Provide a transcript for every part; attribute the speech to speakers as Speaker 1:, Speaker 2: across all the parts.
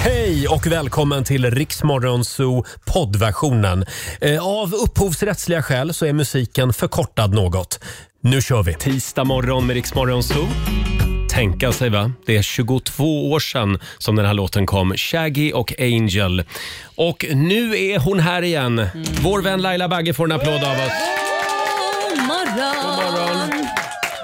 Speaker 1: Hej och välkommen till Riksmorgonzoo poddversionen. Eh, Av upphovsrättsliga skäl så är musiken förkortad något. Nu kör vi! Tisdag morgon med Riksmorgonzoo. Tänka sig va? Det är 22 år sedan som den här låten kom. Shaggy och Angel. Och nu är hon här igen. Vår vän Laila Bagge får en applåd av oss.
Speaker 2: God morgon!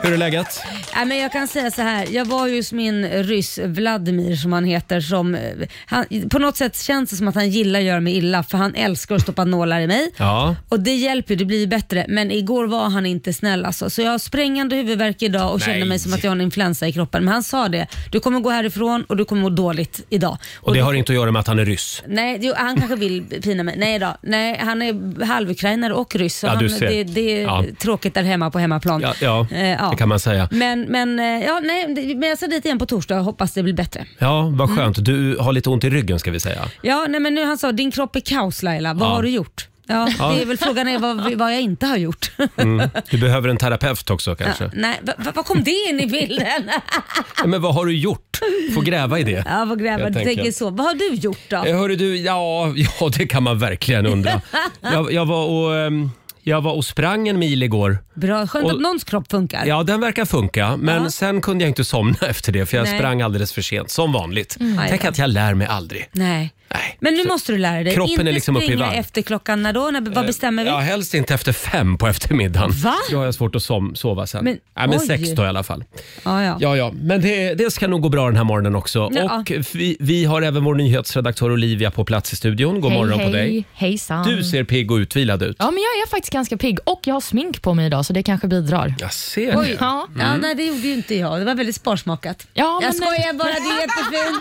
Speaker 1: Hur är läget?
Speaker 2: Nej, men jag kan säga så här, jag var ju hos min ryss Vladimir som han heter som, eh, han, på något sätt känns det som att han gillar att göra mig illa för han älskar att stoppa nålar i mig.
Speaker 1: Ja.
Speaker 2: Och det hjälper ju, det blir ju bättre. Men igår var han inte snäll alltså. Så jag har sprängande huvudvärk idag och känner
Speaker 1: Nej.
Speaker 2: mig som att jag har en influensa i kroppen. Men han sa det, du kommer gå härifrån och du kommer må dåligt idag.
Speaker 1: Och det har inte att göra med att han är ryss.
Speaker 2: Nej, jo, han kanske vill pina mig. Nej då. Nej, han är halvukrainare och ryss. Så
Speaker 1: Ja, du
Speaker 2: han,
Speaker 1: ser.
Speaker 2: det, det är
Speaker 1: Ja.
Speaker 2: tråkigt där hemma på hemmaplan.
Speaker 1: Ja, ja,
Speaker 2: Eh, ja.
Speaker 1: det kan man säga.
Speaker 2: Men, men, eh, ja, nej, det- men jag ska dit igen på torsdag och hoppas det blir bättre.
Speaker 1: Ja, vad skönt. Du har lite ont i ryggen ska vi säga.
Speaker 2: Ja, nej, men nu han sa din kropp är kaos Laila, vad
Speaker 1: Ja.
Speaker 2: har du gjort? Ja, Det är väl frågan är vad, vad jag inte har gjort.
Speaker 1: Mm. Du behöver en terapeut också kanske.
Speaker 2: nej, va- va- vad kom det in i bilden?
Speaker 1: Ja, Men vad har du gjort? Får gräva i det.
Speaker 2: ja, vad gräver
Speaker 1: Helt
Speaker 2: du
Speaker 1: enkelt.
Speaker 2: tänker så. Vad har du gjort då?
Speaker 1: Eh, Hörru du, ja, ja det kan man verkligen undra. Jag, jag, var och, ehm, jag var och sprang en mil igår.
Speaker 2: Bra, skönt
Speaker 1: och-
Speaker 2: att någons kropp funkar.
Speaker 1: Ja, den verkar funka, men
Speaker 2: Ja.
Speaker 1: sen kunde jag inte somna efter det för jag
Speaker 2: Nej. Mm.
Speaker 1: sprang alldeles för sent, som vanligt.
Speaker 2: Aj
Speaker 1: Tänk
Speaker 2: då.
Speaker 1: att jag lär mig aldrig.
Speaker 2: Nej.
Speaker 1: Nej.
Speaker 2: Men nu
Speaker 1: Så-
Speaker 2: måste du lära dig.
Speaker 1: kroppen är
Speaker 2: inte
Speaker 1: liksom uppe i
Speaker 2: springa
Speaker 1: varv.
Speaker 2: efter klockan när då? När, vad bestämmer vi?
Speaker 1: Ja, helst inte efter fem på eftermiddagen.
Speaker 2: Va?
Speaker 1: Då har jag svårt att som, sova sen. Men,
Speaker 2: Men-
Speaker 1: Nej, men
Speaker 2: oj.
Speaker 1: sex då i alla fall.
Speaker 2: Ja, ja.
Speaker 1: Ja, ja. Men det, det ska nog gå bra den här morgonen också.
Speaker 2: Ja.
Speaker 1: Och vi, vi har även vår nyhetsredaktör Olivia på plats i studion. God morgon på dig.
Speaker 3: Hejsan.
Speaker 1: Du ser pigg och utvilad ut.
Speaker 3: Ja, men jag är faktiskt ganska pigg och jag har smink på mig idag så det kanske bidrar.
Speaker 1: Jag ser
Speaker 2: Oj.
Speaker 1: det.
Speaker 3: Ja.
Speaker 2: Ja, nej, det gjorde ju inte jag. Det var väldigt sparsmakat.
Speaker 3: Ja, men-
Speaker 2: jag skojar bara, du är jättefin.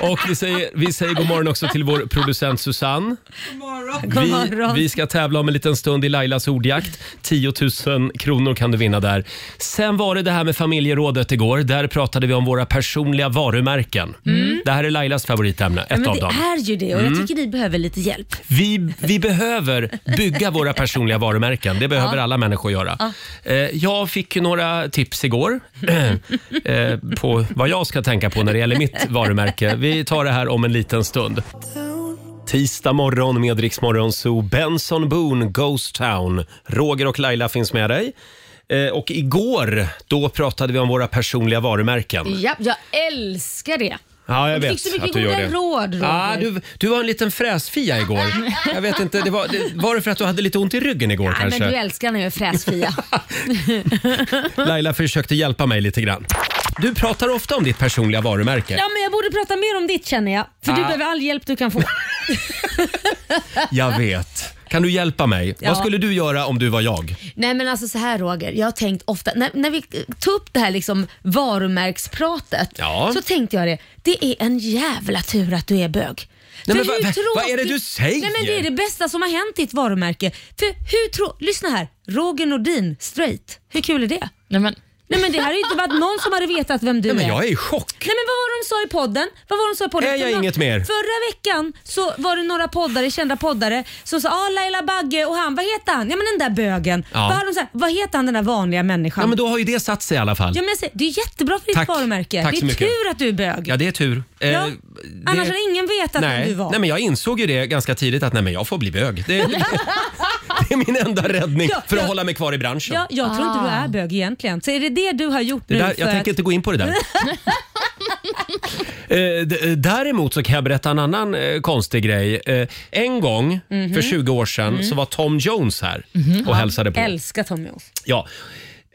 Speaker 1: Och vi säger, vi säger god morgon också till vår producent Susanne.
Speaker 2: God
Speaker 1: Vi,
Speaker 2: morgon.
Speaker 1: vi ska tävla om en liten stund i Lailas ordjakt. 10 000 kronor kan du vinna där. Sen var det det här med familjerådet igår. Där pratade vi om våra personliga varumärken. Det här är Lailas favoritämne, ett
Speaker 2: Mm. Men
Speaker 1: av
Speaker 2: det
Speaker 1: dem. Mm.
Speaker 2: är ju det och jag tycker ni behöver lite hjälp.
Speaker 1: Vi, vi behöver bygga våra personliga varumärken. Det behöver alla människor göra. Eh, Jag fick ju några tips igår eh, på vad jag ska tänka på när det gäller mitt varumärke. Vi tar det här om en liten stund. Tisdag morgon med Rix Morgon Zoo. Benson Boone, Ghost Town. Roger och Laila finns med dig. Eh, Och igår, då pratade vi om våra personliga varumärken.
Speaker 2: Ja, jag älskar det.
Speaker 1: Ja, jag
Speaker 2: Du
Speaker 1: vet
Speaker 2: fick så mycket
Speaker 1: att du gör
Speaker 2: goda
Speaker 1: det.
Speaker 2: råd, Roger.
Speaker 1: Ja, du, du var en liten fräsfia igår. Jag vet inte, det var, det, var det för att du hade lite ont i ryggen igår
Speaker 2: Nej,
Speaker 1: kanske?
Speaker 2: men du älskar när jag är fräsfia.
Speaker 1: Laila försökte hjälpa mig lite grann. Du pratar ofta om ditt personliga varumärke.
Speaker 2: ja, men jag borde prata mer om ditt känner jag. För du
Speaker 1: Ah.
Speaker 2: behöver all hjälp du kan få.
Speaker 1: Jag vet. Kan du hjälpa mig?
Speaker 2: Ja.
Speaker 1: Vad skulle du göra om du var jag?
Speaker 2: Nej men alltså så här Roger, jag har tänkt ofta, när, när vi tog upp det här liksom varumärkspratet
Speaker 1: Ja.
Speaker 2: så tänkte jag det, det är en jävla tur att du är bög.
Speaker 1: Nej,
Speaker 2: För
Speaker 1: men
Speaker 2: hur
Speaker 1: vad- vad- vad är det
Speaker 2: tråkigt-
Speaker 1: du säger?
Speaker 2: Nej, men det är det bästa som har hänt ditt varumärke. För hur tro, lyssna här, Roger Nordin, straight. Hur kul är det?
Speaker 3: Nej, men,
Speaker 2: Nej men det här har ju inte varit någon som hade vetat vem du
Speaker 1: Nej, men
Speaker 2: är.
Speaker 1: jag är i chock.
Speaker 2: Nej men vad var det de sa i podden? Vad var de sa i podden?
Speaker 1: Är jag
Speaker 2: För nå-
Speaker 1: inget mer?
Speaker 2: Förra veckan så var det några poddare, kända poddare som sa ah, Laila Bagge och han, vad heter han? Ja men den där bögen.
Speaker 1: Ja.
Speaker 2: Vad, har de sagt? vad heter han den där vanliga människan?
Speaker 1: Ja, men då har ju det satt sig i alla fall.
Speaker 2: Ja, men jag säger, det är jättebra för ditt
Speaker 1: Tack.
Speaker 2: varumärke.
Speaker 1: Tack
Speaker 2: det är
Speaker 1: så mycket.
Speaker 2: tur att du är bög.
Speaker 1: Ja, det är tur. Eh,
Speaker 2: Ja,
Speaker 1: det-
Speaker 2: Annars hade ingen vetat vem du
Speaker 1: Nej.
Speaker 2: var.
Speaker 1: nej, men jag insåg ju det ganska tidigt att nej, men jag får bli bög. Det, det, det är min enda räddning
Speaker 2: Ja,
Speaker 1: för att
Speaker 2: ja.
Speaker 1: hålla mig kvar i branschen.
Speaker 2: Ja, jag tror inte du är bög egentligen. Så är det det du har gjort
Speaker 1: Det
Speaker 2: nu
Speaker 1: där,
Speaker 2: för
Speaker 1: jag tänker
Speaker 2: att...
Speaker 1: inte gå in på det där. Eh, d- eh, Däremot så kan jag berätta en annan eh, konstig grej. Eh, En gång
Speaker 2: Mhm.
Speaker 1: för 20 år sedan så var Tom Jones här och hälsade på.
Speaker 2: Älskar Tom Jones.
Speaker 1: Ja.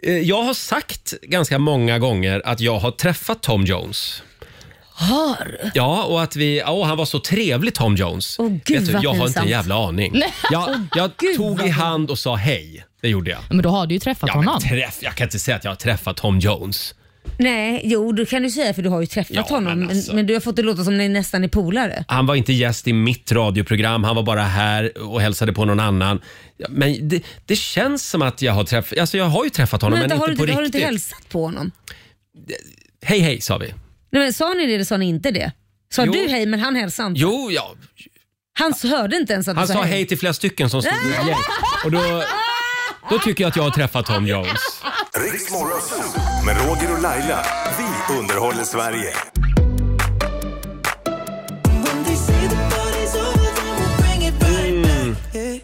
Speaker 1: Eh, Jag har sagt ganska många gånger att jag har träffat Tom Jones.
Speaker 2: Har?
Speaker 1: Ja, och att vi... Åh, han var så trevlig Tom Jones.
Speaker 2: Åh, gud,
Speaker 1: du,
Speaker 2: vad
Speaker 1: jag har inte en
Speaker 2: pinsamt.
Speaker 1: jävla aning. Jag, jag
Speaker 2: gud,
Speaker 1: tog
Speaker 2: vad
Speaker 1: i hand och sa hej. Det gjorde jag.
Speaker 3: men då har du ju träffat
Speaker 1: Ja, men
Speaker 3: honom.
Speaker 1: träff, jag kan inte säga att jag har träffat Tom Jones.
Speaker 2: Nej, jo det kan du säga för du har ju träffat
Speaker 1: Ja,
Speaker 2: honom.
Speaker 1: men
Speaker 2: Men,
Speaker 1: alltså.
Speaker 2: men du har fått det låta som ni nästan är polare.
Speaker 1: Han var inte gäst i mitt radioprogram, han var bara här och hälsade på någon annan. Ja, Men det, det känns som att jag har träffat, alltså jag har ju träffat honom men,
Speaker 2: vänta, har,
Speaker 1: inte
Speaker 2: du,
Speaker 1: på
Speaker 2: inte- har du
Speaker 1: riktigt.
Speaker 2: inte hälsat på honom?
Speaker 1: Hej hej sa vi.
Speaker 2: Nej, men sa ni det eller sa ni inte det? Sa
Speaker 1: Jo.
Speaker 2: du hej men han hälsade inte?
Speaker 1: Jo, ja.
Speaker 2: Han s- hörde inte ens att
Speaker 1: han
Speaker 2: du
Speaker 1: sa hej till flera stycken som stod i ett gäng. Och då, då tycker jag att jag har träffat Tom Jones.
Speaker 4: Riks Morgonzoo med Roger och Laila. Vi underhåller Sverige.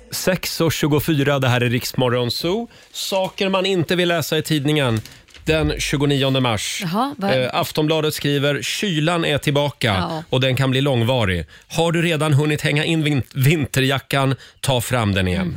Speaker 1: 6.24, det här är Riksmorgon Zoo. Saker man inte vill läsa i tidningen den 29 mars.
Speaker 5: Jaha, vad-
Speaker 1: Eh, Aftonbladet skriver kylan är tillbaka
Speaker 5: Ja.
Speaker 1: och den kan bli långvarig. Har du redan hunnit hänga in vin- vinterjackan, ta fram den igen.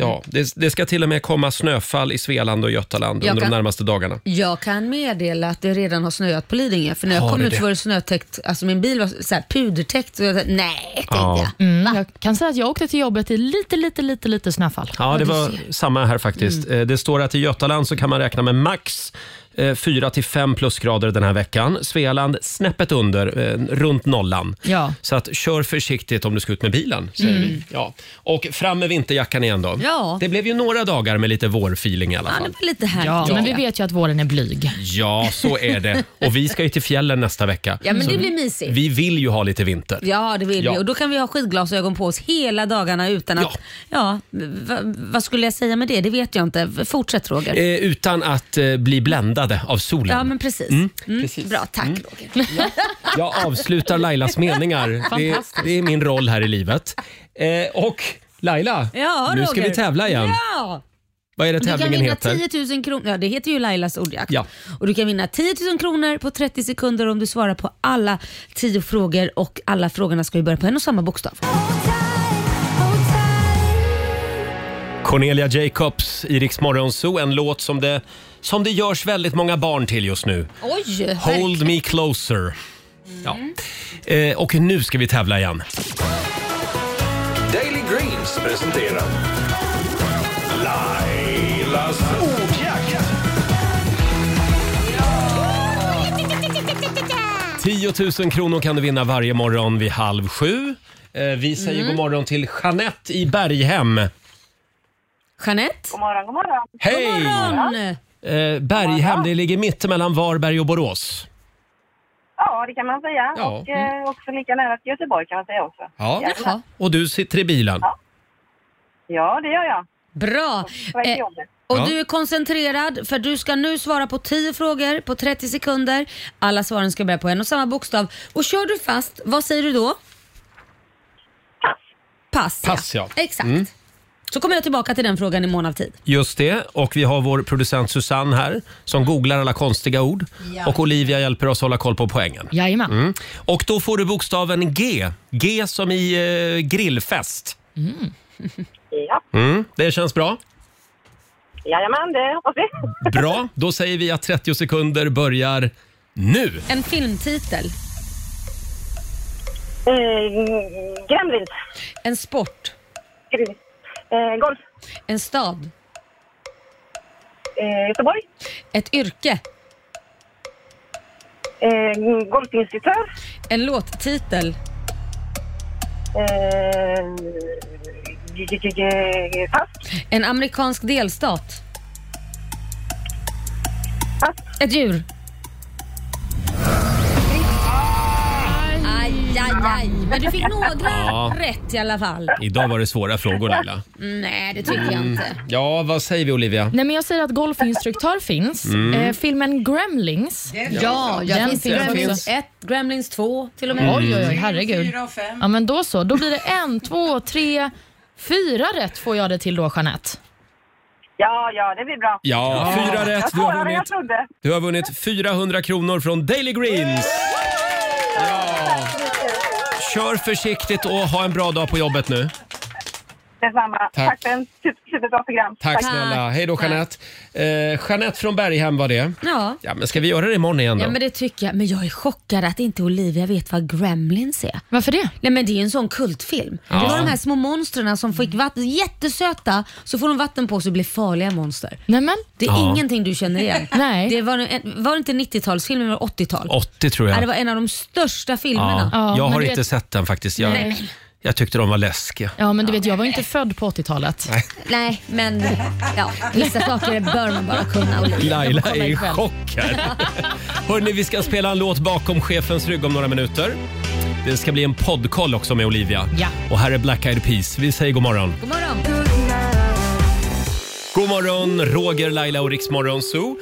Speaker 1: Ja, det, det ska till och med komma snöfall i Svealand och Götaland
Speaker 2: Jag
Speaker 1: under
Speaker 2: kan-
Speaker 1: de närmaste dagarna.
Speaker 2: Jag kan meddela att det redan har snöat på Lidingö. För när
Speaker 1: Har
Speaker 2: jag kom
Speaker 1: det
Speaker 2: ut
Speaker 1: det?
Speaker 2: så var det snötäckt. Alltså min bil var så här pudertäckt. Så jag, tänkte, nej, tänkte
Speaker 1: Ja.
Speaker 2: jag.
Speaker 3: Mm, jag kan säga att jag åkte till jobbet i lite, lite, lite, lite snöfall.
Speaker 1: Ja, det var samma här faktiskt.
Speaker 2: Mm.
Speaker 1: Eh, Det står att i Götaland så kan man räkna med max eh, 4-5 plusgrader den här veckan. Svealand snäppet under, eh, runt nollan.
Speaker 3: Ja.
Speaker 1: Så att kör försiktigt om du ska ut med bilen, säger vi. Ja. Och fram med vinterjackan igen då.
Speaker 2: Mm. Ja.
Speaker 1: Det blev ju några dagar med lite vårfeeling i alla
Speaker 2: Ja, det
Speaker 1: fall.
Speaker 2: var lite härligt.
Speaker 3: Ja,
Speaker 2: tycker
Speaker 3: men vi
Speaker 2: jag.
Speaker 3: vet ju att våren är blyg.
Speaker 1: Ja, så är det. Och vi ska ju till fjällen nästa vecka.
Speaker 2: Ja, men det blir mysigt.
Speaker 1: Vi vill ju ha lite vinter.
Speaker 2: Ja, det vill
Speaker 1: Ja.
Speaker 2: vi. Och då kan vi ha skidglasögon på oss hela dagarna utan att... Ja, va, vad skulle jag säga med det? Det vet jag inte. V- Fortsätt Roger.
Speaker 1: Eh, utan att eh, bli bländade av solen.
Speaker 2: Ja, men precis. Mm. Bra, tack Roger.
Speaker 1: Jag avslutar Lailas meningar. Det,
Speaker 3: Fantastiskt.
Speaker 1: det är min roll här i livet. Eh, och Laila,
Speaker 2: Ja,
Speaker 1: nu ska
Speaker 2: Roger.
Speaker 1: vi tävla igen.
Speaker 2: Ja!
Speaker 1: Vad är det
Speaker 2: Du kan
Speaker 1: tävlingen
Speaker 2: vinna
Speaker 1: heter?
Speaker 2: 10 000 kronor. Ja, det heter ju Lailas ordjakt.
Speaker 1: Ja.
Speaker 2: Och du kan vinna 10 000 kronor på 30 sekunder om du svarar på alla 10 frågor och alla frågorna ska ju börja på en och samma bokstav.
Speaker 1: Cornelia Jacobs i Rix Morgon Zoo, en låt som det, som det görs väldigt många barn till just nu.
Speaker 2: Oj!
Speaker 1: Hold me
Speaker 2: Mm.
Speaker 1: closer. Ja. Eh, och nu ska vi tävla igen.
Speaker 6: Daily Greens presenterar Lailas ordjakt.
Speaker 1: 10 000 kronor kan du vinna varje morgon vid halv sju. Eh, vi säger
Speaker 2: Mm.
Speaker 1: god morgon till Jeanette i Berghem.
Speaker 2: Jeanette?
Speaker 7: God morgon, god morgon.
Speaker 1: Hej!
Speaker 2: God morgon!
Speaker 1: Eh, Berghem, det ligger mitt mellan Varberg och Borås.
Speaker 7: Ja, det kan man säga.
Speaker 1: Ja.
Speaker 7: Och eh, också lika nära till Göteborg kan man säga också.
Speaker 1: Ja.
Speaker 2: Ja,
Speaker 1: Och du sitter i bilen.
Speaker 7: Ja, det gör jag.
Speaker 2: bra.
Speaker 7: På väg till
Speaker 2: Eh,
Speaker 7: jobbet.
Speaker 2: Och
Speaker 1: Ja.
Speaker 2: du är koncentrerad för du ska nu svara på 10 frågor på 30 sekunder. Alla svaren ska börja på en och samma bokstav. Och kör du fast, vad säger du då? Pass.
Speaker 1: Pass, ja. Mm.
Speaker 2: Exakt. Så kommer jag tillbaka till den frågan i mån av tid.
Speaker 1: Just det. Och vi har vår producent Susanne här som googlar alla konstiga ord. Och Olivia hjälper oss hålla koll på poängen.
Speaker 3: Jajamän.
Speaker 1: Mm. Och då får du bokstaven G. G som i eh, grillfest.
Speaker 7: Ja.
Speaker 1: Mm. Det känns bra.
Speaker 7: Jajamän, det hoppas vi.
Speaker 1: Bra. Då säger vi att 30 sekunder börjar nu.
Speaker 2: En filmtitel,
Speaker 7: Eh, Gremlins.
Speaker 2: en sport,
Speaker 7: Gremlins. Eh, golf.
Speaker 2: en stad,
Speaker 7: Eh, Göteborg.
Speaker 2: ett yrke,
Speaker 7: Eh, golfinstruktör.
Speaker 2: en låttitel,
Speaker 7: Eh, g- g- g- g- pass.
Speaker 2: en amerikansk delstat,
Speaker 7: Pass.
Speaker 2: ett djur. Aj, aj, aj. Men du fick några
Speaker 1: Ja.
Speaker 2: rätt i alla fall.
Speaker 1: Idag var det svåra frågor Laila.
Speaker 2: Nej, det tycker jag inte.
Speaker 1: Ja, vad säger vi Olivia?
Speaker 3: Nej, men jag säger att golfinstruktör finns.
Speaker 1: Mm.
Speaker 3: Eh, filmen Gremlings.
Speaker 2: Ja, jag
Speaker 3: Den
Speaker 2: finns Mm.
Speaker 3: finns
Speaker 2: Gremlins
Speaker 3: också.
Speaker 2: 1, Gremlins 2 till och med.
Speaker 3: Oj, oj, oj, herregud. Ja, men då så. Då blir det en, två, tre, fyra rätt får jag det till då, Jeanette.
Speaker 7: Ja, ja, det blir bra.
Speaker 1: Ja, fyra rätt.
Speaker 7: Jag
Speaker 1: Du har
Speaker 7: svarade, jag
Speaker 1: vunnit,
Speaker 7: trodde.
Speaker 1: du har vunnit 400 kronor från Daily Greens. Kör försiktigt och ha en bra dag på jobbet nu.
Speaker 7: Detsamma.
Speaker 1: Tack.
Speaker 7: Tack, för en super, superbra program.
Speaker 1: Tack snälla. Hej då Jeanette. Eh, Jeanette från Berghem var det.
Speaker 2: Ja.
Speaker 1: Ja, men ska vi göra det imorgon igen då?
Speaker 2: ja, men det tycker jag. Men jag är chockad att inte Olivia vet vad Gremlins är.
Speaker 3: Varför det?
Speaker 2: Nej men det är ju en sån kultfilm. Det var de här små monstren som fick vatten, jättesöta, så får de vatten på sig och blir farliga monster.
Speaker 3: Nej, men.
Speaker 2: Det är
Speaker 1: Ja.
Speaker 2: ingenting du känner igen.
Speaker 3: Nej.
Speaker 2: Det var, en, var det inte 90-talsfilm eller 80-tal?
Speaker 1: 80 tror jag.
Speaker 2: Nej, det var en av de största filmerna.
Speaker 1: ja.
Speaker 3: Ja,
Speaker 1: jag
Speaker 3: men
Speaker 1: har
Speaker 3: du
Speaker 1: inte
Speaker 3: vet-
Speaker 1: sett den faktiskt. Jag, jag tyckte de var läskiga.
Speaker 3: Ja, men du vet, jag var ju inte född på 80-talet.
Speaker 2: Nej, men ja, vissa saker bör man bara kunna. Olivia.
Speaker 1: Laila är i
Speaker 3: ikväll.
Speaker 1: chock här. Hörrni, vi ska spela en låt bakom chefens rygg om några minuter. Det ska bli en poddkoll också med Olivia.
Speaker 3: Ja.
Speaker 1: Och här är Black Eyed Peas. Vi säger god morgon.
Speaker 2: God morgon.
Speaker 1: God morgon, Roger, Laila och Riksmorgon Zoo.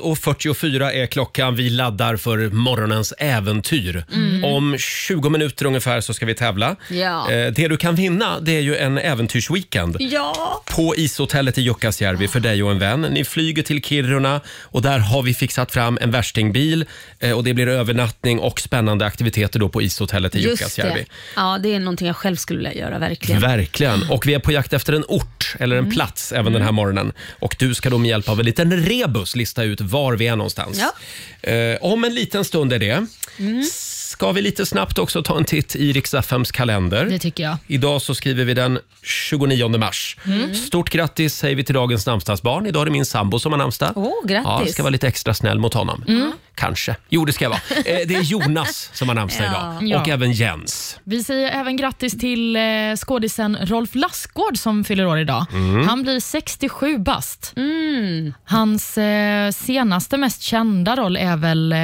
Speaker 1: 6.44 är klockan. Vi laddar för morgonens äventyr. Om 20 minuter ungefär så ska vi tävla.
Speaker 2: Mm. Ja.
Speaker 1: Eh, Det du kan vinna det är ju en äventyrsweekend.
Speaker 2: Ja!
Speaker 1: På ishotellet i Jukkasjärvi för dig och en vän. Ni flyger till Kiruna och där har vi fixat fram en värstingbil. eh, Och det blir övernattning och spännande aktiviteter då på ishotellet i
Speaker 2: Just
Speaker 1: Jukkasjärvi.
Speaker 2: det. Ja, det är någonting jag själv skulle vilja göra verkligen.
Speaker 1: Verkligen. Och vi är på jakt efter en ort eller
Speaker 3: Mm.
Speaker 1: en plats även den här morgonen. Och du ska då med hjälp av en liten rebus lista ut var vi är någonstans. Eh, om en liten stund är det.
Speaker 3: Mm.
Speaker 1: Ska vi lite snabbt också ta en titt i Rix FMs kalender.
Speaker 3: Det tycker jag. Mm.
Speaker 1: Idag så skriver vi den 29 mars. Stort grattis säger vi till dagens namnsdagsbarn. Idag är det min sambo som har namnsdag.
Speaker 2: Åh, grattis.
Speaker 1: Ja, jag ska vara lite extra snäll mot honom.
Speaker 3: Mm.
Speaker 1: Kanske. Jo, det ska jag vara. Eh, Det är Jonas som har namnsdag idag. Och
Speaker 3: Ja.
Speaker 1: även Jens.
Speaker 3: Vi säger även grattis till eh, skådisen Rolf Lassgård som fyller år idag.
Speaker 2: Mm.
Speaker 3: Han blir 67 bast. Hans eh, senaste mest kända roll är väl eh,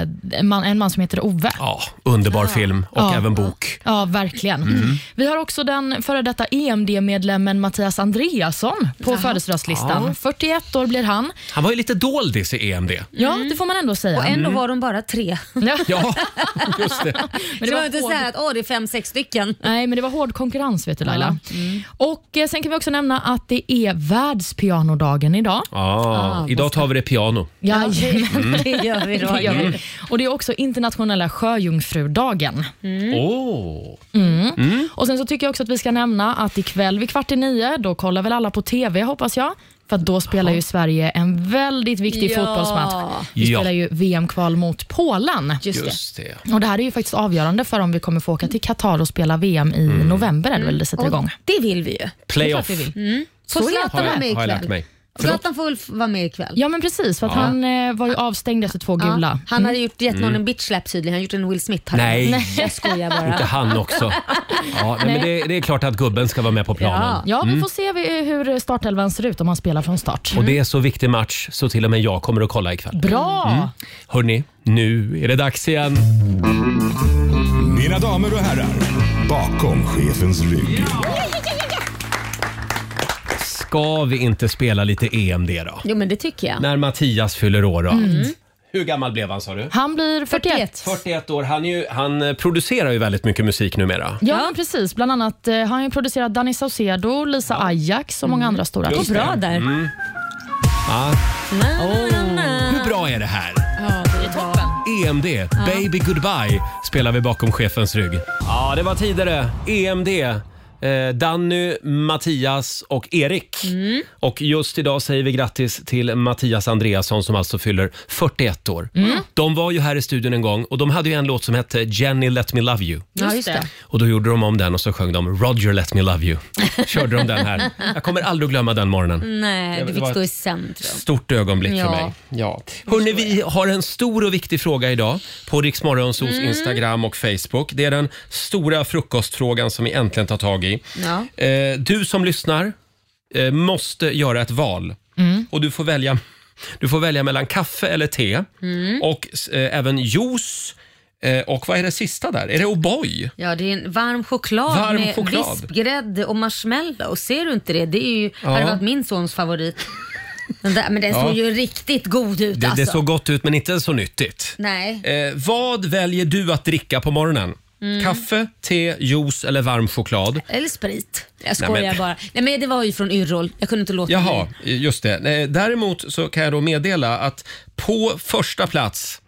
Speaker 3: en, man, en man som heter Ove.
Speaker 1: Ja, underbar film och
Speaker 3: Ja.
Speaker 1: även bok.
Speaker 3: Ja, verkligen.
Speaker 2: Mm.
Speaker 3: Vi har också den före detta EMD-medlemmen Mattias Andreasson på födelsedagslistan. 41 år blir han.
Speaker 1: Han var ju lite doldis i E EMD.
Speaker 3: Ja, det får man ändå säga.
Speaker 2: Mm. Och ändå var de bara tre.
Speaker 3: Ja.
Speaker 1: Ja, just det.
Speaker 3: Men
Speaker 2: Det var inte
Speaker 3: hård-
Speaker 2: så här att åh, det är fem, sex stycken.
Speaker 3: Nej, men det var hård konkurrens vet du Laila. Och eh, sen kan vi också nämna att det är världspianodagen idag.
Speaker 1: Ja, idag tar vi det piano.
Speaker 3: Ja,
Speaker 2: Det gör vi då.
Speaker 3: det gör vi. Och det är också internationella sjöjungfrudagen.
Speaker 1: Åh!
Speaker 3: Och sen så tycker jag också att vi ska nämna att ikväll vid kvart i nio, då kollar väl alla på TV hoppas jag. För att då spelar ju Sverige en väldigt viktig
Speaker 2: Ja.
Speaker 3: fotbollsmatch. Vi
Speaker 1: Ja.
Speaker 3: spelar ju VM-kval mot Polen.
Speaker 1: Just det.
Speaker 3: Och det här är ju faktiskt avgörande för om vi kommer få åka till Qatar och spela VM i
Speaker 1: Mm.
Speaker 3: november är det väl det sätter igång.
Speaker 2: Det vill vi ju.
Speaker 1: Playoff
Speaker 3: Mm. Det är klart vi vill.
Speaker 2: Får
Speaker 3: Så är det.
Speaker 2: Zlatan
Speaker 1: har
Speaker 2: vara med
Speaker 1: jag, har jag lärt
Speaker 2: ikväll?
Speaker 1: mig.
Speaker 2: Zlatan får väl f- vara med ikväll?
Speaker 3: Ja men precis, för att han eh, var ju avstängd efter två gula.
Speaker 2: Ja, han hade gjort, gett någon en bitch slap tydligen. Han hade gjort en Will Smith. här.
Speaker 1: Mm. Nej. Nej.
Speaker 2: Jag skojar
Speaker 1: Inte
Speaker 2: bara.
Speaker 1: han också. Ja, nej, men det, det är klart att gubben ska vara med på planen.
Speaker 3: Ja, vi får se vi- hur startelvan ser ut om han spelar från start.
Speaker 1: Och det är så viktig match så till och med jag kommer att kolla ikväll.
Speaker 3: Bra!
Speaker 1: Hörni, nu är det dags igen.
Speaker 6: Mina damer och herrar, bakom chefens rygg.
Speaker 1: Ska vi inte spela lite EMD då?
Speaker 2: Jo men det tycker jag.
Speaker 1: När Mattias fyller år då. Hur gammal blev han sa du?
Speaker 3: Han blir 41.
Speaker 1: 41 år. Han, är ju, han eh, producerar ju väldigt mycket musik numera.
Speaker 3: Ja, men precis. Bland annat eh, har han ju producerat Danny Saucedo, Lisa Ajax och många andra stora
Speaker 1: Just
Speaker 3: artister.
Speaker 2: Bra där.
Speaker 1: Mm. Ah. Hur bra är det här? EMD, Baby Goodbye, spelar vi bakom chefens rygg. Ja, det var tidigare. EMD, eh, Danny, Mattias och Erik. Och just idag säger vi grattis till Mattias Andreasson som alltså fyller 41 år. De var ju här i studion en gång och de hade ju en låt som hette Jenny Let Me Love You.
Speaker 2: Ja, just det.
Speaker 1: Och då gjorde de om den och så sjöng de Roger Let Me Love You. Körde de den här. Jag kommer aldrig glömma den morgonen.
Speaker 2: Nej,
Speaker 1: det
Speaker 2: du fick
Speaker 1: var
Speaker 2: stå
Speaker 1: ett-
Speaker 2: i centrum.
Speaker 1: Stort ögonblick för
Speaker 2: Ja.
Speaker 1: mig. Ja. Hörrni, vi har en stor och viktig fråga idag på Riksmorgonsos
Speaker 2: Mm.
Speaker 1: Instagram och Facebook. Det är den stora frukostfrågan som vi äntligen tar tag i.
Speaker 2: Ja.
Speaker 1: Eh, du som lyssnar eh, måste göra ett val
Speaker 2: Mm.
Speaker 1: och du får välja, du får välja mellan kaffe eller te
Speaker 2: Mm.
Speaker 1: och eh, även juice eh, och vad är det sista där? Är det O'boy?
Speaker 2: Ja, det är en varm choklad
Speaker 1: Varm
Speaker 2: med
Speaker 1: choklad.
Speaker 2: vispgrädde och marshmallow. Ser du inte det? Det är ju, hade varit min sons favorit. Den där, men den såg ju riktigt god ut
Speaker 1: Det,
Speaker 2: alltså.
Speaker 1: det såg gott ut men inte så nyttigt.
Speaker 2: Nej.
Speaker 1: Eh, vad väljer du att dricka på morgonen?
Speaker 2: Mm.
Speaker 1: Kaffe, te, juice eller varm choklad?
Speaker 2: Eller sprit. Jag skojar
Speaker 1: men-
Speaker 2: bara. Nej, men det var ju från Yrrol. Jag kunde inte låta
Speaker 1: Jaha,
Speaker 2: bli.
Speaker 1: just det. Eh, Däremot så kan jag då meddela att på första plats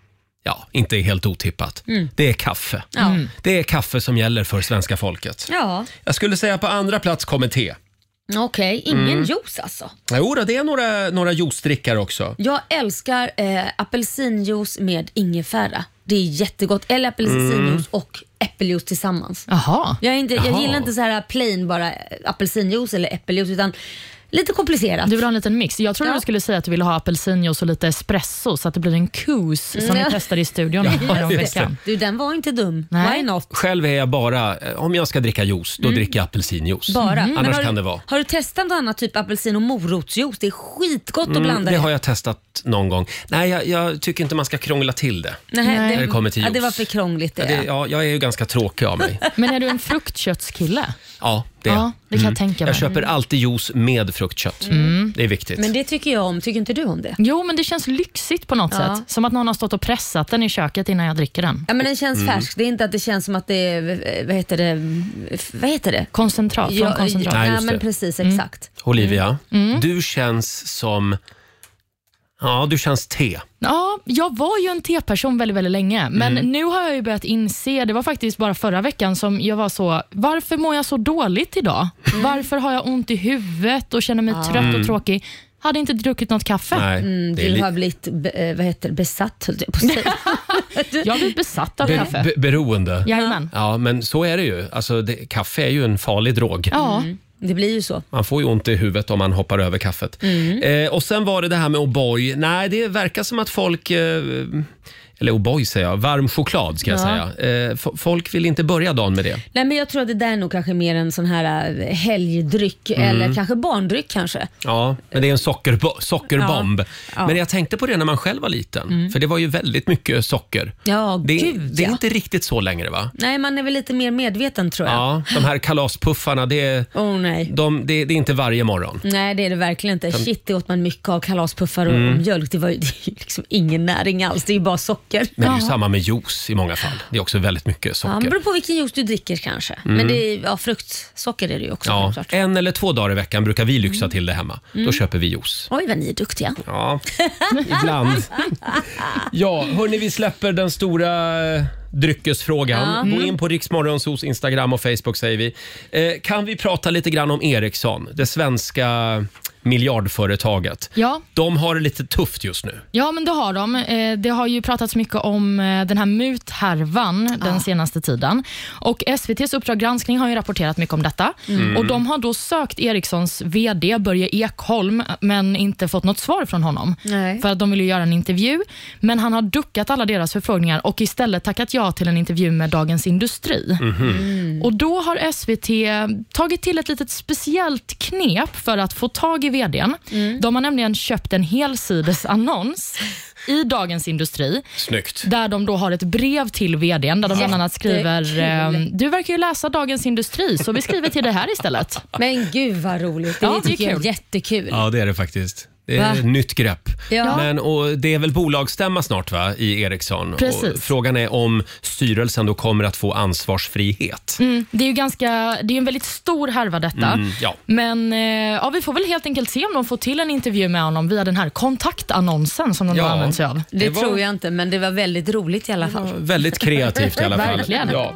Speaker 1: Ja, inte helt otippat.
Speaker 2: Mm.
Speaker 1: Det är kaffe. Det är kaffe som gäller för svenska folket.
Speaker 2: Ja,
Speaker 1: Jag skulle säga på andra plats kommer te.
Speaker 2: okej. Ingen
Speaker 1: Mm.
Speaker 2: juice alltså.
Speaker 1: Jo, då, det är några, några juicedrickare också.
Speaker 2: Jag älskar eh, apelsinjuice med ingefära. Det är jättegott. Eller apelsinjuice och äppeljuice tillsammans.
Speaker 3: Jaha.
Speaker 2: Jag, är inte,
Speaker 1: Mm. Jaha.
Speaker 2: jag gillar inte så här plain bara eh, apelsinjuice eller äppeljuice utan lite komplicerat.
Speaker 3: Du vill ha en liten mix. Jag trodde
Speaker 2: Ja.
Speaker 3: du skulle säga att du ville ha apelsinjuice och lite espresso så att det blir en kus som vi
Speaker 2: Ja.
Speaker 3: testade i studion förra
Speaker 1: just
Speaker 3: veckan.
Speaker 2: Du, den var inte dum.
Speaker 3: Nej.
Speaker 2: Why not?
Speaker 1: Själv är jag bara, eh, om jag ska dricka juice, då dricker jag apelsinjuice.
Speaker 2: Mm. Bara. Men
Speaker 1: Annars
Speaker 2: har
Speaker 1: kan
Speaker 2: du,
Speaker 1: det vara.
Speaker 2: Har du testat något annat, typ apelsin och morotsjuice? Det är skitgott att blanda
Speaker 1: Mm, Det har jag testat någon gång. Nej, jag, jag tycker inte man ska krångla till det.
Speaker 2: Nej,
Speaker 1: När det kommer till
Speaker 2: ja, det
Speaker 1: juice.
Speaker 2: var för krångligt det.
Speaker 1: Ja, det, ja, jag är ju ganska tråkig av mig.
Speaker 3: Men är du en fruktköttskille?
Speaker 1: Ja, Det är jag. Mm.
Speaker 3: Ja, det kan jag tänka mig. Mm.
Speaker 1: Jag köper alltid juice med fruktkött. Det är viktigt.
Speaker 8: Men det tycker jag om. Tycker inte du om det?
Speaker 3: Jo, men det känns lyxigt på något
Speaker 8: Ja.
Speaker 3: sätt. Som att någon har stått och pressat den i köket innan jag dricker den.
Speaker 8: Ja, men den känns
Speaker 1: Mm.
Speaker 8: färsk. Det är inte att det känns som att det är, eh, vad heter det, F- vad heter det?
Speaker 3: Koncentrat, från
Speaker 8: Ja, eh,
Speaker 3: koncentrat.
Speaker 1: Nej,
Speaker 8: ja,
Speaker 1: just
Speaker 8: men
Speaker 1: det.
Speaker 8: precis, exakt.
Speaker 1: Olivia,
Speaker 3: Mm.
Speaker 1: du känns som... Ja, du känns te.
Speaker 3: Ja, jag var ju en teperson väldigt, väldigt länge, men
Speaker 1: Mm.
Speaker 3: nu har jag ju börjat inse, det var faktiskt bara förra veckan som jag var så, varför mår jag så dåligt idag? Varför har jag ont i huvudet och känner mig trött och tråkig? Hade inte druckit något kaffe.
Speaker 1: Mm. Nej,
Speaker 3: Mm,
Speaker 1: det är
Speaker 8: Du
Speaker 1: li-
Speaker 8: har blivit be- eh, vad heter det, besatt, höll jag på att säga.
Speaker 3: Jag har blivit besatt av
Speaker 1: be-
Speaker 3: kaffe.
Speaker 1: be- beroende. Ja.
Speaker 3: Jajamän.
Speaker 1: men så är det ju. Alltså, det, kaffe är ju en farlig drog.
Speaker 3: Ja.
Speaker 8: Det blir ju så.
Speaker 1: Man får ju ont i huvudet om man hoppar över kaffet.
Speaker 3: Mm.
Speaker 1: Eh, och sen var det det här med O'boy. Nej, det verkar som att folk... Eh, eller O'boy säger jag. Varm choklad ska jag säga. Eh, f- folk vill inte börja dagen med det.
Speaker 8: Nej, men jag tror att det där är nog kanske mer en sån här eh, helgdryck
Speaker 1: Mm.
Speaker 8: eller kanske barndryck kanske.
Speaker 1: Ja, men det är en sockerbo- sockerbomb. Men jag tänkte på det när man själv var liten. För det var ju väldigt mycket socker.
Speaker 8: Mm. Ja,
Speaker 1: det,
Speaker 8: gud,
Speaker 1: det är
Speaker 8: ja.
Speaker 1: inte riktigt så längre va?
Speaker 8: Nej, man är väl lite mer medveten tror jag.
Speaker 1: Ja, de här kalaspuffarna, det är,
Speaker 8: Oh, nej.
Speaker 1: de, det, det är inte varje morgon.
Speaker 8: Nej, det är det verkligen inte. Shit, det åt man mycket av kalaspuffar och
Speaker 1: Mm.
Speaker 8: mjölk. Det var ju det är ju liksom ingen näring alls, det är ju bara socker.
Speaker 1: Men det är ju samma med juice i många fall. Det är också väldigt mycket
Speaker 8: Ja, det
Speaker 1: socker. Mm.
Speaker 8: beror på vilken juice du dricker kanske. Men det är, ja, fruktsocker är det Mm. ju också
Speaker 1: Ja,
Speaker 8: självklart.
Speaker 1: en eller två dagar i veckan brukar vi lyxa till det hemma. Då köper vi juice.
Speaker 8: Oj, vad ni är duktiga.
Speaker 1: Ja, ibland. Ja, hörni, vi släpper den stora eh, dryckesfrågan.
Speaker 8: Mm.
Speaker 1: Gå in på Riksmorgonsos Instagram och Facebook säger vi. Eh, kan vi prata lite grann om Ericsson, det svenska miljardföretaget?
Speaker 3: Ja.
Speaker 1: De har det lite tufft just nu.
Speaker 3: Ja, men det har de. Eh, Det har ju pratats mycket om eh, den här muthärvan den senaste tiden. Och SVTs Uppdrag granskning har ju rapporterat mycket om detta. Och De har då sökt Ericssons VD Börje Ekholm, men inte fått något svar från honom.
Speaker 8: Nej.
Speaker 3: För att de ville göra en intervju, men han har duckat alla deras förfrågningar och istället tackat ja till en intervju med Dagens Industri.
Speaker 1: Mm.
Speaker 3: Och Då har SVT tagit till ett litet speciellt knep för att få tag i vdn.
Speaker 1: Mm.
Speaker 3: De har nämligen köpt en helsidesannons i Dagens Industri
Speaker 1: Snyggt.
Speaker 3: där de då har ett brev till vdn där de bland annat skriver
Speaker 8: Jättekul.
Speaker 3: ehm, Du verkar ju läsa Dagens Industri så vi skriver till dig här istället.
Speaker 8: Men gud vad roligt. Det,
Speaker 3: Ja, det är
Speaker 8: tycker jag är
Speaker 3: kul.
Speaker 8: jättekul.
Speaker 1: Ja, det är det faktiskt. Det är
Speaker 8: Va?
Speaker 1: ett nytt grepp.
Speaker 8: Ja.
Speaker 1: Men, och det är väl bolagsstämma snart va, i Ericsson?
Speaker 3: Precis.
Speaker 1: Och frågan är om styrelsen då kommer att få ansvarsfrihet.
Speaker 3: Mm, det är ju ganska, det är en väldigt stor härva detta.
Speaker 1: Mm, ja.
Speaker 3: Men eh, ja, vi får väl helt enkelt se om de får till en intervju med honom via den här kontaktannonsen som de
Speaker 1: Ja.
Speaker 3: har använt sig av.
Speaker 8: Det,
Speaker 1: Det var-
Speaker 8: tror jag inte, men det var väldigt roligt i alla fall.
Speaker 1: Väldigt kreativt i alla fall.
Speaker 3: Verkligen.
Speaker 1: Ja.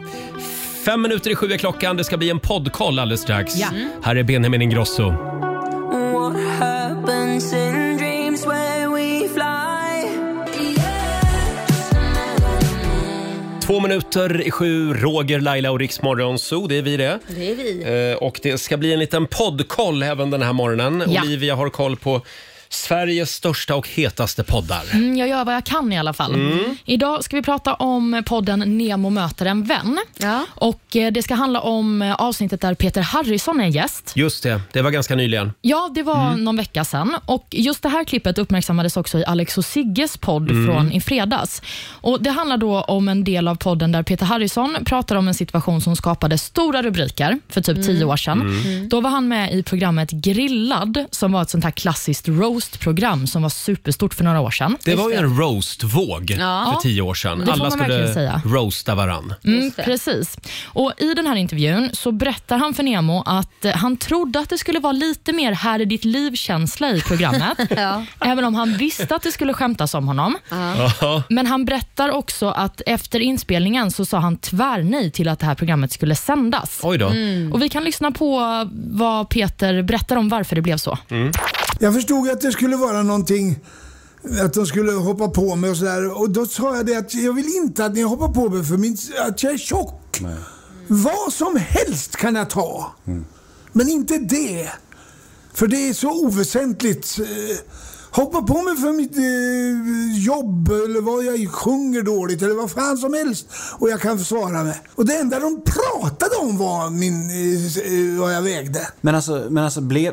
Speaker 1: Fem minuter i sju är klockan. Det ska bli en poddkoll alldeles strax. Här är Benjamin Ingrosso. Två minuter i sju, Roger, Laila och Riksmorgon Zoo, det är vi det.
Speaker 8: Det är vi.
Speaker 1: Eh, Och det ska bli en liten poddkoll även den här morgonen.
Speaker 3: Ja.
Speaker 1: Olivia har koll på Sveriges största och hetaste poddar.
Speaker 3: Mm, jag gör vad jag kan i alla fall. Idag ska vi prata om podden Nemo möter en vän.
Speaker 8: Ja.
Speaker 3: Och eh, Det ska handla om eh, avsnittet där Peter Harrison är gäst.
Speaker 1: Just det, det var ganska nyligen.
Speaker 3: Ja, det var någon vecka sedan. Och Just det här klippet uppmärksammades också i Alex och Sigges podd från i fredags. Och Det handlar då om en del av podden där Peter Harrison pratar om en situation som skapade stora rubriker för typ tio år sedan. Mm. Då var han med i programmet Grillad, som var ett sånt här klassiskt roast-program som var superstort för några år sedan.
Speaker 1: Det var ju en roast-våg för tio år sedan.
Speaker 3: det får
Speaker 1: Alla
Speaker 3: man
Speaker 1: skulle
Speaker 3: verkligen säga.
Speaker 1: roasta varann.
Speaker 3: Mm, precis. Och I den här intervjun så berättar han för Nemo att eh, han trodde att det skulle vara lite mer här i ditt liv-känsla i programmet. Även om han visste att det skulle skämtas om honom.
Speaker 1: Jaha.
Speaker 3: Men han berättar också att efter inspelningen så sa han tvärnej till att det här programmet skulle sändas.
Speaker 1: Oj då.
Speaker 2: Mm.
Speaker 3: Och Vi kan lyssna på vad Peter berättar om varför det blev så.
Speaker 1: Mm.
Speaker 9: Jag förstod ju att det skulle vara någonting, att de skulle hoppa på mig och sådär. Och då sa jag det att jag vill inte att ni hoppar på mig för min, att jag är tjock. Vad som helst kan jag ta. Men inte det. För det är så oväsentligt. eh, Hoppa på mig för mitt eh, jobb eller vad jag sjunger dåligt eller vad fan som helst. Och jag kan försvara mig. Och det enda de pratade om var min, eh, s- eh, vad jag vägde.
Speaker 10: Men alltså, men alltså blev,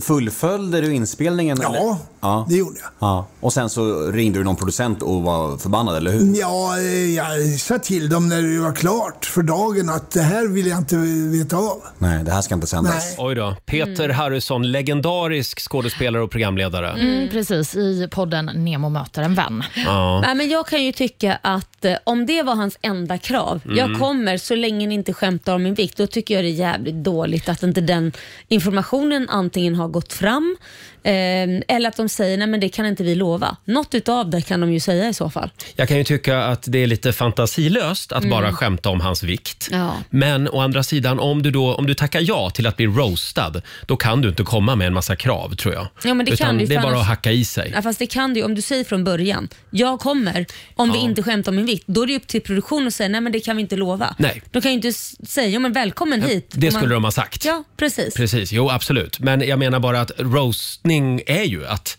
Speaker 10: fullföljde du inspelningen? eller?
Speaker 9: Ja,
Speaker 10: ja,
Speaker 9: det gjorde jag.
Speaker 10: ja. Och sen så ringde du någon producent och var förbannad, eller hur?
Speaker 9: Ja, eh, jag sa till dem när det var klart för dagen att det här vill jag inte veta av.
Speaker 10: Nej, det här ska inte sändas.
Speaker 9: Nej.
Speaker 1: Oj då. Peter
Speaker 2: Mm.
Speaker 1: Harrison, legendarisk skådespelare och programledare.
Speaker 3: Mm, precis, i podden Nemo möter en vän.
Speaker 1: Ja.
Speaker 2: Nej, men jag kan ju tycka att eh, om det var hans enda krav,
Speaker 1: Mm.
Speaker 2: jag kommer så länge ni inte skämtar om min vikt, då tycker jag det är jävligt dåligt att inte den informationen antingen har gått fram eh, eller att de säger nej men det kan inte vi lova. Något utav det kan de ju säga i så fall.
Speaker 1: Jag kan ju tycka att det är lite fantasilöst att bara skämta om hans vikt.
Speaker 2: Mm. Ja.
Speaker 1: Men å andra sidan, om du, då, om du tackar ja till att bli roastad, då kan du inte komma med en massa krav tror jag.
Speaker 2: Ja, men det
Speaker 1: Utan
Speaker 2: kan du,
Speaker 1: det är
Speaker 2: för
Speaker 1: bara
Speaker 2: annars-
Speaker 1: att hacka i sig.
Speaker 2: Ja, fast det kan du ju om du säger från början, jag kommer om vi inte skämtar om min vikt. Då är det upp till produktionen att säga nej men det kan vi inte lova.
Speaker 1: Nej.
Speaker 2: De kan ju inte s- säga ja, men välkommen hit.
Speaker 1: Det
Speaker 2: Och man-
Speaker 1: skulle de ha sagt.
Speaker 2: Ja, precis.
Speaker 1: Precis, jo absolut. Men jag menar bara att roastning är ju att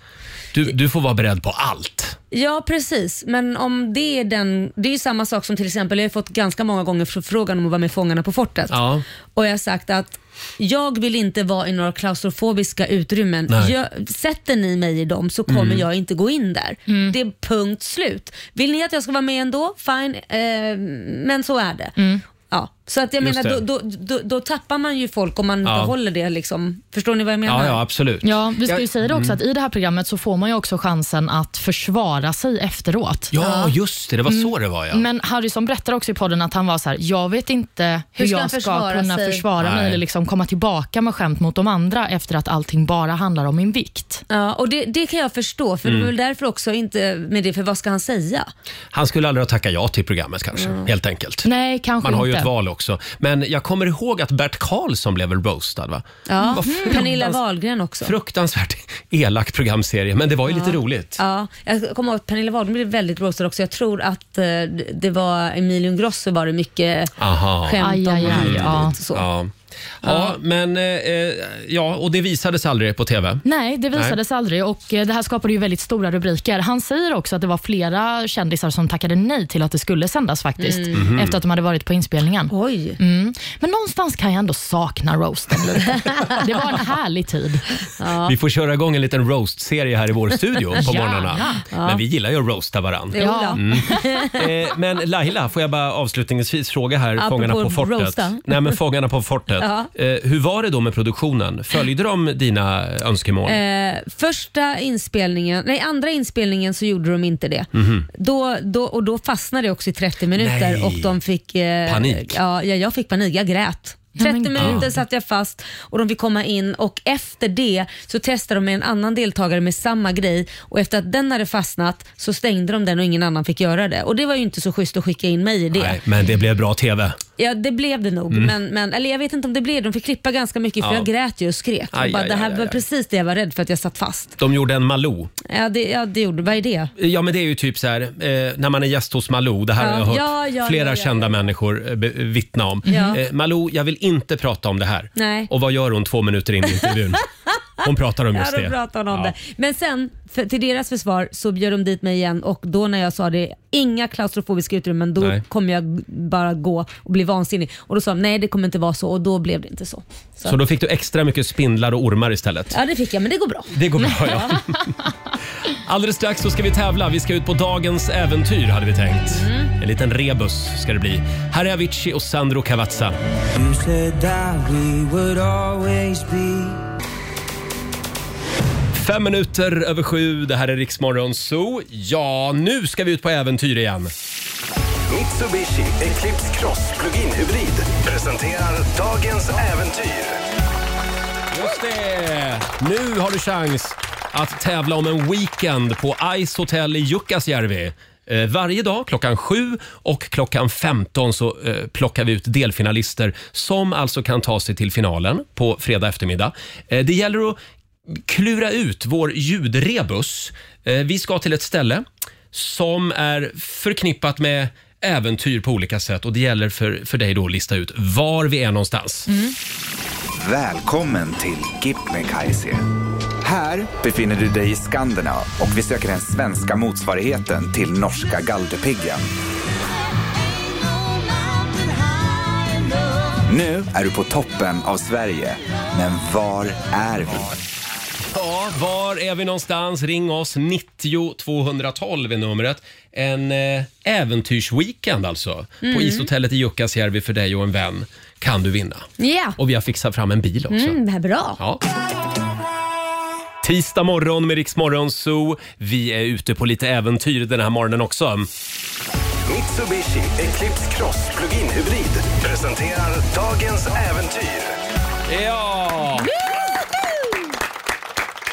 Speaker 1: du, du får vara beredd på allt.
Speaker 2: Ja, precis. Men om det är den... Det är ju samma sak som till exempel, jag har fått ganska många gånger förfrågan om att vara med i Fångarna på fortet.
Speaker 1: Ja.
Speaker 2: Och jag har sagt att jag vill inte vara i några klaustrofobiska utrymmen.
Speaker 1: Nej. Mm.
Speaker 2: Jag, sätter ni mig i dem så kommer jag inte gå in där. Det är punkt slut. Vill ni att jag ska vara med ändå, fine. Eh, men så är det. Ja, så att jag
Speaker 1: Just
Speaker 2: menar, då,
Speaker 1: det.
Speaker 2: då, då, då tappar man ju folk om man inte
Speaker 1: Ja.
Speaker 2: håller det. Liksom. Förstår ni vad jag menar?
Speaker 1: Ja, ja Mm. absolut.
Speaker 3: Ja, vi ska ju
Speaker 1: Jag-
Speaker 3: säga det också att i det här programmet så får man ju också chansen att försvara sig efteråt.
Speaker 1: Ja, just det. Det var så det var ja.
Speaker 3: Men Harrison berättar också i podden att han var så här, jag vet inte hur,
Speaker 2: Hur ska han
Speaker 3: jag ska
Speaker 2: försvara
Speaker 3: kunna
Speaker 2: sig?"
Speaker 3: försvara mig
Speaker 1: Nej.
Speaker 3: eller liksom komma tillbaka med skämt mot de andra efter att allting bara handlar om min vikt.
Speaker 2: Ja, och det, det kan jag förstå, för
Speaker 1: Mm.
Speaker 2: det var väl därför också inte med det, för vad ska han säga?
Speaker 1: Han skulle aldrig ha tackat ja till programmet kanske, helt enkelt.
Speaker 3: Nej, kanske
Speaker 1: Man har ju
Speaker 3: inte.
Speaker 1: ett val också. Men jag kommer ihåg att Bert Karlsson blev väl roastad va? Mm,
Speaker 2: Ja.
Speaker 1: Vad fruktans-
Speaker 2: Mm. Pernilla Wahlgren också.
Speaker 1: Fruktansvärt elak programserie, men det var ju lite roligt.
Speaker 2: Ja, jag kommer ihåg att Pernilla Wahlgren blev väldigt roastad också. Jag tror att eh, det- det var Emilio Ingrosso var det mycket
Speaker 1: Aha.
Speaker 2: skämt
Speaker 3: Aj, aj,
Speaker 2: om.
Speaker 3: aj,
Speaker 2: hit och
Speaker 3: ja.
Speaker 2: dit och så.
Speaker 1: Ja. Ja, men eh, eh, ja, och det visades aldrig på TV.
Speaker 3: Nej, det visades aldrig och eh, det här skapade ju väldigt stora rubriker. Han säger också att det var flera kändisar som tackade nej till att det skulle sändas faktiskt,
Speaker 2: Mm. Mhm.
Speaker 3: efter att de hade varit på inspelningen.
Speaker 2: Oj.
Speaker 3: Mm. Men någonstans kan jag ändå sakna roasten lite. Det var en härlig tid.
Speaker 1: Vi får köra igång en liten roast-serie här i vår studio på
Speaker 3: Gärna.
Speaker 1: morgnarna. Men vi gillar ju att roasta varann.
Speaker 2: Jo då.
Speaker 1: Eh, men Laila, får jag bara avslutningsvis fråga här,
Speaker 2: Apropå
Speaker 1: Fångarna på fortet.
Speaker 2: roasta.
Speaker 1: Nej, men Fångarna på fortet. Eh, hur var det då med produktionen? Följde de dina önskemål?
Speaker 2: Eh, första inspelningen, nej andra inspelningen så gjorde de inte det. Då, då, och då fastnade jag också i 30 minuter
Speaker 1: Mhm. Nej.
Speaker 2: och de fick... eh,
Speaker 1: Panik.
Speaker 2: Ja, ja, jag fick panik. Jag grät. 30
Speaker 3: men gud.
Speaker 2: minuter satt jag fast och de fick komma in och efter det så testade de med en annan deltagare med samma grej och efter att den hade fastnat så stängde de den och ingen annan fick göra det. Och det var ju inte så schysst att skicka in mig i det.
Speaker 1: Nej, men det blev bra TV.
Speaker 2: Ja, det blev det nog. Men, men, eller jag vet inte om det blev De fick klippa ganska mycket för
Speaker 1: Ja.
Speaker 2: jag grät ju och skrek.
Speaker 1: Aj,
Speaker 2: och bara,
Speaker 1: aj,
Speaker 2: det här
Speaker 1: aj, aj,
Speaker 2: var
Speaker 1: aj.
Speaker 2: precis det jag var rädd för att jag satt fast.
Speaker 1: De gjorde en Malou.
Speaker 2: Ja, det, ja, det gjorde Vad är det?
Speaker 1: Ja, men det är ju typ så här, eh, när man är gäst hos Malou. Det här
Speaker 2: Ja.
Speaker 1: har jag hört
Speaker 2: Ja, ja,
Speaker 1: flera
Speaker 2: ja, ja,
Speaker 1: kända människor eh, be- vittna om.
Speaker 2: Ja.
Speaker 1: Eh, Malou, jag vill inte prata om det här.
Speaker 2: Nej.
Speaker 1: Och vad gör hon två minuter in i intervjun? Hon pratar om just
Speaker 2: ja,
Speaker 1: det.
Speaker 2: då pratar hon om
Speaker 1: Ja.
Speaker 2: det. Men sen, för, till deras försvar, så bjöd de dit mig igen och då när jag sa det, inga klaustrofobiska utrymmen, då
Speaker 1: Nej.
Speaker 2: kommer jag bara gå och bli vansinnig. Och då sa de, nej det kommer inte vara så och då blev det inte så. så.
Speaker 1: Så då fick du extra mycket spindlar och ormar istället.
Speaker 2: Ja det fick jag, men det går bra.
Speaker 1: Det går bra, ja. Alldeles strax så ska vi tävla. Vi ska ut på dagens äventyr, hade vi tänkt. En liten rebus ska det bli. Här är Avicii och Sandro Cavazza. Fem minuter över sju, det här är Riksmorgon Zoo. Ja, nu ska vi ut på äventyr igen.
Speaker 6: Mitsubishi Eclipse Cross Plug-in Hybrid presenterar dagens äventyr.
Speaker 1: Just det! Nu har du chans att tävla om en weekend på Ice Hotel i Jukkasjärvi. Eh, Varje dag klockan 7 och klockan 15 så eh, plockar vi ut delfinalister som alltså kan ta sig till finalen på fredag eftermiddag. Eh, Det gäller att klura ut vår ljudrebus. Eh, Vi ska till ett ställe som är förknippat med äventyr på olika sätt och det gäller för, för dig då att lista ut var vi är någonstans.
Speaker 11: Välkommen till Kebnekaise. Här befinner du dig i Skanderna och vi söker den svenska motsvarigheten till norska Galdhöpiggen. Nu är du på toppen av Sverige, men var är vi?
Speaker 1: Ja, var är vi någonstans? Ring oss. 90 212 är numret. En eh, äventyrsweekend alltså.
Speaker 2: Mm.
Speaker 1: På ishotellet i Jukkasjärvi för dig och en vän kan du vinna.
Speaker 2: Ja.
Speaker 1: Och vi har fixat fram en bil också.
Speaker 2: Mm, det här är bra.
Speaker 1: Ja. Tisdag morgon med Rix Morgon Zoo. Vi är ute på lite äventyr den här morgonen också.
Speaker 6: Mitsubishi Eclipse Cross Plug-in Hybrid presenterar dagens äventyr.
Speaker 1: Ja!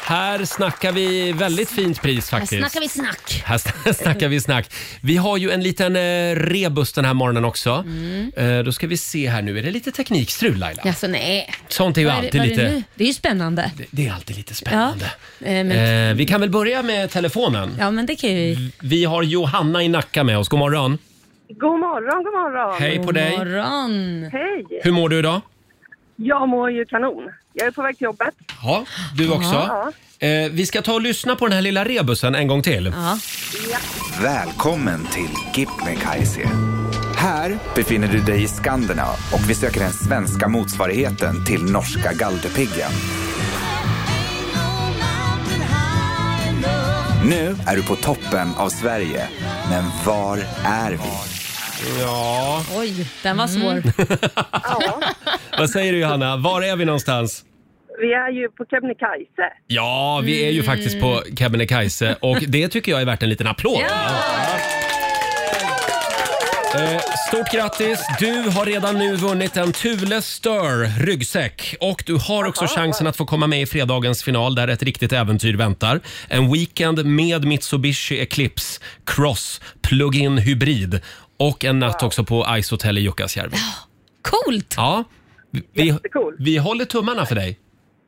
Speaker 1: Här snackar vi väldigt fint pris
Speaker 8: Här
Speaker 1: faktiskt.
Speaker 8: snackar vi snack.
Speaker 1: Här sn- snackar vi snack. Vi har ju en liten eh, rebus den här morgonen också.
Speaker 8: Mm.
Speaker 1: Eh, då ska vi se här nu. Är det lite teknikstrul Laila?
Speaker 8: Alltså nej.
Speaker 1: Sånt är ju
Speaker 8: Vad
Speaker 1: alltid
Speaker 8: vad
Speaker 1: lite-
Speaker 8: Det, nu? det är ju spännande.
Speaker 1: Det är alltid lite
Speaker 8: spännande. Ja, eh, men,
Speaker 1: Eh, vi kan väl börja med telefonen.
Speaker 8: ja, men det kan ju...
Speaker 1: Vi har Johanna i Nacka med oss. God morgon.
Speaker 7: God morgon, god morgon.
Speaker 1: Hej på God dig.
Speaker 2: morgon.
Speaker 7: Hej.
Speaker 1: Hur mår du idag?
Speaker 7: Jag mår ju kanon. Jag är på väg till jobbet.
Speaker 1: Ja, du också.
Speaker 7: Ja.
Speaker 1: Eh, vi ska ta och lyssna på den här lilla rebusen en gång till.
Speaker 11: Välkommen till Kebnekaise. Här befinner du dig i Skanderna och vi söker den svenska motsvarigheten till norska Galdhöpiggen. Nu är du på toppen av Sverige, men var är vi?
Speaker 1: Ja.
Speaker 2: Oj, den var svår.
Speaker 1: Mm. Vad säger du Johanna? Var är vi någonstans?
Speaker 7: Vi är ju på Kebnekaise.
Speaker 1: Ja, vi är ju faktiskt på Kebnekaise och det tycker jag är värt en liten applåd. Eh, Stort grattis! Du har redan nu vunnit en Thule Stör ryggsäck och du har också chansen att få komma med i fredagens final där ett riktigt äventyr väntar. En weekend med Mitsubishi Eclipse Cross Plug-in Hybrid och en natt också på Ice Hotel i Jukkasjärvi.
Speaker 2: Coolt!
Speaker 1: Ja, vi, vi, vi håller tummarna för dig.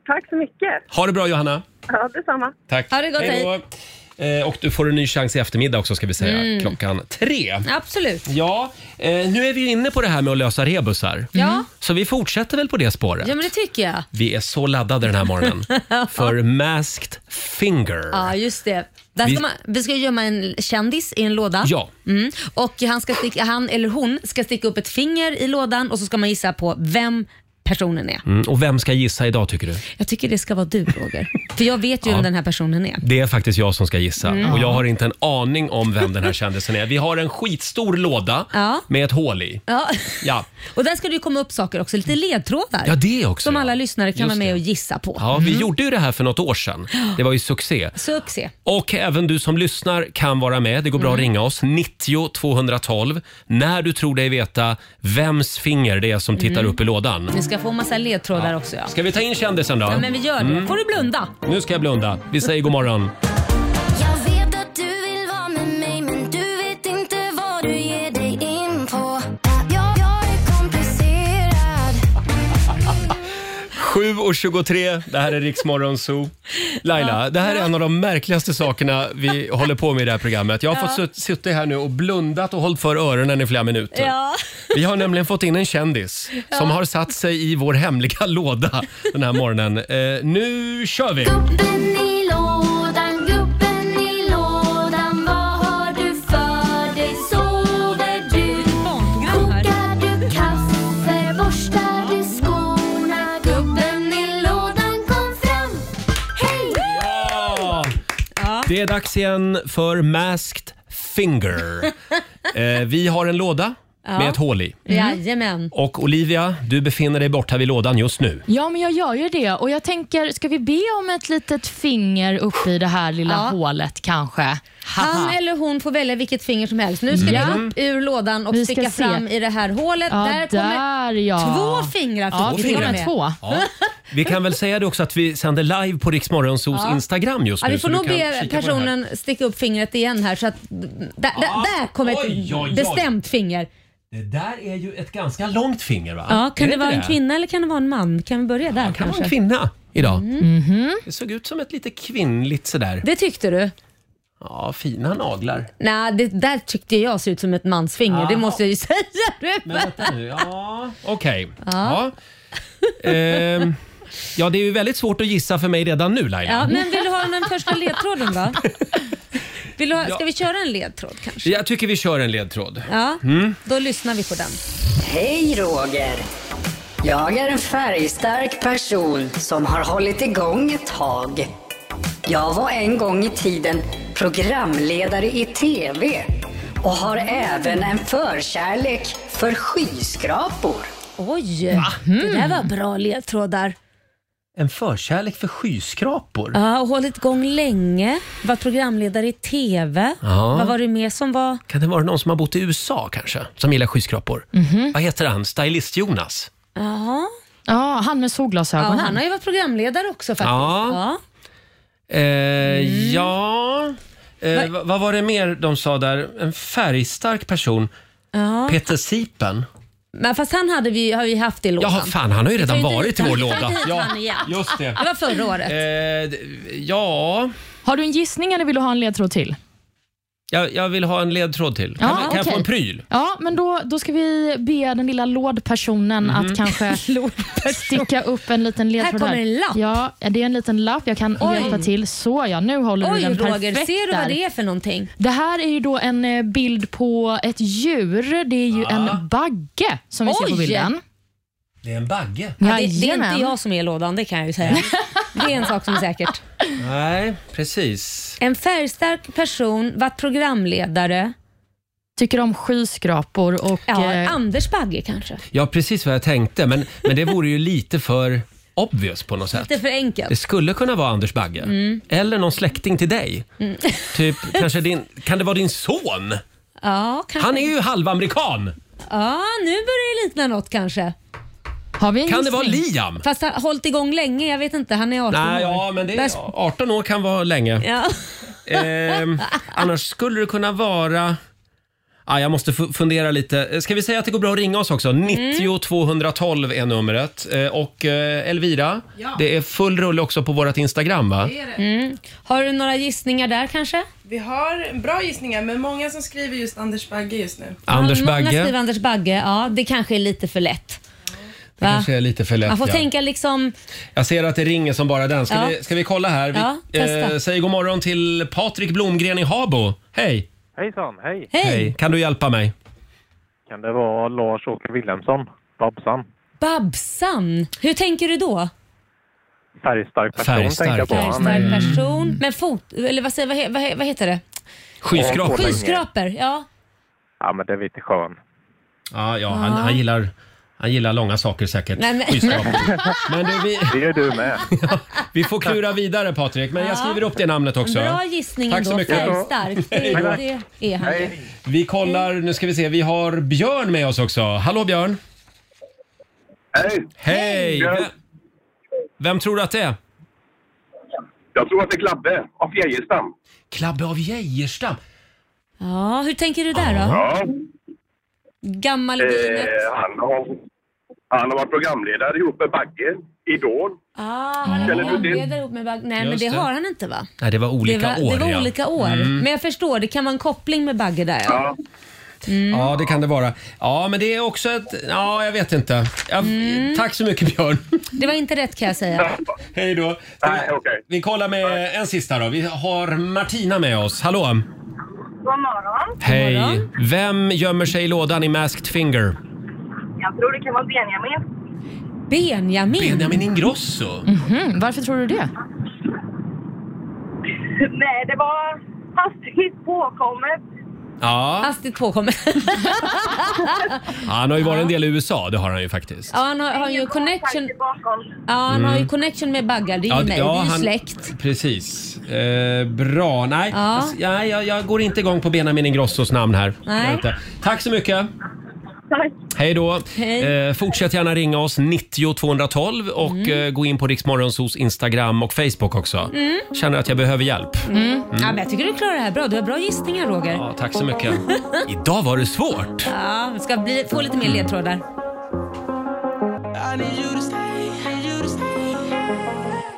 Speaker 7: Tack så mycket.
Speaker 1: Ha det bra Johanna!
Speaker 7: Ja, detsamma.
Speaker 1: Tack!
Speaker 2: Ha det gott,
Speaker 1: Hej då. Eh, Och du får en ny chans i eftermiddag också ska vi säga,
Speaker 2: Mm.
Speaker 1: klockan tre.
Speaker 2: Absolut.
Speaker 1: Ja, eh, nu är vi ju inne på det här med att lösa rebusar.
Speaker 2: Ja.
Speaker 1: Så vi fortsätter väl på det spåret.
Speaker 2: Ja, men det tycker jag.
Speaker 1: Vi är så laddade den här morgonen för Masked Finger.
Speaker 2: Ja, just det. Där ska
Speaker 1: Vi-
Speaker 2: man, vi ska ju gömma en kändis i en låda.
Speaker 1: Ja.
Speaker 2: Mm. Och han, ska sticka, han eller hon ska sticka upp ett finger i lådan och så ska man gissa på vem personen är.
Speaker 1: Mm, och vem ska gissa idag tycker du?
Speaker 2: Jag tycker det ska vara du Roger. För jag vet ju
Speaker 1: Ja.
Speaker 2: vem den här personen är.
Speaker 1: Det är faktiskt jag som ska gissa
Speaker 2: Mm.
Speaker 1: och jag har inte en aning om vem den här kändisen är. Vi har en skitstor låda
Speaker 2: Ja.
Speaker 1: med ett hål i.
Speaker 2: Ja.
Speaker 1: Ja,
Speaker 2: Och där ska det ju komma upp saker också, lite ledtrådar.
Speaker 1: Ja, det också,
Speaker 2: Som
Speaker 1: ja.
Speaker 2: alla lyssnare kan
Speaker 1: Just
Speaker 2: vara med
Speaker 1: det.
Speaker 2: och gissa på.
Speaker 1: ja vi gjorde ju det här för något år sedan. Det var ju succé.
Speaker 2: Succé.
Speaker 1: Och även du som lyssnar kan vara med. Det går
Speaker 2: Mm.
Speaker 1: bra att ringa oss. 90 212. När du tror dig veta vems finger det är som tittar
Speaker 2: Mm.
Speaker 1: upp i lådan.
Speaker 2: Ni ska få massa ledtrådar också. Ja.
Speaker 1: Ska vi ta in kändisen då?
Speaker 2: Ja, men vi gör det.
Speaker 1: Mm.
Speaker 2: Får du blunda?
Speaker 1: Nu ska jag blunda. Vi säger god morgon.
Speaker 12: Jag vet att du vill vara med mig men du vet inte vad du ger dig in på Jag, jag är komplicerad
Speaker 1: 7.23, det här är Riksmorgon Zoo. Laila, det här är en av de märkligaste sakerna vi håller på med i det här programmet. Jag har
Speaker 2: Ja.
Speaker 1: fått sut- suttit här nu och blundat och hållit för öronen i flera minuter.
Speaker 2: Ja.
Speaker 1: Vi har nämligen fått in en kändis
Speaker 2: Ja.
Speaker 1: som har satt sig i vår hemliga låda den här morgonen. Eh, nu kör vi!
Speaker 12: Gubben i lådan, gubben i lådan Vad har du för dig? Sover du? Kokar du kaffe? Borstar du skorna? Gubben i lådan kom fram Hej!
Speaker 1: Ja! Det är dags igen för Masked Finger. Eh, vi har en låda
Speaker 3: Ja.
Speaker 1: med ett hål i.
Speaker 2: Mm. Jajamän.
Speaker 1: Och Olivia, du befinner dig borta vid lådan just nu.
Speaker 3: Ja, men jag gör ju det. Och jag tänker, ska vi be om ett litet finger upp i det här lilla hålet kanske?
Speaker 2: Han eller hon får välja vilket finger som helst. Nu ska
Speaker 3: Ja.
Speaker 2: vi upp ur lådan och
Speaker 3: Mm. Vi ska
Speaker 2: sticka
Speaker 3: se.
Speaker 2: fram i det här hålet.
Speaker 3: Ja,
Speaker 2: där kommer
Speaker 3: där, ja.
Speaker 2: två fingrar.
Speaker 3: Ja,
Speaker 2: fick
Speaker 3: två
Speaker 2: vi
Speaker 3: fingrar.
Speaker 2: med.
Speaker 3: Två.
Speaker 1: Ja. Vi kan väl säga det också att vi sänder live på Rix Morgonzoos
Speaker 2: Ja.
Speaker 1: Instagram just
Speaker 2: Ja,
Speaker 1: nu.
Speaker 2: vi får
Speaker 1: så du
Speaker 2: nog be
Speaker 1: kan kika på det här.
Speaker 2: personen sticka upp fingret igen här. Så att, där, där, där kommer ett
Speaker 1: Oj, oj, oj.
Speaker 2: bestämt finger.
Speaker 1: Det där är ju ett ganska långt finger va?
Speaker 2: Ja,
Speaker 1: Är
Speaker 2: kan det vara en
Speaker 1: det?
Speaker 2: kvinna eller kan det vara en man? Kan vi börja där
Speaker 1: Det var
Speaker 2: kanske?
Speaker 1: en kvinna idag.
Speaker 2: Mhm.
Speaker 1: Det såg ut som ett lite kvinnligt sådär.
Speaker 2: Det tyckte du?
Speaker 1: Ja, fina naglar.
Speaker 2: Nej, det där tyckte jag såg ut som ett mansfinger. Det
Speaker 1: Jaha.
Speaker 2: måste jag ju säga.
Speaker 1: Men vänta nu, ja. Okej.
Speaker 2: Ja.
Speaker 1: Ja. Ehm, Ja, det är ju väldigt svårt att gissa för mig redan nu Laila.
Speaker 13: Ja, men vill du ha den första ledtråden då? Vill du ha, ska vi köra en ledtråd kanske?
Speaker 1: Jag tycker vi kör en ledtråd.
Speaker 13: Ja,
Speaker 1: Mm.
Speaker 13: då lyssnar vi på den.
Speaker 14: Hej Roger! Jag är en färgstark person som har hållit igång ett tag. Jag var en gång i tiden programledare i TV och har även en förkärlek för skyskrapor.
Speaker 2: Oj, det där var bra ledtrådar.
Speaker 1: En förkärlek för skyskrapor.
Speaker 2: Ja, och hållit igång länge, var programledare i TV.
Speaker 1: Ja.
Speaker 2: Vad var det mer som var...
Speaker 1: Kan det vara någon som har bott i USA kanske, som gillar skyskrapor?
Speaker 2: Mhm.
Speaker 1: Vad heter han? Stylist-Jonas?
Speaker 2: Jaha.
Speaker 3: Ja, han med
Speaker 2: Ja,
Speaker 3: solglasögonen.
Speaker 2: han har ju varit programledare också faktiskt.
Speaker 1: Ja. Eh,
Speaker 2: Mm.
Speaker 1: Ja... Eh, va- vad var det mer de sa där? En färgstark person.
Speaker 2: Ja.
Speaker 1: Peter Sipen.
Speaker 2: Men fast han hade vi, har vi haft i lådan.
Speaker 1: Ja, fan, han har ju
Speaker 2: Vi tar
Speaker 1: redan
Speaker 2: inte hit
Speaker 1: varit i vår
Speaker 2: han. Vi tar inte hit
Speaker 1: låda. Ja,
Speaker 2: han igen.
Speaker 1: just det.
Speaker 2: Det var förra året.
Speaker 1: Eh, d- ja,
Speaker 3: Har du en gissning eller vill du ha en ledtråd till?
Speaker 1: jag, jag vill ha en ledtråd till. Kan,
Speaker 3: Ja,
Speaker 1: kan jag få
Speaker 3: okej.
Speaker 1: en pryl?
Speaker 3: Ja, men då, då ska vi be den lilla lådpersonen
Speaker 1: Mhm.
Speaker 3: att kanske sticka upp en liten ledtråd.
Speaker 2: Här kommer en lapp.
Speaker 3: Ja, det är en liten lapp. Jag kan
Speaker 2: Oj.
Speaker 3: hjälpa till. Så ja, nu håller
Speaker 2: Oj
Speaker 3: du den
Speaker 2: Roger,
Speaker 3: perfekt
Speaker 2: ser du
Speaker 3: där.
Speaker 2: vad det är för någonting?
Speaker 3: Det här är ju då en eh, bild på ett djur. Det är ju en bagge som vi ser på
Speaker 2: Oj.
Speaker 3: bilden.
Speaker 1: Det är en bagge.
Speaker 2: Ja, det, det är
Speaker 3: Jajamän.
Speaker 2: inte jag som är i lådan, det kan jag ju säga. Det är en sak som är säkert.
Speaker 1: Nej, precis.
Speaker 2: En färgstark person, varit programledare.
Speaker 3: Tycker om skyskrapor och...
Speaker 2: Ja,
Speaker 1: eh,
Speaker 2: Anders Bagge kanske.
Speaker 1: Ja, precis vad jag tänkte. Men, men det vore ju lite för obvious på något sätt.
Speaker 2: Lite för enkelt.
Speaker 1: Det skulle kunna vara Anders Bagge.
Speaker 2: Mm.
Speaker 1: Eller någon släkting till dig.
Speaker 2: Mm.
Speaker 1: Typ, kanske din, kan det vara din son?
Speaker 2: Ja, kanske.
Speaker 1: Han är ju halvamerikan.
Speaker 2: Ja, nu börjar det likna något kanske.
Speaker 3: Har vi
Speaker 1: en Kan det gissning? vara Liam?
Speaker 2: Fast han har hållit igång länge, jag vet inte. Han är 18
Speaker 1: Nej,
Speaker 2: år.
Speaker 1: ja, men det är,
Speaker 2: Där-
Speaker 1: 18 år kan vara länge.
Speaker 2: Ja.
Speaker 1: Ehm, annars skulle det kunna vara... Ah, jag måste fu- fundera lite. Ska vi säga att det går bra att ringa oss
Speaker 2: Mm.
Speaker 1: också? 90 212 är numret. Eh, Och eh, Elvira,
Speaker 2: Ja.
Speaker 1: det är full rulle också på vårt Instagram va?
Speaker 2: Mm. Har du några gissningar där kanske?
Speaker 7: Vi har bra gissningar, men många som skriver just Anders Bagge just nu.
Speaker 1: Anders
Speaker 2: Många
Speaker 1: Bagge.
Speaker 2: skriver Anders Bagge. Ja, det kanske är lite för lätt.
Speaker 1: Det kanske är lite för lätt.
Speaker 2: Man får
Speaker 1: ja.
Speaker 2: tänka liksom...
Speaker 1: Jag ser att det ringer som bara den. Ska,
Speaker 2: Ja.
Speaker 1: vi, ska vi kolla här?
Speaker 2: Ja,
Speaker 1: Vi,
Speaker 2: testa.
Speaker 1: eh, säg god morgon till Patrik Blomgren i Habo. Hej!
Speaker 12: Hejsan, hej.
Speaker 1: Kan du hjälpa mig?
Speaker 12: Kan det vara Lars-Åke Wilhelmsson, Babsan?
Speaker 2: Babsan! Hur tänker du då?
Speaker 12: Färgstark person
Speaker 1: Färgstark,
Speaker 12: tänker jag på.
Speaker 1: ja. Mm.
Speaker 12: Han
Speaker 2: Stark
Speaker 12: är-
Speaker 2: person. Men fot... Eller vad, säger, vad, he- vad, he- vad heter det?
Speaker 1: Skyskrapor.
Speaker 2: Skyskrapor, ja.
Speaker 12: Ja, men det är lite skön.
Speaker 1: Ja, ja han, han, gillar, han gillar långa saker säkert.
Speaker 2: Nej, men-
Speaker 1: Skyskrapor. Men du, vi...
Speaker 12: Det gör du med.
Speaker 1: Vi får klura vidare Patrik, men jag
Speaker 2: Ja.
Speaker 1: skriver upp det namnet också.
Speaker 2: Bra gissning
Speaker 1: Tack
Speaker 2: ändå.
Speaker 1: så mycket.
Speaker 2: Färgstark. Det,
Speaker 1: Hej.
Speaker 2: det är han ju.
Speaker 1: Vi kollar, nu ska vi se, vi har Björn med oss också. Hallå Björn!
Speaker 6: Hej!
Speaker 1: Hej!
Speaker 6: Björn.
Speaker 1: Vem, vem tror du att det är?
Speaker 6: Jag tror att det är Klabbe av Geijerstam.
Speaker 1: Klabbe av Geijerstam?
Speaker 2: Ja, hur tänker du där då?
Speaker 6: Ja.
Speaker 2: Gammal i
Speaker 6: Eh,
Speaker 2: vinet.
Speaker 6: han, har, han har varit programledare ihop med Bagge, Idol.
Speaker 2: Ah, han
Speaker 6: Känner
Speaker 2: är
Speaker 6: du till-
Speaker 2: programledare ihop med Bagge. Nej, men
Speaker 6: Just
Speaker 2: det
Speaker 6: det.
Speaker 2: har han inte va?
Speaker 1: Nej, det var olika
Speaker 2: det var,
Speaker 1: år.
Speaker 2: Det var
Speaker 1: ja.
Speaker 2: olika år.
Speaker 1: Mm.
Speaker 2: Men jag förstår, det kan vara en koppling med Bagge där ja.
Speaker 1: Ja, det kan det vara. Ja, men det är också ett... Ja, jag vet inte. Ja,
Speaker 2: Mm.
Speaker 1: Tack så mycket Björn.
Speaker 2: Det var inte rätt kan jag säga.
Speaker 1: Hej då. Vi kollar med en sista då. Vi har Martina med oss. Hallå!
Speaker 15: God morgon.
Speaker 1: Hej! Vem gömmer sig i lådan i Masked Finger?
Speaker 15: Jag tror det kan vara Benjamin.
Speaker 2: Benjamin?
Speaker 1: Benjamin Ingrosso?
Speaker 2: Mm.
Speaker 3: Varför tror du det?
Speaker 15: Nej, det var hastigt påkommet.
Speaker 1: Ja,
Speaker 2: Hastigt påkommet.
Speaker 1: han har ju varit en del i USA, det har han ju faktiskt.
Speaker 2: ja, han har, har ju connection. Ja, han
Speaker 1: Mm.
Speaker 2: har ju connection med Baggar. Det är ju mig. det är ju släkt.
Speaker 1: Precis. Eh, bra. Nej,
Speaker 2: Ja.
Speaker 1: alltså, jag, jag, jag går inte igång på Benjamin Ingrossos namn här.
Speaker 2: Nej.
Speaker 1: Jag inte. Tack så mycket. Hej då.
Speaker 16: Hej.
Speaker 1: Eh, fortsätt gärna ringa oss, 90 212 och eh, gå in på Riksmorgonsos Instagram och Facebook också.
Speaker 2: Mm.
Speaker 1: Känner att jag behöver hjälp.
Speaker 2: Mm.
Speaker 1: Mm.
Speaker 2: Ja, men jag tycker du klarar det här bra. Du har bra gissningar Roger.
Speaker 1: Ja, tack så mycket. Idag var det svårt.
Speaker 2: Ja, vi ska bli, få lite mer ledtrådar.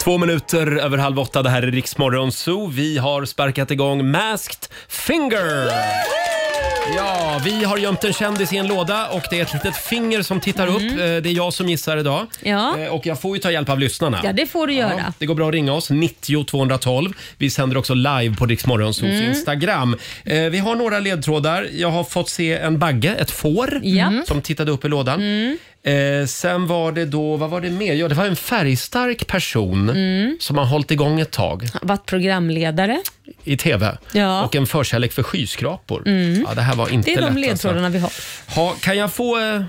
Speaker 1: Två minuter över halv åtta, det här är Riksmorgon Zoo. Vi har sparkat igång Masked Finger! Ja, vi har gömt en kändis i en låda och det är ett litet finger som tittar upp. Eh, Det är jag som gissar idag.
Speaker 2: Mm. Ja.
Speaker 1: Eh, Och jag får ju ta hjälp av lyssnarna.
Speaker 2: Ja, det får du göra.
Speaker 1: Det går bra att ringa oss, 90 212. Vi sänder också live på Rix Morgonzoos
Speaker 2: Mm.
Speaker 1: Instagram. Eh, vi har några ledtrådar. Jag har fått se en bagge, ett får, Mm. som tittade upp i lådan.
Speaker 2: Mm.
Speaker 1: Eh, sen var det då, vad var det mer? Ja, det var en färgstark person
Speaker 2: Mm.
Speaker 1: som har hållit igång ett tag
Speaker 2: Varit programledare.
Speaker 1: i TV.
Speaker 2: Ja.
Speaker 1: Och en förkärlek för skyskrapor.
Speaker 2: Mm.
Speaker 1: Ja, det här var inte
Speaker 2: det är de
Speaker 1: lätt,
Speaker 2: ledtrådarna
Speaker 1: alltså.
Speaker 2: vi har.
Speaker 1: ha, kan, jag få, eh,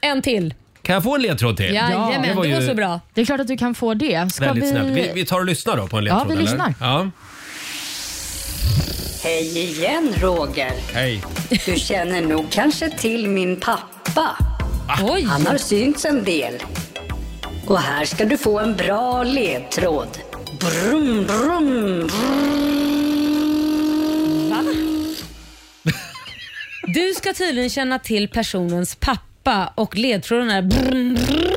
Speaker 2: En till.
Speaker 1: kan jag få en ledtråd till? ju
Speaker 2: bra.
Speaker 3: Det är klart att du kan få det. Ska
Speaker 1: Väldigt
Speaker 3: vi...
Speaker 1: snällt. Vi, vi tar och lyssnar då på en
Speaker 3: Ja,
Speaker 1: ledtråd.
Speaker 3: vi
Speaker 1: eller?
Speaker 3: lyssnar.
Speaker 1: Ja.
Speaker 14: Hej igen Roger.
Speaker 1: Hej.
Speaker 14: Du känner nog kanske till min pappa.
Speaker 1: Ah.
Speaker 2: Oj.
Speaker 14: Han har synts en del. Och här ska du få en bra ledtråd. Brum, brum, brum.
Speaker 2: Va? Du ska tydligen känna till personens pappa och ledtråden är brum, brum.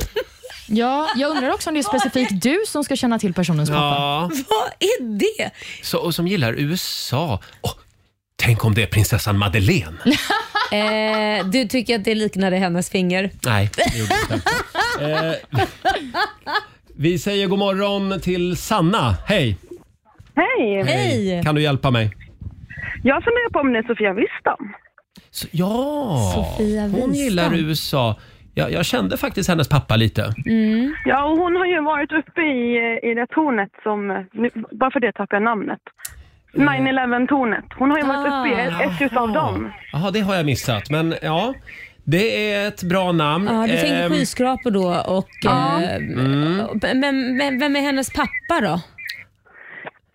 Speaker 3: Ja, jag undrar också om det är specifikt du som ska känna till personens pappa.
Speaker 1: Ja.
Speaker 2: Vad är det?
Speaker 1: Så, och som gillar USA. Åh, tänk om det är prinsessan Madeleine.
Speaker 2: Eh, du tycker att det liknade hennes finger?
Speaker 1: Nej, det gjorde jag inte. Eh, vi säger god morgon till Sanna. Hej!
Speaker 7: Hej!
Speaker 1: Kan du hjälpa mig?
Speaker 7: Jag funderar på om ni är Sofia Wistam.
Speaker 1: Så, ja,
Speaker 7: Sofia
Speaker 1: hon
Speaker 7: Wistam.
Speaker 1: gillar USA. Jag, jag kände faktiskt hennes pappa lite.
Speaker 7: Ja, och hon har ju varit uppe i, i det tornet som... Nu, bara för det tappar jag namnet. 9-11-tornet. Hon har ju varit uppe i ett, ett utav dem.
Speaker 1: Jaha, det har jag missat. Men ja, det är ett bra namn.
Speaker 2: Ja, du tänker
Speaker 1: Ehm,
Speaker 2: skyskrapor då och...
Speaker 1: Ja.
Speaker 2: Eh,
Speaker 1: Mm.
Speaker 2: men, men vem är hennes pappa då?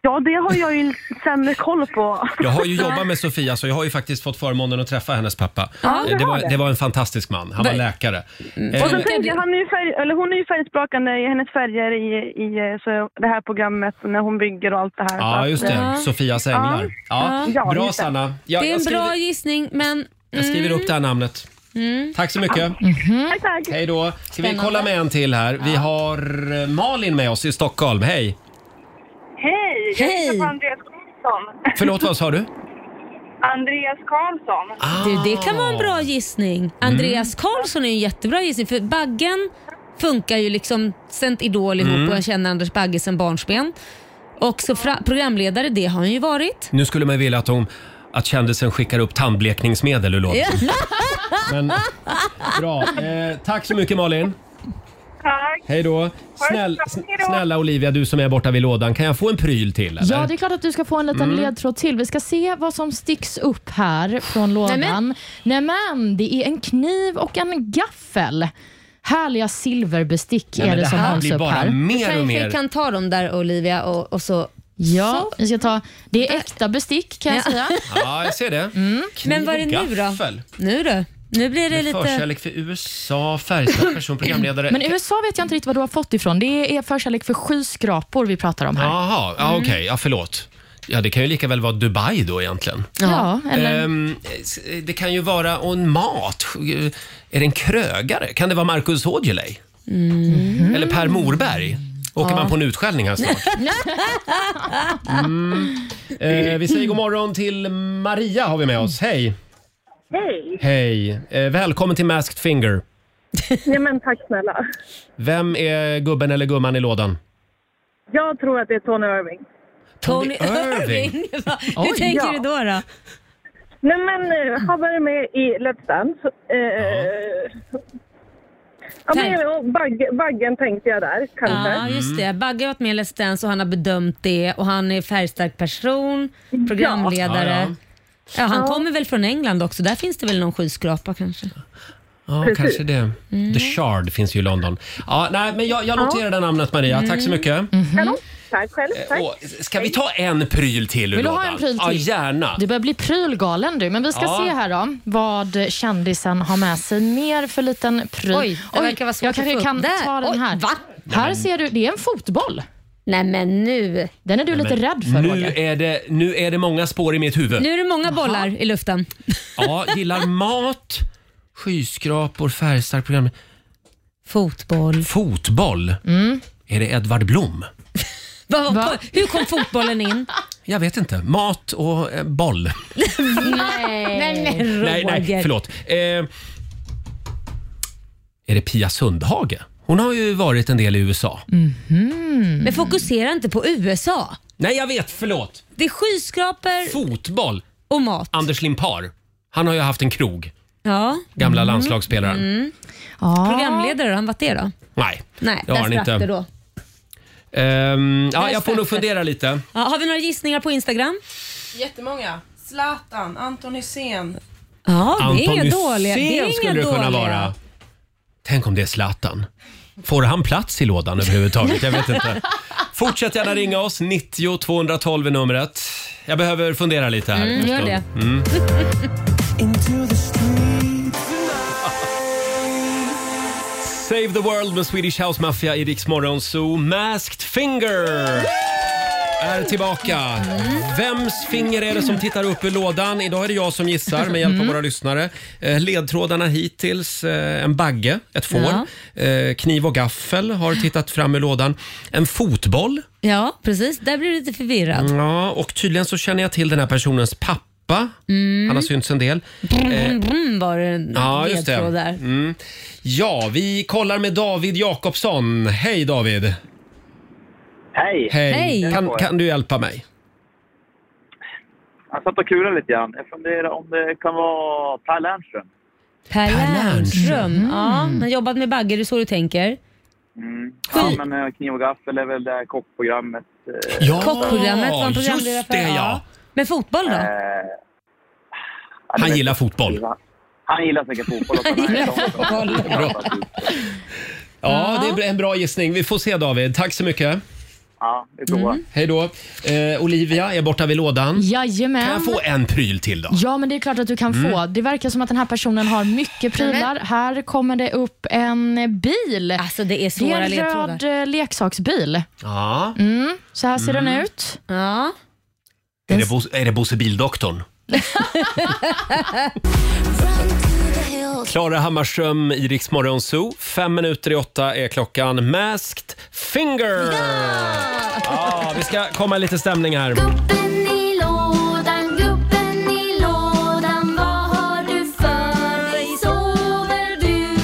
Speaker 7: Ja, det har jag ju sämre koll på.
Speaker 1: Jag har ju jobbat med Sofia så jag har ju faktiskt fått förmånen att träffa hennes pappa.
Speaker 7: Ja,
Speaker 1: Eh,
Speaker 7: du
Speaker 1: det,
Speaker 7: har
Speaker 1: var,
Speaker 7: det.
Speaker 1: det var en fantastisk man. Han var
Speaker 7: Va-
Speaker 1: läkare. Eh,
Speaker 7: Och så tänkte jag, han är ju färg, eller hon är ju färgsprakande i hennes färger i, i så det här programmet och när hon bygger och allt det här. Så
Speaker 1: Ja,
Speaker 7: att,
Speaker 1: just det.
Speaker 7: eh,
Speaker 1: Sofias änglar. Ja.
Speaker 7: Ja,
Speaker 1: Bra,
Speaker 7: just det.
Speaker 1: Sanna. Ja,
Speaker 2: det är en
Speaker 1: jag, skriver,
Speaker 2: bra gissning, men...
Speaker 1: jag skriver upp det här namnet.
Speaker 2: Mm.
Speaker 1: Tack så mycket.
Speaker 7: Tack, eh, tack.
Speaker 1: Hej då. Ska vi
Speaker 2: Spännande.
Speaker 1: kolla med en till här? Vi har eh, Malin med oss i Stockholm. Hej!
Speaker 7: Hej! Jag heter på Andreas Karlsson.
Speaker 1: Förlåt, vad sa du?
Speaker 7: Andreas Karlsson.
Speaker 2: Du, det kan vara en
Speaker 1: Ah.
Speaker 2: bra gissning. Andreas
Speaker 1: Mm.
Speaker 2: Karlsson är ju en jättebra gissning för Baggen funkar ju liksom sent Idol ihop
Speaker 1: Mm.
Speaker 2: och jag känner Anders Bagge sedan barnsben. Och så fra- programledare, det har han ju varit.
Speaker 1: Nu skulle man vilja att, hon, att kändisen skickar upp tandblekningsmedel ur lådan. Men, bra. Eh, tack så mycket Malin.
Speaker 7: Tack.
Speaker 1: Hej då. Snäll,
Speaker 3: bra. Hej då.
Speaker 1: snälla Olivia, du som är borta vid lådan, kan jag få en pryl till? Eller?
Speaker 3: Ja, det är klart att du ska få en liten
Speaker 1: Mm.
Speaker 3: ledtråd till. Vi ska se vad som sticks upp här från lådan. Nämen. det är en kniv och en gaffel. Härliga silverbestick
Speaker 2: Nej,
Speaker 3: är
Speaker 2: men
Speaker 3: det,
Speaker 2: det
Speaker 3: som
Speaker 2: här
Speaker 3: hålls
Speaker 2: blir
Speaker 3: upp
Speaker 2: bara
Speaker 3: här.
Speaker 2: mer Du kanske och mer. kan ta dem där Olivia och, så...
Speaker 3: Ja, vi ska ta... Det är äkta bestick kan jag
Speaker 2: Ja.
Speaker 3: säga.
Speaker 1: Ja, jag ser
Speaker 2: Mm.
Speaker 1: det. Kniv
Speaker 2: Men vad är det
Speaker 1: och
Speaker 2: nu då?
Speaker 1: gaffel.
Speaker 2: Nu du, nu blir det
Speaker 1: Med
Speaker 2: lite...
Speaker 1: förkärlek för USA, färgstark person, programledare.
Speaker 3: Men USA vet jag inte riktigt vad du har fått ifrån. Det är förkärlek för skyskrapor vi pratar om här.
Speaker 1: Jaha,
Speaker 3: Mm.
Speaker 1: ja, okej. Ja, förlåt. Ja, det kan ju lika väl vara Dubai då egentligen.
Speaker 3: Ja, eller-
Speaker 1: Ehm, s- det kan ju vara och en mat. Är det en krögare? Kan det vara Marcus Aujalay? Eller Per Morberg? Åker
Speaker 3: Mm. Ja.
Speaker 1: man på en utskällning här snart? Mm. Eh, vi säger god morgon till Maria har vi med oss. Hej!
Speaker 7: Hej!
Speaker 1: Hej! Eh, välkommen till Masked Finger.
Speaker 7: Ja, men tack snälla.
Speaker 1: Vem är gubben eller gumman i lådan?
Speaker 7: Jag tror att det är Tony Irving.
Speaker 1: Tony Tony Irving?
Speaker 2: Va?
Speaker 1: Oj.
Speaker 2: Hur tänker
Speaker 7: Ja.
Speaker 2: du då? då?
Speaker 7: Nej men eh, han var ju med i Let's Dance. Eh, ja, men, och bagge, baggen tänkte jag där kanske.
Speaker 2: Ja, just
Speaker 1: Mm.
Speaker 2: det. Bagge har varit med i Let's Dance och han har bedömt det och han är färgstark person, programledare.
Speaker 1: Ja.
Speaker 2: Ja,
Speaker 1: Ja, ja.
Speaker 2: han
Speaker 1: Ja.
Speaker 2: kommer väl från England också. Där finns det väl någon skyskrapa kanske?
Speaker 1: Ja,
Speaker 2: Precis.
Speaker 1: kanske det.
Speaker 3: Mm.
Speaker 1: The Shard finns ju i London. Ja, nej, men jag, jag noterade namnet Maria.
Speaker 3: Mm.
Speaker 1: Tack så mycket.
Speaker 7: Kanon. Tack själv. Tack.
Speaker 1: Ska vi ta en pryl till ur
Speaker 3: Vill du
Speaker 1: lådan?
Speaker 3: ha en pryl till?
Speaker 1: Ja, gärna.
Speaker 3: Du börjar bli prylgalen du. Men vi ska
Speaker 1: Ja.
Speaker 3: se här då vad kändisen har med sig mer för liten pryl.
Speaker 2: Oj, det verkar vara svårt
Speaker 3: Jag kanske
Speaker 2: att få
Speaker 3: kan
Speaker 2: upp där.
Speaker 3: ta den
Speaker 2: Oj,
Speaker 3: här.
Speaker 2: va?
Speaker 3: Här
Speaker 1: men-
Speaker 3: ser du, det är en fotboll.
Speaker 2: Nej men nu.
Speaker 3: Den är du
Speaker 1: Nej,
Speaker 3: lite
Speaker 1: men
Speaker 3: rädd för
Speaker 1: nu
Speaker 3: Roger.
Speaker 1: är, det, nu är det många spår i mitt huvud.
Speaker 2: Nu är det många bollar i luften.
Speaker 1: Ja, gillar mat, skyskrapor, färgstarkt program.
Speaker 2: Fotboll.
Speaker 3: Mm.
Speaker 1: Fotboll? Är det Edvard Blom?
Speaker 2: Va, va, Hur kom fotbollen in?
Speaker 1: jag vet inte. Mat och eh, boll.
Speaker 12: Nej. Nej,
Speaker 2: Eh,
Speaker 12: nej,
Speaker 1: Nej, nej, förlåt. Eh, är det Pia Sundhage? Hon har ju varit en del i USA.
Speaker 2: Mm. Men fokusera inte på USA.
Speaker 1: Nej, jag vet. Förlåt.
Speaker 2: Det är skyskrapor
Speaker 1: Fotboll.
Speaker 2: och mat.
Speaker 1: Anders Limpar. Han har ju haft en krog.
Speaker 2: Ja.
Speaker 1: Gamla landslagsspelaren.
Speaker 2: Mm. Programledare, har han varit det då?
Speaker 1: Nej,
Speaker 2: Nej,
Speaker 1: det har
Speaker 2: där
Speaker 1: han
Speaker 2: sprack
Speaker 1: inte.
Speaker 2: det då.
Speaker 1: Ehm, ja,
Speaker 2: Där
Speaker 1: jag får nog
Speaker 2: sprack det.
Speaker 1: fundera lite.
Speaker 2: Ja, har vi några gissningar på Instagram?
Speaker 17: Jättemånga. Zlatan, Anton Hysén.
Speaker 2: Ja, det är
Speaker 1: Anton
Speaker 2: inga dåliga. Det är
Speaker 1: Hysén
Speaker 2: inga
Speaker 1: skulle det kunna
Speaker 2: dåliga.
Speaker 1: vara. Tänk om det är Zlatan. Får han plats i lådan överhuvudtaget? Jag vet inte. Fortsätt gärna ringa oss. 90 212 är numret. Jag behöver fundera lite här.
Speaker 12: Mm, gör
Speaker 1: en stund.
Speaker 12: det.
Speaker 1: Mm. Save the World med Swedish House Mafia i Rix Morgon Zoo. Masked Finger är tillbaka. Vems finger är det som tittar upp ur lådan? Idag är det jag som gissar med hjälp av våra lyssnare. Eh, Ledtrådarna hittills, eh, en bagge, ett får, eh, kniv och gaffel har tittat fram ur lådan. En fotboll.
Speaker 2: Ja, precis. Där blir du lite förvirrad.
Speaker 1: Ja, och tydligen så känner jag till den här personens pappa.
Speaker 2: Mm.
Speaker 1: Han har synts en del. Eh,
Speaker 2: Brum, brum, Mm, var det en
Speaker 1: Ja, just det.
Speaker 2: ledtråd där.
Speaker 1: Mm. Ja, vi kollar med David Jakobsson. Hej David!
Speaker 18: Hej!
Speaker 1: Hej!
Speaker 18: Hej.
Speaker 1: Kan, kan du hjälpa mig?
Speaker 18: Jag satt och kulade lite grann. Jag funderar om det kan vara Per Lernström.
Speaker 2: Per Lernström. Ja, han har jobbat med bagge, det är så du tänker.
Speaker 18: Mm. Ja, men eh, Kniv och gaffel är väl det här kockprogrammet. eh,
Speaker 2: Kockprogrammet var han programledare för. Men fotboll då?
Speaker 18: Eh.
Speaker 1: Han gillar fotboll.
Speaker 18: Han gillar säkert fotboll också.
Speaker 2: Han gillar
Speaker 1: Bra. Ja, det är en bra gissning. Vi får se David. Tack så mycket.
Speaker 18: Ja, vi provar.
Speaker 9: Mm.
Speaker 1: Hej då. Eh, Olivia är borta vid lådan.
Speaker 3: Jajamän.
Speaker 1: Kan jag få en pryl till då?
Speaker 3: Ja, men det är klart att du kan
Speaker 1: Mm.
Speaker 3: få. Det verkar som att den här personen har mycket prylar. Här kommer det upp en bil.
Speaker 2: Alltså det är
Speaker 3: Det är
Speaker 2: svåra
Speaker 3: en röd
Speaker 2: ledtrådar.
Speaker 3: eh, leksaksbil.
Speaker 1: Ja.
Speaker 3: Mm, så här ser
Speaker 1: Mm.
Speaker 3: den ut.
Speaker 2: Ja.
Speaker 1: Är det, Bo- är det Bosse Bildoktorn? Klara Hammarström i Rix Morgon Zoo. Fem minuter i åtta är klockan. Masked Finger! Ja, vi ska komma i lite stämning här.
Speaker 12: Gubben i lådan, gubben i lådan, vad har du för dig? Sover du?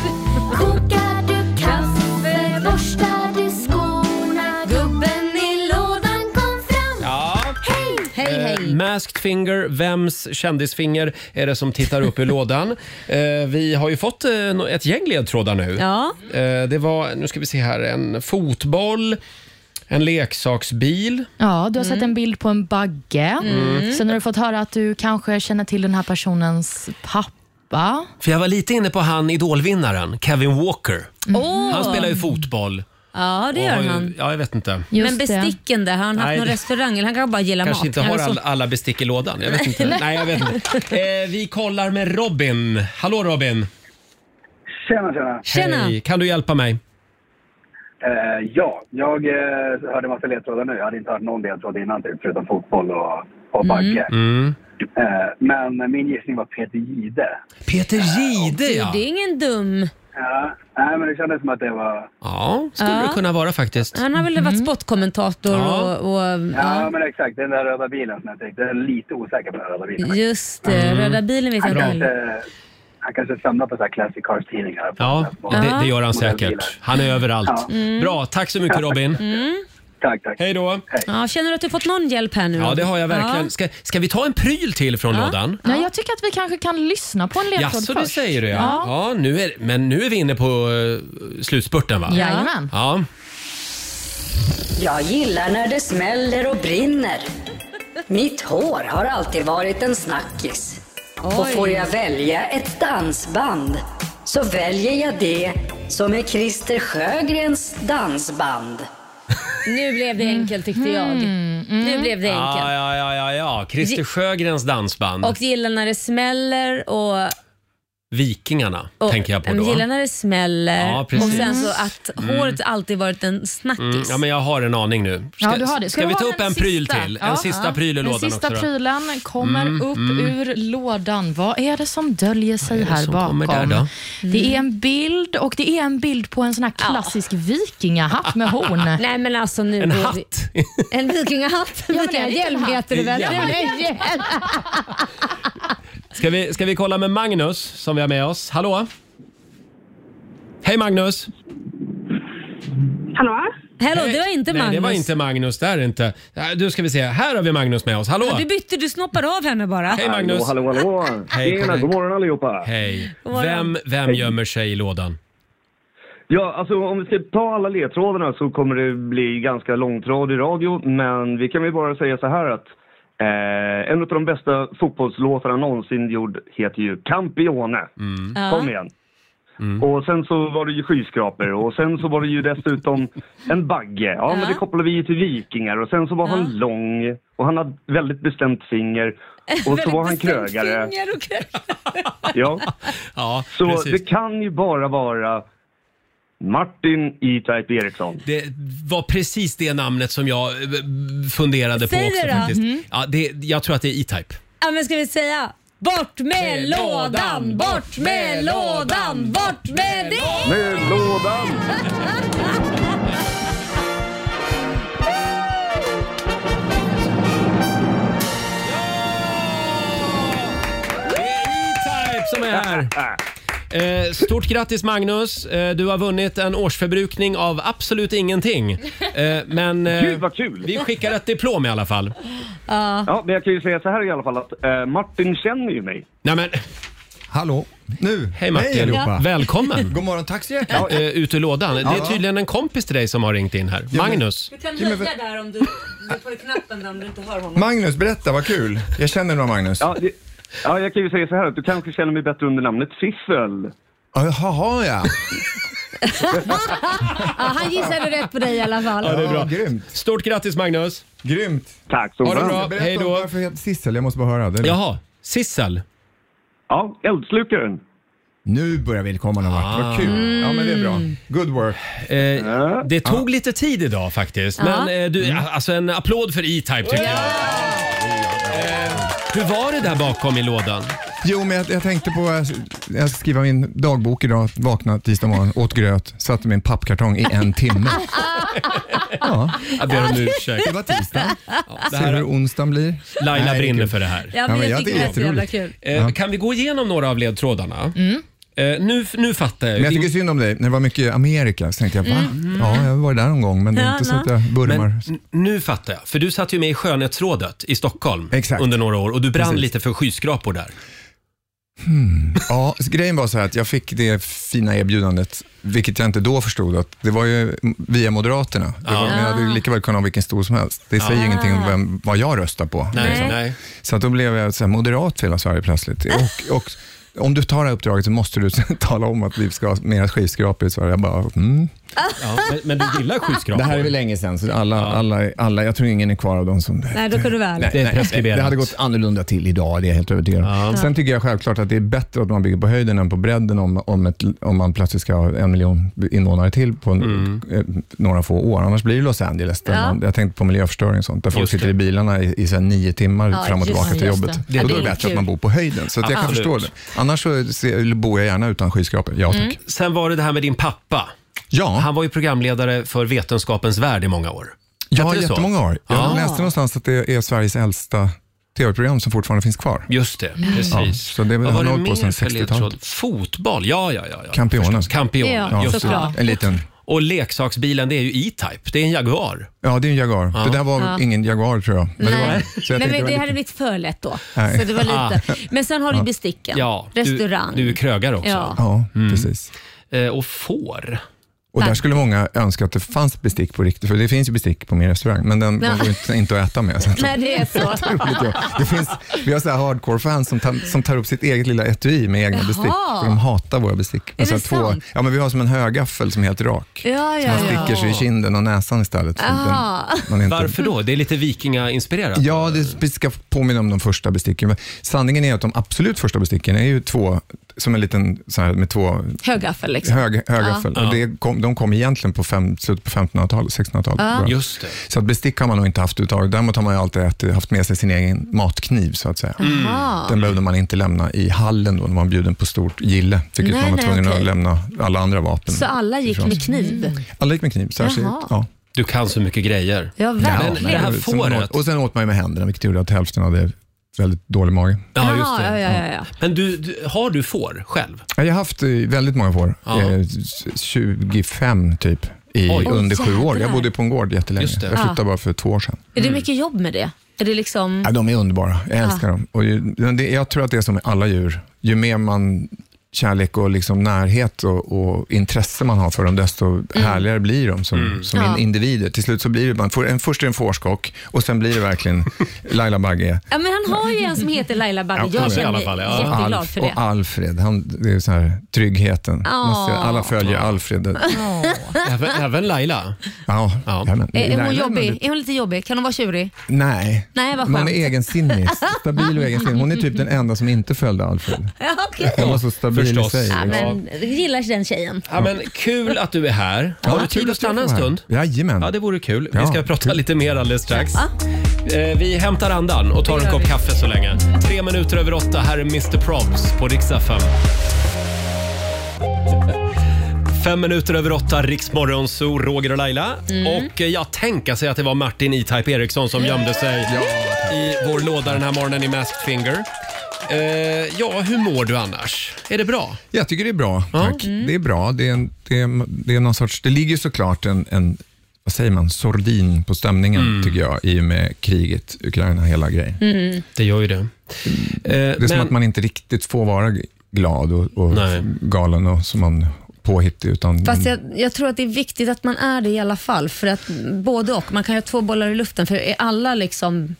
Speaker 12: Kokar du kaffe? Borstar du skorna? Gubben i lådan kom fram.
Speaker 1: Ja.
Speaker 12: Hej!
Speaker 1: Eh, masked Finger, vems kändisfinger är det som tittar upp ur lådan? Eh, vi har ju fått eh, no- ett gäng ledtrådar nu.
Speaker 2: Ja.
Speaker 1: Eh, det var, nu ska vi se här, en fotboll, en leksaksbil.
Speaker 3: Ja, du har sett en bild på en bagge.
Speaker 1: Mm.
Speaker 3: Sen har du fått höra att du kanske känner till den här personens pappa.
Speaker 1: För jag var lite inne på han idolvinnaren, Kevin Walker.
Speaker 2: Åh.
Speaker 1: Han spelar ju fotboll.
Speaker 2: Ja, det
Speaker 1: Och
Speaker 2: gör
Speaker 1: har ju-
Speaker 2: han.
Speaker 1: Ja, jag vet inte.
Speaker 2: Men besticken där, har han haft
Speaker 1: Nej,
Speaker 2: någon
Speaker 1: det-
Speaker 2: restaurang eller han kanske bara gillar
Speaker 1: Kanske
Speaker 2: mat? Alltså,
Speaker 1: inte har
Speaker 2: Eller så-
Speaker 1: all, alla bestick i lådan. Jag vet inte.
Speaker 2: Nej.
Speaker 1: Nej, jag vet inte. Eh, vi kollar med Robin. Hallå Robin!
Speaker 19: Tjena, tjena.
Speaker 1: Hej. Kan du hjälpa mig?
Speaker 19: Eh, ja, jag eh, hörde en massa ledtrådar nu. Jag hade inte hört någon ledtråd innan, typ, förutom fotboll och, och bagge.
Speaker 1: Mm.
Speaker 19: Eh, men min gissning var Peter Jihde.
Speaker 1: Peter Jihde,
Speaker 2: Du, Det är ingen dum.
Speaker 19: Ja, nej, men det kändes som att det var...
Speaker 1: Ja, skulle
Speaker 2: Ja.
Speaker 1: det kunna vara faktiskt.
Speaker 2: Han har väl varit sportkommentator
Speaker 1: Ja.
Speaker 2: och... och
Speaker 19: Ja,
Speaker 2: ja.
Speaker 19: men exakt. Den där röda bilen som jag tänkte. Jag är lite osäker på den röda bilen.
Speaker 2: Just det,
Speaker 1: Mm.
Speaker 2: röda bilen vet
Speaker 19: Han
Speaker 2: jag inte.
Speaker 19: kanske, han kanske samlar på så här classic cars-tidningar.
Speaker 1: Ja, det, det gör han säkert. Han är överallt.
Speaker 2: Ja. Mm.
Speaker 1: Bra, tack så mycket Robin.
Speaker 2: Mm.
Speaker 19: Tack, tack.
Speaker 1: Hej då.
Speaker 2: Ja, känner du att du fått någon hjälp här nu?
Speaker 1: Ja,
Speaker 2: Robin?
Speaker 1: det har jag verkligen.
Speaker 2: Ja.
Speaker 1: Ska, ska vi ta en pryl till från lådan?
Speaker 3: Ja, jag tycker att vi kanske kan lyssna på en ledtråd
Speaker 1: Jaså, det
Speaker 3: först.
Speaker 1: säger du ja. ja nu är, men nu är vi inne på eh, slutspurten va?
Speaker 14: Jajamän.
Speaker 1: Ja.
Speaker 14: Jag gillar när det smäller och brinner. Mitt hår har alltid varit en snackis. Och
Speaker 12: Oj.
Speaker 14: får jag välja ett dansband så väljer jag det som är Christer Sjögrens dansband.
Speaker 2: Nu blev det enkelt tyckte jag. Nu blev det enkelt.
Speaker 1: Ja, ja, ja, ja, ja. Christer
Speaker 2: Ge-
Speaker 1: Sjögrens dansband.
Speaker 2: Och mm, gillar när det smäller och
Speaker 1: Vikingarna
Speaker 8: Och,
Speaker 1: tänker jag på
Speaker 8: men
Speaker 1: då.
Speaker 8: Gillar när det smäller
Speaker 1: Ja,
Speaker 8: och
Speaker 1: precis.
Speaker 8: sen så att
Speaker 1: Mm.
Speaker 8: håret alltid varit en snackis.
Speaker 1: Mm, ja, men jag har en aning nu. Ska,
Speaker 3: Ja, du har det.
Speaker 1: ska vi
Speaker 3: du
Speaker 1: ta
Speaker 3: ha
Speaker 1: upp en pryl till?
Speaker 3: Ja.
Speaker 1: En sista pryl i
Speaker 3: Den
Speaker 1: lådan
Speaker 3: sista
Speaker 1: också då.
Speaker 3: prylen kommer
Speaker 1: Mm,
Speaker 3: upp
Speaker 1: mm.
Speaker 3: ur lådan. Vad är det som döljer sig
Speaker 1: är det
Speaker 3: här
Speaker 1: som kommer
Speaker 3: bakom?
Speaker 1: där då? Mm.
Speaker 3: Det är en bild och det är en bild på en sån här klassisk vikingahatt med horn.
Speaker 8: Nej men alltså nu...
Speaker 3: En hatt?
Speaker 8: En vikingahatt?
Speaker 3: Ja, men det är en
Speaker 8: Vikingahjälm
Speaker 3: hatt.
Speaker 8: heter det väl?
Speaker 1: Ja.
Speaker 8: Det är väl en hjälm?
Speaker 1: Ska vi, ska vi kolla med Magnus som vi har med oss? Hallå? Hej Magnus!
Speaker 7: Hallå?
Speaker 8: Hallå, det var inte
Speaker 1: Nej,
Speaker 8: Magnus.
Speaker 1: det var inte Magnus. Det här är inte. Äh, Du ska vi se. Här har vi Magnus med oss. Hallå!
Speaker 2: Ja, du bytte, du snoppar av henne bara.
Speaker 1: Hej Magnus!
Speaker 20: Hallå, hallå, hallå.
Speaker 1: Hej,
Speaker 20: Tjena,
Speaker 1: Karin.
Speaker 20: god morgon allihopa.
Speaker 1: Hej.
Speaker 20: God morgon.
Speaker 1: Vem, vem
Speaker 20: Hej.
Speaker 1: gömmer sig i lådan?
Speaker 20: Ja, alltså om vi ska ta alla ledtrådarna så kommer det bli ganska långtradig radio, men vi kan väl bara säga så här att eh, en av de bästa fotbollslåtarna någonsin gjord heter ju Campione.
Speaker 12: Ja.
Speaker 20: Kom igen. Och sen så var det ju skyskrapor och sen så var det ju dessutom en bagge. Ja, men det kopplar vi ju till vikingar och sen så var han lång och han hade väldigt bestämt finger och så var han krögare. Ja. så
Speaker 1: precis.
Speaker 20: det kan ju bara vara Martin E. E-Type Eriksson.
Speaker 1: Det var precis det namnet som jag eh, funderade på
Speaker 8: Säg
Speaker 1: också
Speaker 8: det då.
Speaker 1: faktiskt.
Speaker 8: Mhm.
Speaker 1: Ja, det, jag tror att det är E-Type.
Speaker 8: Ja, men ska vi säga bort med lådan, bort med lådan, bort med det!
Speaker 20: Med lådan!
Speaker 1: E-Type som är här. Eh, stort grattis Magnus! Eh, du har vunnit en årsförbrukning av absolut ingenting. Eh, men eh,
Speaker 20: Gud, vad kul.
Speaker 1: vi skickar ett diplom i alla fall.
Speaker 8: Ja.
Speaker 20: ja, men jag kan ju säga så här i alla fall att eh, Martin känner ju mig.
Speaker 1: Nej men...
Speaker 21: Hallå! Nu!
Speaker 1: Hej Martin!
Speaker 21: Hej allihopa.
Speaker 1: Välkommen!
Speaker 21: God morgon, tack så hjärtligt!
Speaker 1: Ja, eh, ut ur lådan. Det
Speaker 21: Ja.
Speaker 1: är tydligen en kompis till dig som har ringt in här.
Speaker 21: men-
Speaker 1: Magnus.
Speaker 2: Du kan höja där om du, du får knappen där om du inte hör honom.
Speaker 21: Magnus, berätta, vad kul. Jag känner några Magnus.
Speaker 20: Ja, det, ja, jag kan ju säga så här att du kanske känner mig bättre under namnet Fiffel.
Speaker 21: Jaha, ja.
Speaker 8: Ja, han gissade rätt på dig i alla fall.
Speaker 1: Ja, det är bra. Stort grattis Magnus!
Speaker 21: Grymt!
Speaker 20: Tack så
Speaker 1: Ha det
Speaker 20: mycket.
Speaker 1: bra,
Speaker 21: Berätta
Speaker 1: hej
Speaker 21: om
Speaker 1: då!
Speaker 21: varför jag heter Sissel, jag måste bara höra. Den.
Speaker 1: Jaha, Sissel?
Speaker 20: Ja, eldslukaren.
Speaker 21: Nu börjar vi komma någon vart, vad kul. Ja, men det är bra. Good work.
Speaker 1: Eh, det tog lite tid idag faktiskt. Men
Speaker 21: Ja.
Speaker 1: eh, du, ja, alltså en applåd för E-Type tycker jag. Eh, hur var det där bakom i lådan?
Speaker 21: Jo, men jag, jag tänkte på, jag, jag ska skriva min dagbok idag, vakna tisdag morgon, åt gröt, satte min pappkartong i en timme. Ja.
Speaker 1: Jag ber om ursäkt.
Speaker 21: Det var tisdag. Ser
Speaker 1: det här-
Speaker 21: du hur onsdagen blir?
Speaker 1: Laila
Speaker 21: Nej, är
Speaker 1: brinner
Speaker 21: kul.
Speaker 1: för det här.
Speaker 21: Ja, men jag tycker det är så jävla kul.
Speaker 1: Eh, Kan vi gå igenom några av ledtrådarna?
Speaker 21: Mm.
Speaker 1: Eh, nu, nu fattar jag.
Speaker 21: Men jag tycker synd om dig, när det var mycket Amerika så tänkte jag, va?
Speaker 1: Mm.
Speaker 21: Ja, jag var där någon gång, men det är inte så att jag burmar.
Speaker 1: Men n- nu fattar jag. För du satt ju med i Skönhetsrådet i Stockholm under några år och du brann
Speaker 21: Precis.
Speaker 1: lite för skyskrapor där.
Speaker 21: Hmm. Ja, så grejen var så här att jag fick det fina erbjudandet, vilket jag inte då förstod, att det var ju via Moderaterna. Det var,
Speaker 1: Ja.
Speaker 21: men jag hade ju lika väl kunnat ha vilken stor som helst. Det
Speaker 1: Ja.
Speaker 21: säger ju ingenting
Speaker 1: Ah.
Speaker 21: om vem, vad jag röstar på.
Speaker 1: Nej,
Speaker 21: liksom.
Speaker 1: nej.
Speaker 21: Så att då blev jag så här moderat för hela Sverige plötsligt. Och, och, om du tar det här uppdraget så måste du tala om att vi ska ha mera skyskrapor i Sverige. Jag bara, mm.
Speaker 1: men, du gillar skyskrapor?
Speaker 21: Det här är väl länge sedan, så alla, alla, alla, jag tror ingen är kvar av dem som...
Speaker 2: Nej, då kan du väl. Det är preskriberat.
Speaker 21: Det hade gått annorlunda till idag, det är jag helt övertygad om. Sen tycker jag självklart att det är bättre att man bygger på höjden än på bredden om, om, ett, om man plötsligt ska ha en miljon invånare till på en,
Speaker 1: Mm.
Speaker 21: eh, några få år. Annars blir det Los Angeles. Där
Speaker 8: Ja.
Speaker 21: man, jag tänkte på miljöförstöring och sånt, där folk
Speaker 1: Just
Speaker 21: sitter
Speaker 1: det.
Speaker 21: i bilarna i, i så här nio timmar
Speaker 8: Ja,
Speaker 21: fram
Speaker 8: just
Speaker 21: och tillbaka
Speaker 8: det,
Speaker 21: till
Speaker 8: just
Speaker 21: jobbet.
Speaker 8: det. Ja,
Speaker 21: Och
Speaker 8: det
Speaker 21: då är
Speaker 8: är
Speaker 21: det bättre
Speaker 8: kul.
Speaker 21: att man bor på höjden. Så att jag kan
Speaker 1: Absolut.
Speaker 21: förstå det. Annars så ser- bor jag gärna utan skyskrapor. Ja,
Speaker 8: Mm.
Speaker 21: tack.
Speaker 1: Sen var det det här med din pappa. Han var ju programledare för Vetenskapens Värld i många år.
Speaker 21: Ja,
Speaker 1: Hette det så?
Speaker 21: jättemånga år. Jag
Speaker 1: Ja.
Speaker 21: läste någonstans att det är Sveriges äldsta tv-program som fortfarande finns kvar.
Speaker 1: Just det, precis.
Speaker 21: Ja, så det är väl-
Speaker 1: Vad
Speaker 21: han
Speaker 1: var det
Speaker 21: har hållit på
Speaker 1: mer
Speaker 21: sedan
Speaker 1: för
Speaker 21: 60-talet.
Speaker 1: ledtråd? Fotboll, ja, ja, ja. ja.
Speaker 21: Campione.
Speaker 1: Campione,
Speaker 21: Ja,
Speaker 1: just
Speaker 21: såklart.
Speaker 1: det.
Speaker 21: En liten.
Speaker 1: Och leksaksbilen, det är ju E-Type. Det är en Jaguar.
Speaker 21: Ja, det är en Jaguar.
Speaker 1: Ja.
Speaker 21: Det där var
Speaker 8: Ja.
Speaker 21: ingen Jaguar tror jag. Men det
Speaker 8: Nej.
Speaker 21: var, så jag
Speaker 8: Men,
Speaker 21: tänkte
Speaker 8: men
Speaker 21: väl
Speaker 8: det hade
Speaker 21: lite-
Speaker 8: blivit för lätt då.
Speaker 21: Nej.
Speaker 8: Så det var lite.
Speaker 1: Ah.
Speaker 8: Men sen har du
Speaker 1: Ja.
Speaker 8: besticken,
Speaker 1: Ja, du-
Speaker 8: restaurang.
Speaker 1: du är krögare också.
Speaker 8: Ja.
Speaker 21: Ja,
Speaker 1: Mm.
Speaker 21: precis.
Speaker 1: Eh, och får.
Speaker 21: Och där skulle många önska att det fanns bestick på riktigt, för det finns ju bestick på min restaurang, men den
Speaker 8: Ja.
Speaker 21: de går inte, inte att äta med. Så att-
Speaker 8: Nej, det är så.
Speaker 21: Otroligt jobb. det finns, vi har så här hardcore-fans som, tar- som tar upp sitt eget lilla etui med egna
Speaker 8: Jaha.
Speaker 21: bestick, för de hatar våra bestick.
Speaker 8: Är
Speaker 21: så
Speaker 8: det
Speaker 21: här två-
Speaker 8: sant?
Speaker 21: ja, men vi har som en högaffel som är helt rak.
Speaker 8: Ja,
Speaker 21: Så
Speaker 8: ja,
Speaker 21: man sticker sig i
Speaker 8: ja.
Speaker 21: kinden och näsan istället. så att den-
Speaker 8: Aha.
Speaker 21: man är inte-
Speaker 1: Varför då? Det är lite vikingainspirerat.
Speaker 21: Ja, det ska påminna om de första besticken. Men sanningen är att de absolut första besticken är ju två som en liten, så här, med två
Speaker 22: Högaffel liksom.
Speaker 21: Hög, högaffel.
Speaker 22: Ja.
Speaker 21: Och det kom, de kom egentligen på fem, slutet på 1500-talet, 1600-talet.
Speaker 22: Ja.
Speaker 21: bara.
Speaker 22: Just
Speaker 21: Så att bestick har man nog inte haft uttaget. Däremot har man ju alltid ätit- haft med sig sin egen matkniv så att säga.
Speaker 22: Mm. Jaha.
Speaker 21: Den behövde man inte lämna i hallen då när man bjuden på stort gille. Vilket
Speaker 22: Nej,
Speaker 21: man var
Speaker 22: nej,
Speaker 21: tvungen att
Speaker 22: okej.
Speaker 21: lämna alla andra vapen.
Speaker 22: Så alla gick
Speaker 21: ifrån
Speaker 22: med
Speaker 21: sig.
Speaker 22: kniv?
Speaker 21: Alla gick med kniv, särskilt.
Speaker 22: Jaha.
Speaker 21: Ja.
Speaker 1: Du kan så mycket grejer.
Speaker 22: Ja, verkligen.
Speaker 1: Men det här
Speaker 21: Sen man
Speaker 1: fåret.
Speaker 21: åt, och sen åt man ju med händerna, vilket gjorde att hälften hade väldigt dålig mage.
Speaker 1: Ja, just
Speaker 22: Ja,
Speaker 1: det.
Speaker 22: ja, ja, ja.
Speaker 1: Men du, du, har du får själv?
Speaker 21: Ja, Jag har haft eh, väldigt många får.
Speaker 1: Ja.
Speaker 21: Eh, s- 25 typ, i,
Speaker 1: Oj.
Speaker 21: under
Speaker 8: Åh,
Speaker 21: sju år. Jag
Speaker 8: jävlar.
Speaker 21: bodde på en gård jättelänge.
Speaker 8: Just det.
Speaker 21: Jag flyttade
Speaker 8: Ja. Mm.
Speaker 21: bara för två år sedan.
Speaker 8: Är det mycket jobb med det? Är det liksom...
Speaker 21: Ja, de är underbara. Jag älskar
Speaker 8: Ja.
Speaker 21: dem. Och ju, men det, jag tror att det är som med alla djur. Ju mer man kärlek och liksom närhet och, och intresse man har för dem, desto härligare blir de som, som
Speaker 22: Ja.
Speaker 21: in- individer. Till slut så blir det, man får, en, först är det en fårskock och sen blir det verkligen Laila Bagge.
Speaker 8: Ja, men han har ju en som heter Laila Bagge.
Speaker 21: Ja,
Speaker 8: Jag
Speaker 21: kanske i
Speaker 8: känner mig
Speaker 21: alla fall, ja.
Speaker 8: jätteglad
Speaker 21: Alf-
Speaker 8: för det.
Speaker 21: Och Alfred, han, det är så här, tryggheten.
Speaker 8: Ja.
Speaker 21: Man ser, alla följer Alfred.
Speaker 1: Även, Laila?
Speaker 21: Ja. ja. men-
Speaker 8: Är, är
Speaker 21: Laila
Speaker 8: hon
Speaker 21: är
Speaker 8: jobbig?
Speaker 21: väldigt-
Speaker 8: Är hon lite jobbig? Kan hon vara tjurig?
Speaker 21: Nej.
Speaker 8: Nej, vad
Speaker 21: Men Hon är
Speaker 8: skönt.
Speaker 21: egensinnig. Stabil och egensinnig. Hon är typ den enda som inte följde Alfred.
Speaker 8: Ja, okej.
Speaker 21: Hon var så stabil
Speaker 1: Förstås.
Speaker 21: i sig.
Speaker 8: Ja,
Speaker 21: liksom.
Speaker 8: men gillar den tjejen.
Speaker 1: Ja, men kul att du är här.
Speaker 21: Ja,
Speaker 1: Har du
Speaker 21: kul
Speaker 1: tid att
Speaker 21: att jag
Speaker 1: stanna en
Speaker 21: får vara här.
Speaker 1: stund?
Speaker 21: Jajamän.
Speaker 1: Ja, det vore kul. Vi
Speaker 21: Ja,
Speaker 1: ska prata lite mer alldeles strax. Eh, Vi hämtar andan och tar en kopp kaffe så länge. Tre minuter över åtta. Här är Mr Probs på riksdag 5. Fem minuter över åtta, Riksmorgon, Zoo, Roger och Laila.
Speaker 8: Mm.
Speaker 1: Och eh, jag tänker sig att det var Martin E-Type Eriksson som gömde sig i vår låda den här morgonen i Masked Finger. Eh, ja, hur mår du annars? Är det bra?
Speaker 21: Jag tycker det är bra, tack.
Speaker 1: Mm.
Speaker 21: Det är bra. Det, är en, det, är, det, är någon sorts, det ligger såklart en, en vad säger man, sordin på stämningen tycker jag, i och med kriget, Ukraina, hela grejen.
Speaker 1: Mm. Det gör ju det.
Speaker 21: Det är som
Speaker 1: men-
Speaker 21: att man inte riktigt får vara glad och, och
Speaker 1: Nej.
Speaker 21: galen och som man påhittig, utan
Speaker 8: Fast
Speaker 21: man,
Speaker 8: jag, jag tror att det är viktigt att man är det i alla fall. För att både och. Man kan ju ha två bollar i luften. För är alla liksom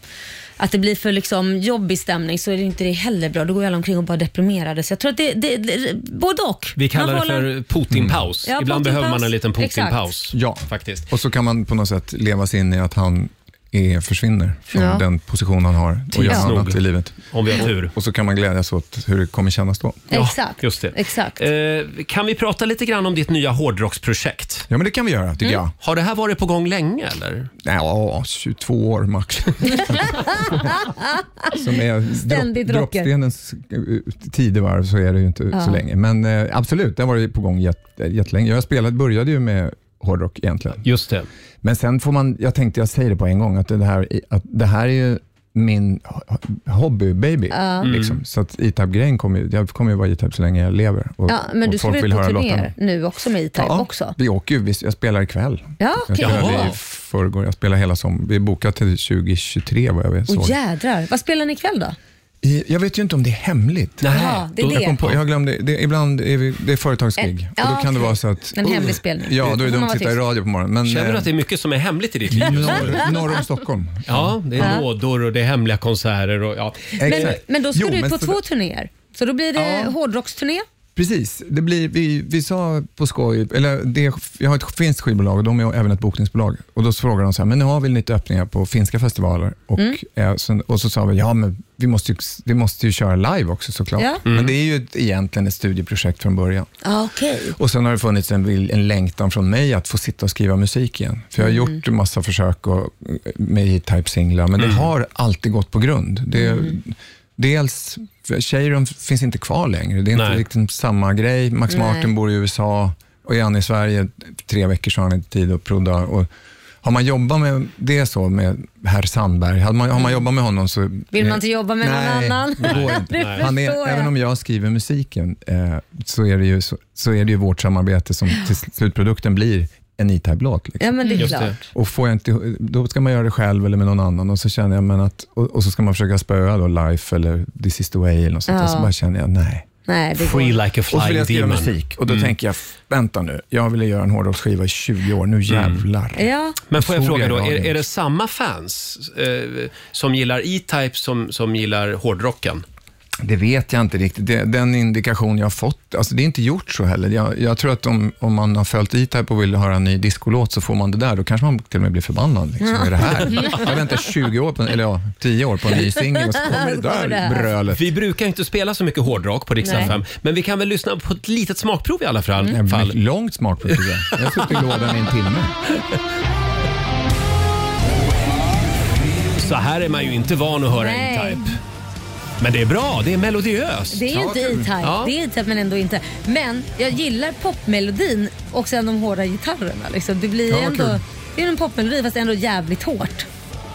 Speaker 8: att det blir för liksom jobbig stämning så är det inte det heller bra. Då går ju alla omkring och bara är deprimerade. Så jag tror att det, det, det både och.
Speaker 1: Vi kallar
Speaker 8: Man
Speaker 1: det
Speaker 8: håller-
Speaker 1: för Putin-paus.
Speaker 8: Mm. Ja,
Speaker 1: Ibland behöver man
Speaker 8: Putin-paus.
Speaker 1: en liten
Speaker 8: Exakt.
Speaker 1: Putin-paus.
Speaker 21: ja.
Speaker 1: faktiskt.
Speaker 21: och så kan man på något sätt leva sig in i att han är, försvinner från
Speaker 1: Ja.
Speaker 21: den position han har och gör
Speaker 1: Tidsnog,
Speaker 21: annat i livet.
Speaker 1: om vi har tur.
Speaker 21: Och, och så kan man glädjas åt hur det kommer kännas då.
Speaker 8: Exakt.
Speaker 1: Just det.
Speaker 8: Exakt.
Speaker 1: Eh, kan vi prata lite grann om ditt nya hårdrocksprojekt?
Speaker 21: Ja, men det kan vi göra, tycker
Speaker 8: Mm.
Speaker 21: jag.
Speaker 1: Har det här varit på gång länge eller?
Speaker 21: Nej, ja, 22 år max. Som är
Speaker 8: Ständigt
Speaker 21: dropp-
Speaker 8: rocker.
Speaker 21: droppstenens eh, tidevarv så är det ju inte
Speaker 8: Ja.
Speaker 21: så länge. Men eh, absolut, det har varit på gång jätt- eh, jättelänge. Jag spelade, började ju med hårdrock egentligen.
Speaker 1: Just det.
Speaker 21: Men sen får man, jag tänkte jag säger det på en gång, att det här, att det här är ju min ho- hobbybaby.
Speaker 8: Ja.
Speaker 21: Liksom. Så att E-Type-grejen kommer ju, jag kommer ju vara E-Type så länge jag lever. Och,
Speaker 8: Ja, men
Speaker 21: och
Speaker 8: du
Speaker 21: folk
Speaker 8: ska
Speaker 21: vill
Speaker 8: ut på
Speaker 21: höra
Speaker 8: turné
Speaker 21: låtarna.
Speaker 8: nu också med E-Type Typ också?
Speaker 21: Vi åker ju, vi- jag spelar ikväll.
Speaker 8: Ja,
Speaker 21: Jag
Speaker 8: okej.
Speaker 21: spelade
Speaker 8: Jaha.
Speaker 21: i förrgår, jag spelar hela som Vi är bokat till 2023 vad jag såg.
Speaker 8: Åh jädrar. Vad spelar ni ikväll då?
Speaker 21: I- Jag vet ju inte om det är hemligt.
Speaker 8: Nej. Jaha, det är det.
Speaker 21: Jag, kom på, jag glömde, det, ibland är vi, det är företagsgig
Speaker 8: Eh,
Speaker 21: och då
Speaker 8: ja,
Speaker 21: kan det
Speaker 8: okej.
Speaker 21: vara så att...
Speaker 8: En hemlig spelning.
Speaker 21: Ja, då
Speaker 8: Får
Speaker 21: är det dumt
Speaker 8: man
Speaker 21: att
Speaker 8: vara
Speaker 21: sitta i
Speaker 8: tyst?
Speaker 21: radio på morgonen. Men,
Speaker 1: Känner du
Speaker 21: eh,
Speaker 1: att det är mycket som är hemligt i ditt liv just nu?
Speaker 21: norr, norr om Stockholm.
Speaker 1: Ja, det är
Speaker 8: Ja.
Speaker 1: lådor och det är hemliga konserter. Och, ja.
Speaker 8: Men, men då ska
Speaker 21: Jo,
Speaker 8: du ut
Speaker 21: men
Speaker 8: på
Speaker 21: så-
Speaker 8: två turnéer. Så då blir det
Speaker 21: Ja.
Speaker 8: hårdrocksturné.
Speaker 21: Precis, det blir, vi, vi sa på skoj, eller det, jag har ett finskt skivbolag och de är även ett bokningsbolag. Och Då så frågade de så här, men nu har vi lite öppningar på finska festivaler. Och,
Speaker 8: Mm.
Speaker 21: eh, sen, och så sa vi, ja men vi måste ju, vi måste ju köra live också såklart.
Speaker 8: Ja.
Speaker 21: Men det är ju ett, egentligen ett studieprojekt från början.
Speaker 8: Ah, Okej.
Speaker 21: Och sen har det funnits en, vil- en längtan från mig att få sitta och skriva musik igen. För jag har
Speaker 8: Mm.
Speaker 21: gjort en massa försök och, eh, med E-Type singlar, men
Speaker 8: Mm.
Speaker 21: det har alltid gått på grund. Det, Dels, Cheiron finns inte kvar längre. Det är
Speaker 1: Nej.
Speaker 21: inte riktigt samma grej. Max
Speaker 1: Nej.
Speaker 21: Martin bor i USA och är han i Sverige tre veckor så har han inte tid att prodda. Och har man jobbat med det så, med herr Sandberg, har man, har man jobbat med honom så...
Speaker 8: Mm. Vill man inte jobba med
Speaker 21: Nej,
Speaker 8: någon annan?
Speaker 21: Det går
Speaker 8: Det
Speaker 21: inte. Han
Speaker 8: förstår
Speaker 21: är,
Speaker 8: jag.
Speaker 21: även om jag skriver musiken eh, så, är det ju, så, så är det ju vårt samarbete som till sl- slutprodukten blir en E-Type-låt. Liksom.
Speaker 8: Ja, men det är Just klart. det.
Speaker 21: Och får jag inte, då ska man göra det själv eller med någon annan och så, känner jag, men att, och, och så ska man försöka spöa då Life eller This is the way eller något sånt där.
Speaker 8: Ja.
Speaker 21: Så bara känner jag, nej.
Speaker 8: Nej, det går.
Speaker 1: Free like a
Speaker 21: Och så vill
Speaker 1: flying
Speaker 21: jag skriva
Speaker 1: demon.
Speaker 21: musik och då
Speaker 1: Mm.
Speaker 21: tänker jag, vänta nu, jag ville göra en hårdrocksskiva i 20 år, nu jävlar.
Speaker 8: Ja.
Speaker 1: Mm. Men får jag
Speaker 21: Såg
Speaker 1: fråga då, är,
Speaker 21: radion.
Speaker 1: är det samma fans eh, som gillar E-Type som, som gillar hårdrocken?
Speaker 21: Det vet jag inte riktigt. Det, den indikation jag har fått, alltså det är inte gjort så heller. Jag, jag tror att om, om man har följt E-Type och vill höra en ny discolåt så får man det där. Då kanske man till och med blir förbannad. Liksom. Vad är det här? Jag väntar 20 år, på, en- eller ja, 10 år på en ny singel och så kommer det där brölet.
Speaker 1: Vi brukar inte spela så mycket hårdrock på Rix
Speaker 21: Nej.
Speaker 1: FM, men vi kan väl lyssna på ett litet smakprov i alla fall.
Speaker 21: Mm. Ja, men
Speaker 1: fall.
Speaker 21: Långt smakprov tycker jag. Jag har suttit i lådan i en timme.
Speaker 1: Så här är man ju inte van att höra
Speaker 2: Nej.
Speaker 1: E-Type. Men det är bra, det är melodiöst.
Speaker 2: Det är ju inte E-Type,
Speaker 1: Ja.
Speaker 2: det är E-Type men ändå inte. Men jag gillar popmelodin och sen de hårda gitarrerna. Liksom. Det blir
Speaker 1: Ja, vad
Speaker 2: ändå,
Speaker 1: kul.
Speaker 2: det är en popmelodi fast ändå jävligt hårt.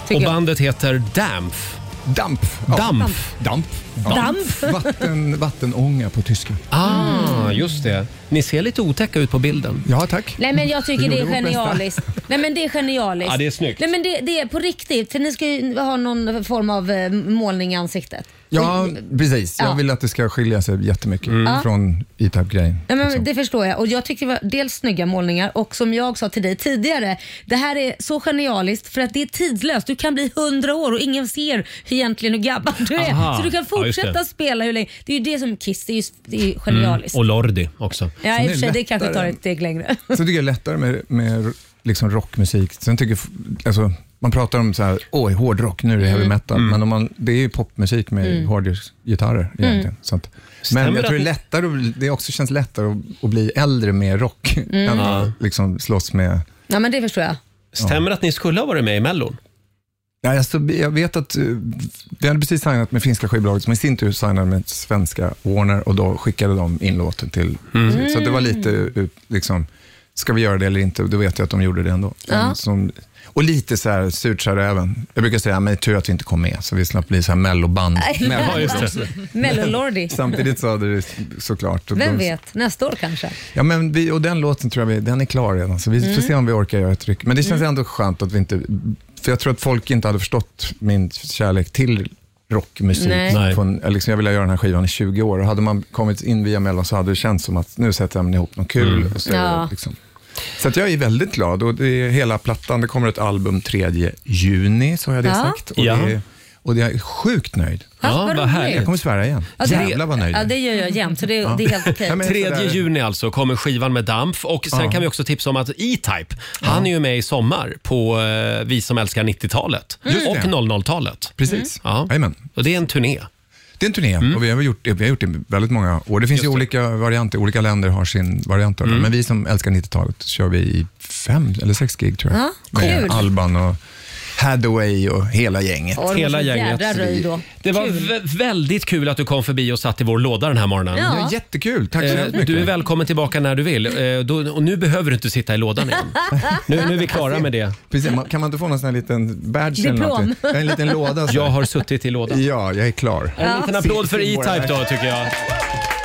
Speaker 1: Och
Speaker 2: tycker jag.
Speaker 1: bandet heter Dampf.
Speaker 21: Damp.
Speaker 1: Damp.
Speaker 21: Damp.
Speaker 2: Damp.
Speaker 21: Vatten, vattenånga på tyska.
Speaker 1: Ah, just det. Ni ser lite otäcka ut på bilden.
Speaker 21: Ja, tack.
Speaker 2: Mm. Nej men jag tycker
Speaker 1: Vi
Speaker 2: det är
Speaker 1: gjorde vårt bästa.
Speaker 2: genialiskt. Nej men det är genialiskt.
Speaker 1: Ja, det är snyggt.
Speaker 2: Nej men det, det är på riktigt. För ni ska ju ha någon form av eh, målning i ansiktet.
Speaker 21: Ja, precis.
Speaker 2: Ja.
Speaker 21: Jag vill att det ska skilja sig jättemycket
Speaker 2: Ja.
Speaker 21: från liksom. E-Type-grejen.
Speaker 2: Nej, men det förstår jag. Och jag tycker det var dels snygga målningar och som jag sa till dig tidigare, det här är så genialiskt för att det är tidslöst. Du kan bli hundra år och ingen ser egentligen hur gammal du är.
Speaker 1: Aha.
Speaker 2: Så du kan
Speaker 1: Ja, just
Speaker 2: fortsätta
Speaker 1: det.
Speaker 2: spela hur länge. Det är ju det som Kiss, det är ju, det är ju genialiskt.
Speaker 1: Mm, Och Lordi också.
Speaker 2: Ja,
Speaker 21: Sen
Speaker 2: i
Speaker 21: är
Speaker 2: och för sig, det
Speaker 21: lättare
Speaker 2: kanske tar
Speaker 21: än-
Speaker 2: ett steg längre.
Speaker 21: Sen tycker jag det är lättare med, med liksom rockmusik. Sen tycker jag, alltså, man pratar om så här, åh, hårdrock, nu är det heavy
Speaker 2: Mm.
Speaker 21: metal. Men om man, det är ju popmusik med
Speaker 2: Mm.
Speaker 21: hårdgitarrer egentligen.
Speaker 2: Mm.
Speaker 21: Så att,
Speaker 1: Stämmer
Speaker 21: men jag
Speaker 1: att
Speaker 21: tror det, är
Speaker 1: ni-
Speaker 21: lättare, att- det också känns lättare att, att bli äldre med rock
Speaker 2: Mm.
Speaker 21: än
Speaker 2: Ja.
Speaker 21: att liksom, slåss med...
Speaker 2: Ja, men det förstår jag.
Speaker 1: Stämmer att ni skulle ha varit med i Mellon?
Speaker 21: Ja, alltså, jag vet att eh, vi hade precis signat med finska skivbolaget som i sin tur signade med svenska Warner och då skickade de in låten till...
Speaker 1: Mm.
Speaker 21: Så det var lite eh, liksom, ska vi göra det eller inte? Och Då vet jag att de gjorde det ändå.
Speaker 2: Ja.
Speaker 21: Som, och lite så här surt sa räven. Jag brukar säga, men tur att vi inte kom med så vi slapp bli så här melloband. Mello-
Speaker 2: Mellolordi.
Speaker 21: Samtidigt så hade det såklart... och
Speaker 2: Vem
Speaker 21: då-
Speaker 2: vet, nästa år kanske.
Speaker 21: Ja, men vi, och den låten tror jag vi, den är klar redan, så vi
Speaker 2: Mm.
Speaker 21: får se om vi orkar göra ett ryck. Men det känns
Speaker 2: Mm.
Speaker 21: ändå skönt att vi inte, för jag tror att folk inte hade förstått min kärlek till rockmusik.
Speaker 2: Nej. Nej.
Speaker 21: Från, eller liksom, jag ville göra den här skivan i 20 år och hade man kommit in via Mellon så hade det känts som att nu sätter jag mig ihop något kul.
Speaker 1: Mm.
Speaker 21: Och så, är det
Speaker 2: Ja.
Speaker 21: liksom. så att jag är väldigt glad och det är hela plattan, det kommer ett album 3 juni, så har jag det
Speaker 2: Ja.
Speaker 21: sagt. Och,
Speaker 1: Ja.
Speaker 21: det är, och jag är sjukt nöjd.
Speaker 2: Ja, Ja, vad vad roligt. härligt.
Speaker 21: Jag kommer svära igen.
Speaker 2: Ja, det-
Speaker 21: Jävlar vad nöjd jag
Speaker 2: Ja,
Speaker 21: är.
Speaker 2: det gör jag jämt, så det,
Speaker 21: Ja.
Speaker 2: det är helt okej.
Speaker 21: Ja, men-
Speaker 1: 3 juni alltså kommer skivan med Dampf och sen
Speaker 21: Ja.
Speaker 1: kan vi också tipsa om att E-Type, han är ju med i sommar på eh, Vi som älskar 90-talet
Speaker 21: Just
Speaker 1: och
Speaker 21: det.
Speaker 1: 00-talet.
Speaker 21: Precis.
Speaker 1: Mm. Ja. Och det är en turné.
Speaker 21: Det är en turné
Speaker 1: Mm.
Speaker 21: och vi har, gjort, det- vi har gjort det i väldigt många år. Det finns ju olika varianter, olika länder har sin variant av det.
Speaker 1: Mm.
Speaker 21: Men vi som älskar 90-talet kör vi i fem eller sex gig tror jag.
Speaker 2: Ja,
Speaker 21: Med
Speaker 2: kul.
Speaker 21: Alban och Hathaway och hela gänget.
Speaker 2: Ja, det var Hela så gänget. jädra röj då.
Speaker 1: Det var
Speaker 2: Kul.
Speaker 1: vä- väldigt kul att du kom förbi och satt i vår låda den här morgonen.
Speaker 2: Ja. Ja,
Speaker 21: jättekul. Tack så
Speaker 1: Eh,
Speaker 21: hemskt mycket.
Speaker 1: Du är välkommen tillbaka när du vill. Eh, då, och nu behöver du inte sitta i lådan igen. Nu, nu är vi klara med det.
Speaker 21: Precis, man- kan man inte få någon sån här liten badge
Speaker 1: Diplom.
Speaker 21: eller någonting? En liten låda.
Speaker 1: Jag har suttit i lådan.
Speaker 21: Ja, jag är klar.
Speaker 1: En liten applåd för E-Type då tycker jag.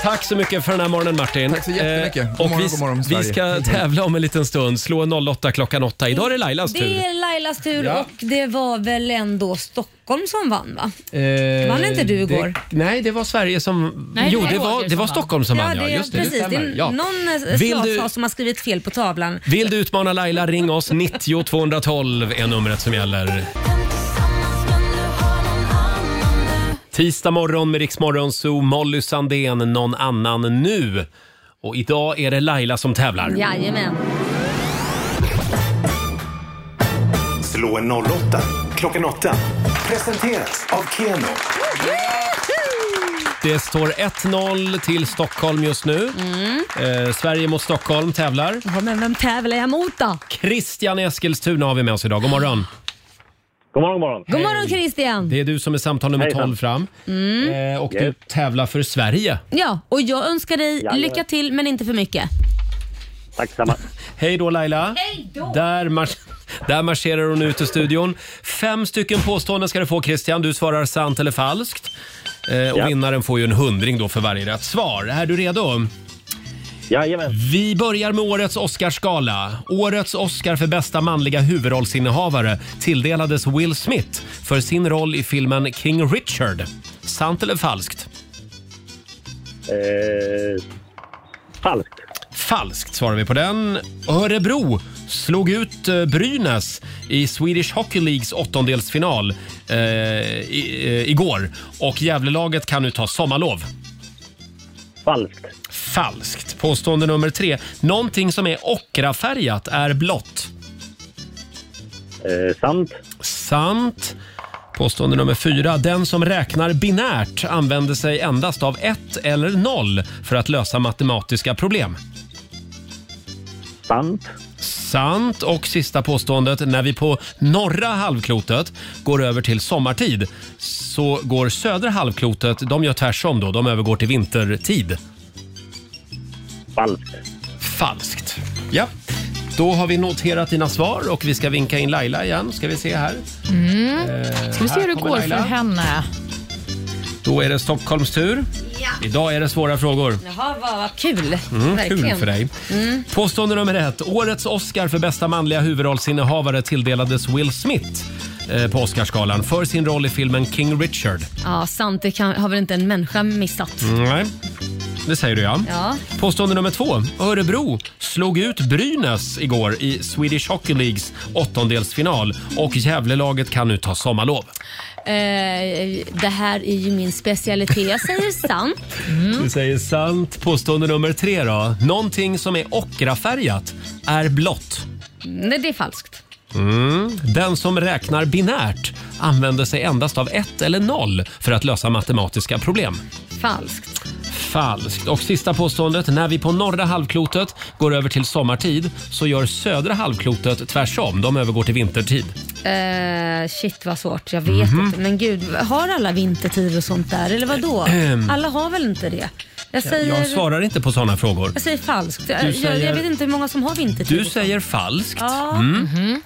Speaker 1: Tack så mycket för den här morgonen Martin. Tack så
Speaker 21: jättemycket. God
Speaker 1: och
Speaker 21: morgon,
Speaker 1: vi,
Speaker 21: god morgon,
Speaker 1: vi
Speaker 21: Sverige.
Speaker 1: ska tävla om en liten stund. Slå 08 klockan 8. Idag är det Lailas tur.
Speaker 2: Det är Lailas tur
Speaker 1: Ja.
Speaker 2: och det var väl ändå Stockholm som vann va?
Speaker 1: Eh,
Speaker 2: Vann inte du igår?
Speaker 1: Det, nej, det var Sverige som...
Speaker 2: Nej,
Speaker 1: jo,
Speaker 2: det
Speaker 1: det
Speaker 2: var
Speaker 1: var,
Speaker 2: det
Speaker 1: det
Speaker 2: som
Speaker 1: var
Speaker 2: vann.
Speaker 1: Stockholm som vann.
Speaker 2: ja,
Speaker 1: Ja,
Speaker 2: det, är-
Speaker 1: just det,
Speaker 2: previss.
Speaker 1: det
Speaker 2: det
Speaker 1: stämmer.
Speaker 2: är
Speaker 1: Ja.
Speaker 2: någon eh,
Speaker 1: Vill
Speaker 2: vill
Speaker 1: du-
Speaker 2: som har skrivit fel på tavlan.
Speaker 1: Vill du utmana Laila, ring oss. 90 212 är numret som gäller. Tisdag morgon med Riksmorgon Zoo, Molly Sandén, någon annan nu. Och idag är det Laila som tävlar.
Speaker 2: Jajamän.
Speaker 6: Slå en 08 klockan 8. Presenteras av Keno.
Speaker 1: Det står 1-0 till Stockholm just nu. Eh, Sverige mot Stockholm tävlar.
Speaker 2: Ja, men vem tävlar jag mot då?
Speaker 1: Christian i Eskilstuna har vi med oss idag. God morgon. God morgon, morgon.
Speaker 2: God morgon Christian.
Speaker 1: Det är du som är samtal nummer
Speaker 2: Hejsan.
Speaker 1: 12 fram.
Speaker 2: Mm.
Speaker 1: Eh, och du tävlar för Sverige.
Speaker 2: Ja, och jag önskar dig
Speaker 1: Jajamän.
Speaker 2: lycka till men inte för mycket.
Speaker 1: Tack samma. Hej då Laila.
Speaker 2: Hej då.
Speaker 1: Där, mars- där marscherar hon ut ur studion. Fem stycken påståenden ska du få Christian. Du svarar sant eller falskt. Eh, och vinnaren får ju en hundring då för varje rätt svar. Är du redo? Jajamän. Vi börjar med årets Oscarsgala. Årets Oscar för bästa manliga huvudrollsinnehavare tilldelades Will Smith för sin roll i filmen King Richard. Sant eller falskt?
Speaker 22: Eh, falskt.
Speaker 1: Falskt svarar vi på den. Örebro slog ut eh, Brynäs i Swedish Hockey Leagues åttondelsfinal eh, i, eh, igår. Och Gävlelaget kan nu ta sommarlov. Falskt. Falskt. Påstående nummer tre. Någonting som är ockrafärgat är blått. Eh, sant. Sant. Påstående nummer fyra. Den som räknar binärt använder sig endast av ett eller noll för att lösa matematiska problem. Sant. Sant. Och sista påståendet. När vi på norra halvklotet går över till sommartid så går södra halvklotet, de gör tvärsom då, de övergår till vintertid. Falskt. Falskt. Ja. Då har vi noterat dina svar och vi ska vinka in Laila igen. Ska vi se här.
Speaker 3: Mm.
Speaker 1: Eh,
Speaker 3: Ska vi se
Speaker 1: här
Speaker 3: hur det
Speaker 1: kommer
Speaker 3: går
Speaker 1: Laila.
Speaker 3: för henne.
Speaker 1: Då är det Stockholms tur.
Speaker 2: Ja.
Speaker 1: Idag är det svåra frågor.
Speaker 2: Jaha, vad, vad kul.
Speaker 1: Mm,
Speaker 2: Verkligen.
Speaker 1: kul för dig.
Speaker 2: Mm.
Speaker 1: Påstående nummer ett. Årets Oscar för bästa manliga huvudrollsinnehavare tilldelades Will Smith eh, på Oscarsgalan för sin roll i filmen King Richard.
Speaker 2: Ja, sant. Det kan, har väl inte en människa missat.
Speaker 1: Nej, det säger du ja.
Speaker 2: Ja.
Speaker 1: Påstående nummer två. Örebro slog ut Brynäs igår i Swedish Hockey Leagues åttondelsfinal och Gävlelaget kan nu ta sommarlov.
Speaker 8: Eh, det här är ju min specialitet. Jag säger sant.
Speaker 2: Mm.
Speaker 1: Du säger sant. Påstående nummer tre då. Någonting som är ockrafärgat är blått.
Speaker 2: Nej, det är falskt.
Speaker 1: Mm. Den som räknar binärt använder sig endast av ett eller noll för att lösa matematiska problem.
Speaker 2: Falskt.
Speaker 1: Falskt. Och sista påståendet. När vi på norra halvklotet går över till sommartid så gör södra halvklotet tvärsom. De övergår till vintertid.
Speaker 2: Eh, shit vad svårt, jag vet
Speaker 1: Mhm.
Speaker 2: inte. Men gud, har alla vintertid och sånt där? Eller vad då?
Speaker 1: Ehm.
Speaker 2: Alla har väl inte det? Jag säger,
Speaker 1: Jag
Speaker 2: jag
Speaker 1: svarar inte på sådana frågor.
Speaker 2: säger falskt.
Speaker 1: Du
Speaker 2: Jag, jag,
Speaker 1: säger-
Speaker 2: jag vet inte hur många som har vintertid.
Speaker 1: Du säger falskt.
Speaker 2: Ja.
Speaker 1: Mm.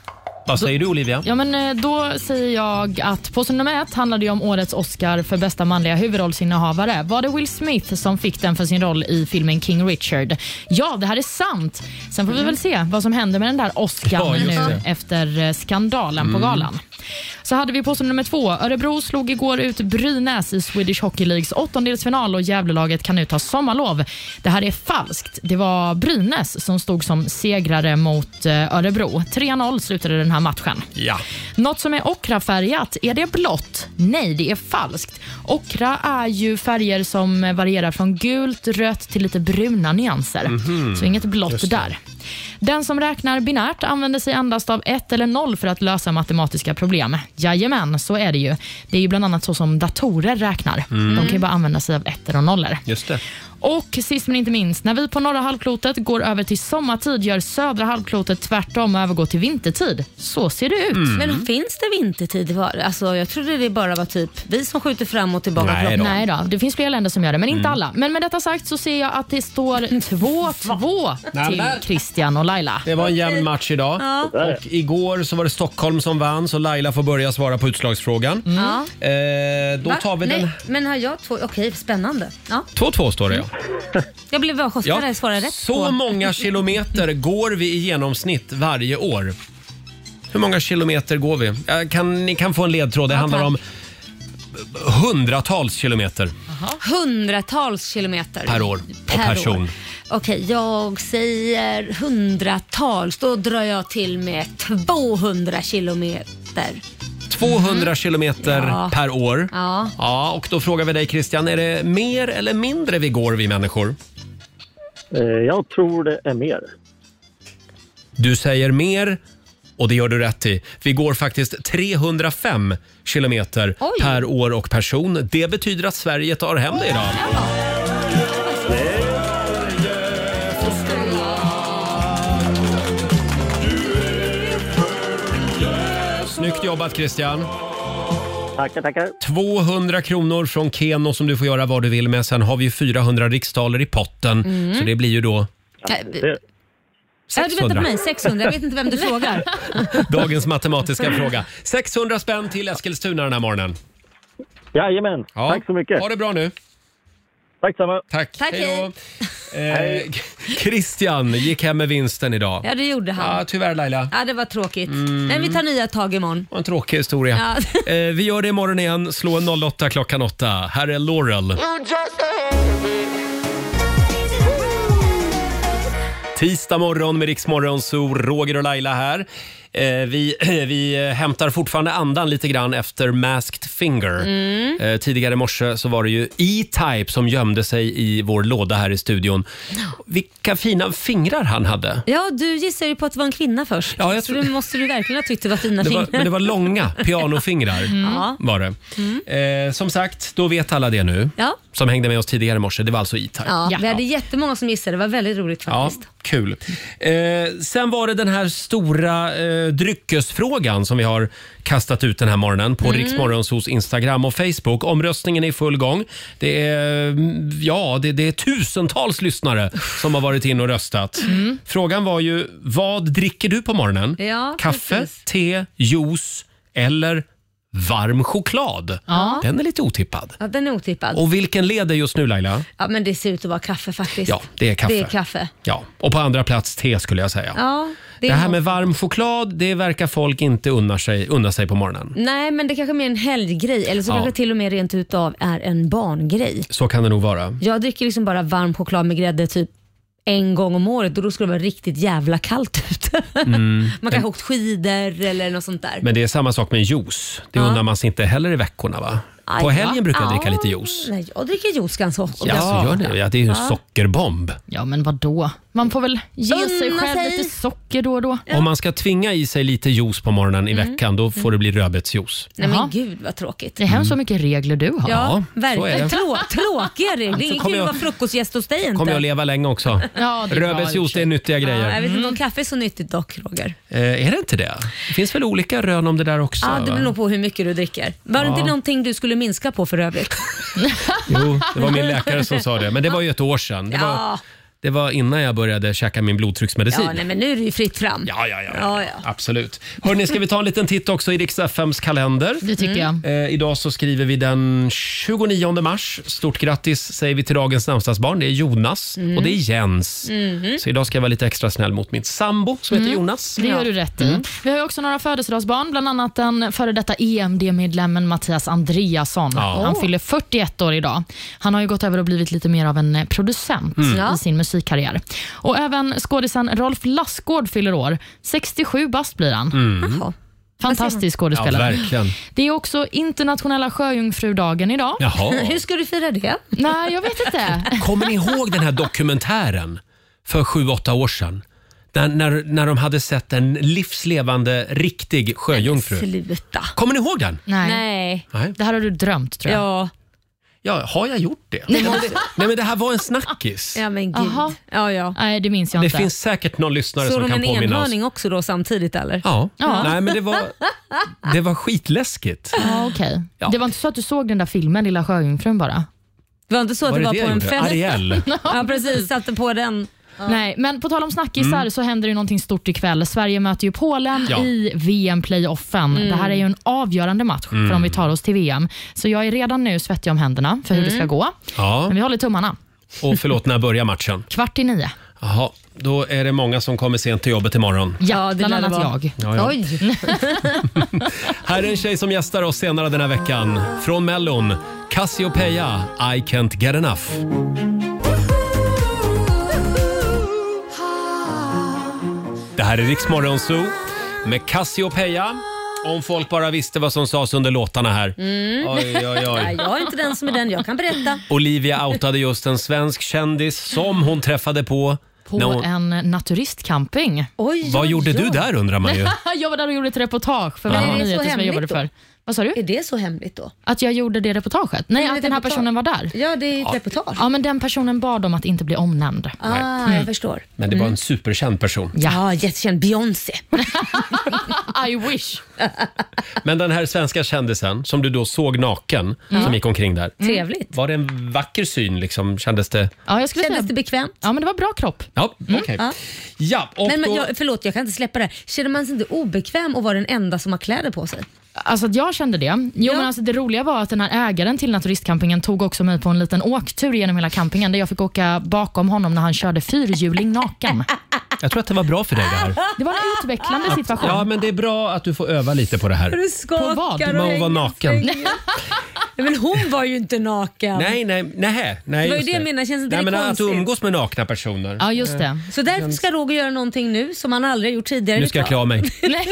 Speaker 1: Vad säger du Olivia?
Speaker 3: Ja, men eh, då säger jag att påstående nummer ett handlade ju om årets Oscar för bästa manliga huvudrollsinnehavare. Var det Will Smith som fick den för sin roll i filmen King Richard? Ja, det här är sant. Sen får vi väl se vad som händer med den där
Speaker 12: Mm. Ja,
Speaker 3: Oscar
Speaker 12: just
Speaker 3: nu
Speaker 12: det.
Speaker 3: efter eh, skandalen på
Speaker 12: Mm.
Speaker 3: galan. Så hade vi påstående nummer två. Örebro slog igår ut Brynäs i Swedish Hockey Leagues åttondelsfinal och Gävlelaget kan nu ta sommarlov. Det här är falskt. Det var Brynäs som stod som segrare mot eh, Örebro. 3-0 slutade den här matchen.
Speaker 1: Ja.
Speaker 3: Något som är ockrafärgat, är det blått? Nej, det är falskt. Ockra är ju färger som varierar från gult, rött till lite bruna nyanser.
Speaker 12: Mhm.
Speaker 3: Så inget blått
Speaker 12: Just det.
Speaker 3: där. Den som räknar binärt använder sig endast av ett eller noll för att lösa matematiska problem. Jajamän, så är det ju. Det är ju bland annat så som datorer räknar.
Speaker 12: Mm.
Speaker 3: De kan ju bara använda sig av ettor och nollor.
Speaker 1: Just det.
Speaker 3: Och sist men inte minst, när vi på norra halvklotet går över till sommartid gör södra halvklotet tvärtom och övergår till vintertid. Så ser det ut.
Speaker 1: Mm.
Speaker 2: Men finns det vintertid? Var- Alltså, jag trodde det bara var typ vi som skjuter fram och tillbaka.
Speaker 3: Nej
Speaker 2: klockan.
Speaker 3: då. Nej då. Det finns flera länder som gör det, men inte
Speaker 2: Mm.
Speaker 3: alla. Men med detta sagt så ser jag att det står 2-2 till
Speaker 1: Nämen.
Speaker 3: Christian och Laila.
Speaker 1: Det var en jämn match idag.
Speaker 3: Ja.
Speaker 1: Och igår så var det Stockholm som vann så Laila får börja svara på utslagsfrågan.
Speaker 2: Ja.
Speaker 1: Eh, då
Speaker 2: Mm. Va?
Speaker 1: tar vi
Speaker 2: Nej,
Speaker 1: den...
Speaker 2: Men har jag två? Okej, spännande. Ja.
Speaker 1: 2-2 står det ja.
Speaker 2: Jag blev bara chockad när jag svarade rätt
Speaker 1: Så
Speaker 2: på.
Speaker 1: många kilometer går vi i genomsnitt varje år. Hur många kilometer går vi? Jag kan, ni kan få en ledtråd. Det handlar om hundratals kilometer
Speaker 2: Hundratals kilometer.
Speaker 1: per år och
Speaker 2: Per år.
Speaker 1: person.
Speaker 2: Okej, jag säger hundratals. Då drar jag till med 200 kilometer.
Speaker 1: 200 kilometer
Speaker 2: Mm. Ja.
Speaker 1: per år.
Speaker 2: Ja.
Speaker 1: Ja, och då frågar vi dig Christian, är det mer eller mindre vi går vi människor?
Speaker 23: Eh, Jag tror det är mer.
Speaker 1: Du säger mer och det gör du rätt i. Vi går faktiskt 305 kilometer
Speaker 2: Oj.
Speaker 1: per år och person. Det betyder att Sverige tar hem det idag. Snyggt jobbat Christian. Tackar, tackar. 200 kronor från Keno som du får göra vad du vill med. Sen har vi ju 400 riksdaler i potten,
Speaker 2: Mm.
Speaker 1: så det blir ju då
Speaker 2: Äh, Ja, du väntar på mig. 600. Jag vet inte vem du frågar.
Speaker 1: Dagens matematiska fråga. 600 spänn till Eskilstuna den här morgonen.
Speaker 23: Jajamän,
Speaker 1: Ja.
Speaker 23: tack så mycket.
Speaker 1: Ha det bra nu.
Speaker 23: Tack samma.
Speaker 1: Tack.
Speaker 2: Tack,
Speaker 1: Hej
Speaker 2: hej.
Speaker 1: då. Eh, Christian gick hem med vinsten idag.
Speaker 2: Ja, det gjorde han.
Speaker 1: Ja, tyvärr Laila.
Speaker 2: Ja, det var tråkigt.
Speaker 1: Mm.
Speaker 2: Men vi tar nya tag imorgon.
Speaker 1: En tråkig historia. Eh, vi gör det imorgon igen. Slå en 08 klockan 8. Här är Laurel. Tisdag morgon med Riksmorgon, så Roger och Laila här. Eh, vi, vi eh, hämtar fortfarande andan lite grann efter Masked Finger.
Speaker 7: Mm.
Speaker 1: Eh, tidigare i morse så var det ju E-Type som gömde sig i vår låda här i studion. Vilka fina fingrar han hade.
Speaker 2: Ja, du gissar ju på att det var en kvinna först.
Speaker 1: Ja, jag
Speaker 2: Så det måste du verkligen ha tyckt det var fina
Speaker 1: Det var,
Speaker 2: fingrar.
Speaker 1: men det var långa pianofingrar
Speaker 2: Mm. Ja.
Speaker 1: var det. Eh, som sagt, då vet alla det nu.
Speaker 2: Ja.
Speaker 1: Som hängde med oss tidigare i morse. Det var alltså E-Type.
Speaker 2: Ja, Vi hade jättemånga som gissade. Det var väldigt roligt
Speaker 1: Ja,
Speaker 2: faktiskt.
Speaker 1: kul. Eh, sen var det den här stora eh, dryckesfrågan som vi har kastat ut den här morgonen på
Speaker 7: Mm.
Speaker 1: Riksmorgonsos Instagram och Facebook. Omröstningen är i full gång. Det är, mm, ja, det, det är tusentals lyssnare som har varit in och röstat.
Speaker 7: Mm.
Speaker 1: Frågan var ju, vad dricker du på morgonen?
Speaker 7: Ja,
Speaker 1: Kaffe,
Speaker 7: precis.
Speaker 1: te, juice eller varm choklad?
Speaker 2: Ja.
Speaker 1: Den är lite otippad.
Speaker 2: Ja, den är otippad.
Speaker 1: Och vilken leder just nu Laila?
Speaker 2: Ja, men det ser ut att vara kaffe faktiskt.
Speaker 1: Ja, det är kaffe.
Speaker 2: Det är kaffe.
Speaker 1: Ja, och på andra plats te skulle jag säga.
Speaker 2: Ja,
Speaker 1: Det,
Speaker 2: det är
Speaker 1: här
Speaker 2: något.
Speaker 1: med varm choklad, det verkar folk inte unna sig, unna sig på morgonen.
Speaker 2: Nej, men det kanske är mer en helggrej eller så
Speaker 1: Ja.
Speaker 2: kanske till och med rent utav är en barngrej.
Speaker 1: Så kan det nog vara.
Speaker 2: Jag dricker liksom bara varm choklad med grädde typ en gång om året och då skulle det vara riktigt jävla kallt ute.
Speaker 1: Mm.
Speaker 2: Man kanske åkt skidor eller något sånt där.
Speaker 1: Men det är samma sak med juice. Det unnar man sig inte heller i veckorna va?
Speaker 2: Aj,
Speaker 1: På
Speaker 2: va?
Speaker 1: helgen brukar jag
Speaker 2: Ja.
Speaker 1: dricka lite juice.
Speaker 2: Nej, jag dricker juice ganska ofta.
Speaker 1: Ja, så gör det. Ja, det är ju en
Speaker 2: Ja.
Speaker 1: sockerbomb.
Speaker 3: Ja, men vad då? Man får väl ge
Speaker 2: Unna
Speaker 3: sig själv
Speaker 2: sig.
Speaker 3: lite socker då och då.
Speaker 1: Om man ska tvinga i sig lite juice på morgonen i
Speaker 2: Mm.
Speaker 1: veckan, då får det bli rödbetsjuice.
Speaker 2: Nej men gud vad tråkigt.
Speaker 3: Det är
Speaker 7: Mm.
Speaker 3: hemskt så mycket regler du har.
Speaker 1: Ja, så är det.
Speaker 2: verkligen. Trå tråkiga regler. Det är
Speaker 1: Så
Speaker 2: ingen
Speaker 1: kommer
Speaker 2: kul
Speaker 1: jag-
Speaker 2: att vara frukostgäst hos dig inte.
Speaker 1: kommer jag leva länge också.
Speaker 2: Ja, det är bra i och
Speaker 1: Rödbetsjuice,
Speaker 2: för sig.
Speaker 1: det är nyttiga
Speaker 2: Ja,
Speaker 1: grejer.
Speaker 2: jag vet inte om kaffe är så nyttigt dock Roger.
Speaker 1: Eh, är det inte det? Det finns väl olika rön om det där också?
Speaker 2: Ja, det
Speaker 1: va?
Speaker 2: beror nog på hur mycket du dricker. Var det
Speaker 1: Ja.
Speaker 2: inte någonting du skulle minska på för övrigt?
Speaker 1: Jo, det var min läkare som sa det. Men det var ju ett år sedan. Det var,
Speaker 2: Ja.
Speaker 1: det var innan jag började käka min blodtrycksmedicin.
Speaker 2: Ja, nej, men nu är det ju fritt fram.
Speaker 1: Ja, ja, ja.
Speaker 2: ja, ja.
Speaker 1: Absolut. Hörni, ska vi ta en liten titt också i Rix FMs kalender?
Speaker 3: Det tycker Mm.
Speaker 1: Eh, idag så skriver vi den 29 mars. Stort grattis säger vi till dagens namnsdagsbarn. Det är Jonas
Speaker 3: Mm.
Speaker 1: och det är Jens.
Speaker 3: Mhm.
Speaker 1: Så idag ska jag vara lite extra snäll mot min sambo som heter
Speaker 3: Mm,
Speaker 1: Jonas.
Speaker 3: Det gör du rätt
Speaker 7: Mm.
Speaker 3: i. Vi har ju också några födelsedagsbarn, bland annat den före detta EMD-medlemmen Mattias Andreasson.
Speaker 7: Ja.
Speaker 3: Han
Speaker 7: Åh.
Speaker 3: fyller 41 år idag. Han har ju gått över och blivit lite mer av en eh, producent
Speaker 7: Mm. Ja.
Speaker 3: i sin musikkarriär. Och Även skådisen Rolf Lassgård fyller år. 67 bast blir han.
Speaker 1: Mm.
Speaker 3: Fantastisk
Speaker 1: Ja,
Speaker 3: skådespelare.
Speaker 1: verkligen.
Speaker 3: det är också internationella sjöjungfrudagen idag.
Speaker 1: Jaha. Hur
Speaker 2: ska du fira det?
Speaker 3: Nej, jag vet inte.
Speaker 1: Kommer ni ihåg den här dokumentären för sju åtta år sedan? När, när, när de hade sett en livslevande riktig sjöjungfru.
Speaker 2: Sluta.
Speaker 1: Kommer ni ihåg den?
Speaker 3: Nej.
Speaker 2: Nej.
Speaker 1: Nej.
Speaker 3: Det här har du drömt tror jag.
Speaker 2: Ja.
Speaker 1: Ja, har jag gjort det?
Speaker 3: Nej,
Speaker 1: Nej, men
Speaker 3: men-
Speaker 1: det, nej, men det här var en snackis.
Speaker 2: Ja, men gud.
Speaker 3: Jaha.
Speaker 2: Ja, ja.
Speaker 3: Nej, det minns jag
Speaker 1: Det
Speaker 3: inte.
Speaker 1: finns säkert någon lyssnare
Speaker 2: Såg
Speaker 1: som
Speaker 2: de
Speaker 1: kan
Speaker 2: en
Speaker 1: påminna oss.
Speaker 2: enhörning också då samtidigt eller?
Speaker 1: Ja.
Speaker 3: Ja.
Speaker 1: Nej, men det var, det var skitläskigt.
Speaker 3: Ja, okej.
Speaker 1: Ja.
Speaker 3: Det var inte så att du såg den där filmen, Lilla sjöjungfrun bara?
Speaker 2: Det var inte så att
Speaker 1: Var
Speaker 2: det
Speaker 1: det
Speaker 2: var
Speaker 1: det
Speaker 2: på
Speaker 1: jag
Speaker 2: en
Speaker 1: gjorde?
Speaker 2: fest?
Speaker 1: Ariel.
Speaker 2: ja, precis. Satte på den. Ja.
Speaker 3: Nej, men på tal om snackisar
Speaker 2: Mm.
Speaker 3: så händer det ju någonting stort ikväll. Sverige möter ju Polen
Speaker 2: Ja.
Speaker 3: i VM-playoffen.
Speaker 2: Mm.
Speaker 3: Det här är ju en avgörande match
Speaker 7: Mm.
Speaker 3: för om vi tar oss till VM. Så jag är redan nu svettig om händerna för hur det
Speaker 1: Mm.
Speaker 3: ska gå.
Speaker 1: Ja.
Speaker 3: Men vi håller tummarna.
Speaker 1: Och förlåt, när börjar matchen?
Speaker 3: Kvart i nio.
Speaker 1: Jaha, då är det många som kommer sent till jobbet imorgon.
Speaker 3: Ja, bland
Speaker 2: lär det
Speaker 3: annat
Speaker 2: vara.
Speaker 3: jag.
Speaker 1: Ja, ja.
Speaker 2: Oj.
Speaker 1: Här är en tjej som gästar oss senare den här veckan. Från Mellon, Cassiopeia, I can't get enough. Det här är Riksmorgon Zoo med Cassiopeia. Om folk bara visste vad som sades under låtarna här.
Speaker 2: Mm.
Speaker 1: Oj, oj, oj.
Speaker 2: Nej, jag är inte den som är den. Jag kan berätta.
Speaker 1: Olivia outade just en svensk kändis som hon träffade på...
Speaker 3: På
Speaker 1: när hon-
Speaker 3: en naturistcamping.
Speaker 2: Oj,
Speaker 1: Vad gjorde du där undrar man ju.
Speaker 3: jag var där och gjorde ett reportage för
Speaker 1: Ja.
Speaker 3: Värmdö
Speaker 1: Men är det så
Speaker 3: Nyheter som jag
Speaker 1: hemligt
Speaker 3: jobbade
Speaker 1: då?
Speaker 3: för. Vad sa du?
Speaker 2: Är det så hemligt då?
Speaker 3: Att jag gjorde det reportaget? Nej,
Speaker 2: Men
Speaker 3: att
Speaker 2: ett
Speaker 3: den här
Speaker 2: reportage.
Speaker 3: personen var där.
Speaker 2: Ja, det är ett
Speaker 1: Ja.
Speaker 2: reportage.
Speaker 3: Ja, men den personen bad om att inte bli omnämnd.
Speaker 2: Ah, jag förstår.
Speaker 1: Men det var
Speaker 2: Mm.
Speaker 1: en superkänd person.
Speaker 3: Mm. Ja, Mm.
Speaker 2: jättekänd. Beyoncé.
Speaker 3: I wish.
Speaker 1: Men den här svenska kändisen som du då såg naken,
Speaker 3: Ja.
Speaker 1: som gick omkring där.
Speaker 2: Mm. Trevligt.
Speaker 1: Var det en vacker syn liksom? Kändes det?
Speaker 3: Ja, jag skulle
Speaker 2: Kändes
Speaker 3: säga...
Speaker 2: det bekvämt?
Speaker 3: Ja, men det var bra kropp.
Speaker 1: Ja, okej.
Speaker 2: Mm, Ja.
Speaker 1: Ja, och
Speaker 2: Men, men
Speaker 1: då...
Speaker 2: jag, förlåt, jag kan inte släppa det här. Känner man sig inte obekväm att vara den enda som har kläder på sig?
Speaker 3: Alltså att jag kände det. Jo, men alltså det roliga var att den här ägaren till den här turistcampingen tog också mig på en liten åktur genom hela campingen där jag fick åka bakom honom när han körde fyrhjuling naken.
Speaker 1: jag tror att det var bra för dig det här.
Speaker 3: Det var en utvecklande situation.
Speaker 1: Ja, men det är bra att du får öva lite på det här.
Speaker 3: På vad?
Speaker 1: Man var naken.
Speaker 2: Nej, men hon var ju inte naken.
Speaker 1: Nej, nej, nej. nej
Speaker 2: Det var ju
Speaker 1: just
Speaker 2: det jag menade, känns inte
Speaker 1: nej,
Speaker 2: det
Speaker 1: men Att
Speaker 2: konstigt?
Speaker 1: umgås med nakna personer. Eh,
Speaker 2: Så därför ska Roger göra någonting nu som han aldrig har gjort tidigare.
Speaker 1: Nu ska jag klä av mig.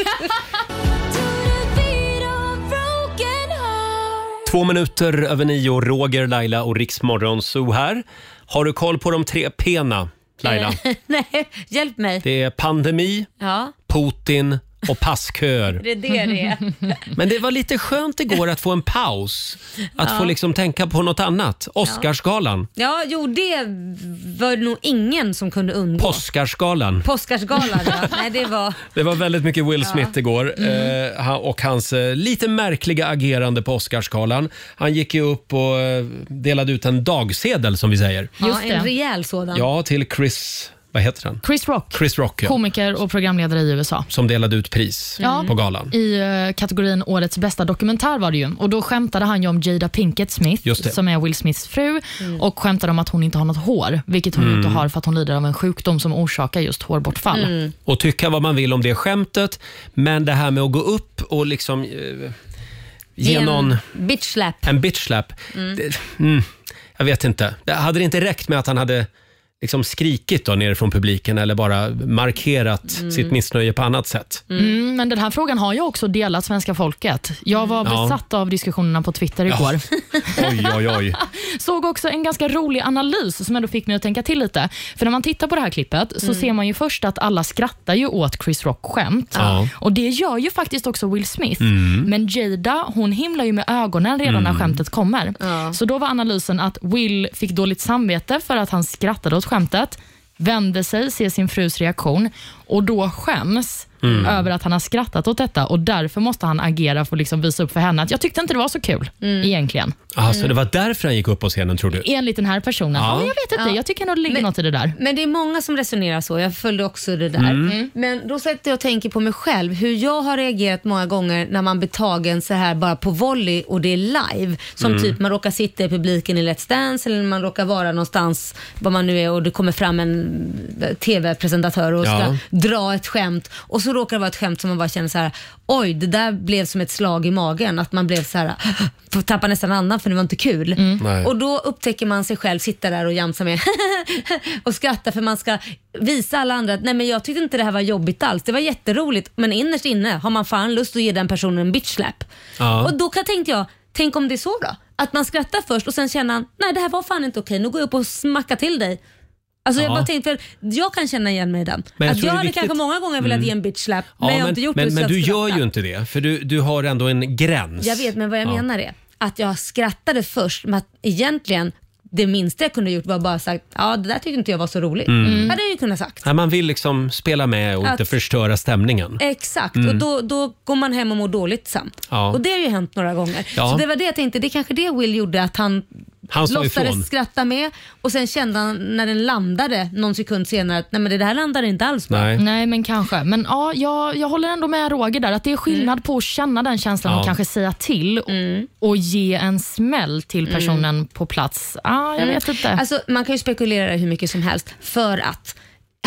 Speaker 1: Två minuter över nio, Roger, Laila och Riksmorgon Zoo här. Har du koll på de tre P'na,
Speaker 2: Eh.
Speaker 1: Laila?
Speaker 2: Nej, hjälp mig.
Speaker 1: Det är pandemi,
Speaker 2: Ja,
Speaker 1: Putin och passköer.
Speaker 2: det är det det är.
Speaker 1: Men det var lite skönt igår att få en paus. Att
Speaker 2: Ja.
Speaker 1: få liksom tänka på något annat. Oscarsgalan.
Speaker 2: Ja, jo det var nog ingen som kunde undgå.
Speaker 1: Oscarsgalan.
Speaker 2: Påskarsgalan ja. Nej, det var...
Speaker 1: Det var väldigt mycket Will Smith igår eh, han- och hans eh, lite märkliga agerande på Oscarsgalan. Han gick ju upp och eh, delade ut en dagsedel som vi säger.
Speaker 2: ja, en rejäl sådan.
Speaker 1: Ja, till Chris, vad heter han?
Speaker 3: Chris Rock,
Speaker 1: Chris Rock ja,
Speaker 3: komiker och programledare i USA.
Speaker 1: som delade ut pris
Speaker 2: Mm.
Speaker 3: Ja,
Speaker 1: på galan.
Speaker 3: I eh, kategorin Årets bästa dokumentär var det ju. Och Då skämtade han ju om Jada Pinkett
Speaker 1: Just
Speaker 3: Smith,
Speaker 1: det.
Speaker 3: som är Will Smiths fru, och skämtade om att hon inte har något hår, vilket hon ju inte
Speaker 1: Mm.
Speaker 3: har för att hon lider av en sjukdom som orsakar just hårbortfall.
Speaker 1: Och tycka vad man vill om det skämtet, men det här med att gå upp och liksom eh, ge någon
Speaker 2: En bitch slap.
Speaker 1: en bitch slap.
Speaker 2: Mm.
Speaker 1: Det, mm, jag vet inte. Det- Hade det inte räckt med att han hade liksom skrikit då nerifrån publiken eller bara markerat
Speaker 3: Mm.
Speaker 1: sitt missnöje på annat sätt?
Speaker 3: Mm. men den här frågan har ju också delat svenska folket. Jag var
Speaker 1: Mm. Ja.
Speaker 3: besatt av diskussionerna på Twitter igår.
Speaker 1: Oj, oj,
Speaker 2: Mm.
Speaker 1: oj.
Speaker 3: Såg också en ganska rolig analys som ändå fick mig att tänka till lite. För när man tittar på det här klippet så
Speaker 12: Mm.
Speaker 3: ser man ju först att alla skrattar ju åt Chris Rock skämt.
Speaker 12: Ja.
Speaker 3: Och det gör ju faktiskt också Will Smith.
Speaker 12: Mm.
Speaker 3: Men Jada, hon himlar ju med ögonen redan när
Speaker 12: Mm.
Speaker 3: skämtet kommer. Så då var analysen att Will fick dåligt samvete för att han skrattade åt skämtet, vände sig, ser sin frus reaktion och då skäms
Speaker 12: Mm.
Speaker 3: över att han har skrattat åt detta och därför måste han agera för att liksom visa upp för henne att jag tyckte inte det var så kul egentligen.
Speaker 1: Ah, Så
Speaker 3: Mm.
Speaker 1: det var därför han gick upp på scenen tror du?
Speaker 3: Enligt den här personen.
Speaker 1: Ja.
Speaker 3: Ja. men jag vet inte,
Speaker 2: Ja.
Speaker 3: jag tycker nog det ligger något i det där.
Speaker 2: Men det är många som resonerar så. Jag följde också det där.
Speaker 3: Mm. Mm.
Speaker 2: Men då sätter jag och tänker på mig själv, hur jag har reagerat många gånger när man blir tagen så här bara på volley och det är live. Som
Speaker 8: Mm.
Speaker 2: typ man råkar sitta i publiken i Let's Dance eller man råkar vara någonstans, var man nu är, och det kommer fram en eh, TV-presentatör och ska
Speaker 8: Ja.
Speaker 2: dra ett skämt och så råkar det vara ett skämt som man bara känner så här: oj det där blev som ett slag i magen. Att man blev så här, tappar nästan andan för det var inte kul.
Speaker 1: Mm. Eh.
Speaker 12: Nej.
Speaker 2: Och då upptäcker man sig själv sitta där och jamsa med och skratta för man ska visa alla andra att nej men jag tyckte inte det här var jobbigt alls. Det var jätteroligt men innerst inne har man fan lust att ge den personen en bitch slap.
Speaker 12: Ja.
Speaker 2: Och då kan- tänkte jag, tänk om det är så då? Att man skrattar först och sen känner nej det här var fan inte okej, nu går jag upp och smackar till dig. Alltså jag
Speaker 1: Ja.
Speaker 2: bara tänkte, för jag kan känna igen mig i den.
Speaker 1: Men jag
Speaker 2: att
Speaker 1: tror
Speaker 2: jag
Speaker 1: det är
Speaker 2: hade
Speaker 1: viktigt-
Speaker 2: kanske många gånger velat
Speaker 1: Mm.
Speaker 2: ge en bitch slap
Speaker 1: Ja,
Speaker 2: men jag har inte gjort det
Speaker 1: men,
Speaker 2: så
Speaker 1: men
Speaker 2: jag
Speaker 1: du gör
Speaker 2: skrattar.
Speaker 1: ju inte det, för du, du har ändå en gräns.
Speaker 2: Jag vet, men vad jag
Speaker 1: Ja.
Speaker 2: menar är att jag skrattade först men att egentligen det minsta jag kunde gjort var bara sagt ja det där tyckte inte jag var så roligt.
Speaker 1: Mm.
Speaker 2: Mm. Hade jag ju kunnat sagt.
Speaker 1: Nej, man vill liksom spela med och inte
Speaker 2: Att-
Speaker 1: förstöra stämningen.
Speaker 2: Exakt,
Speaker 1: Mm.
Speaker 2: och då, då går man hem och mår dåligt sen.
Speaker 1: Ja.
Speaker 2: Och det har ju hänt några gånger.
Speaker 1: Ja.
Speaker 2: Så det var det jag tänkte, det är kanske det Will gjorde att han,
Speaker 1: Han sa ifrån.
Speaker 2: låtsades skratta med och sen kände han när den landade någon sekund senare att nej men det här landade inte alls bra.
Speaker 1: Nej.
Speaker 3: Nej, men kanske. Men ja, jag, jag håller ändå med Roger där, att det är skillnad
Speaker 2: Mm.
Speaker 3: på att känna den känslan
Speaker 1: Ja.
Speaker 3: och kanske säga till och, och ge en smäll till personen på plats. Ah, jag
Speaker 2: Mm.
Speaker 3: vet inte.
Speaker 2: Alltså, man kan ju spekulera hur mycket som helst för att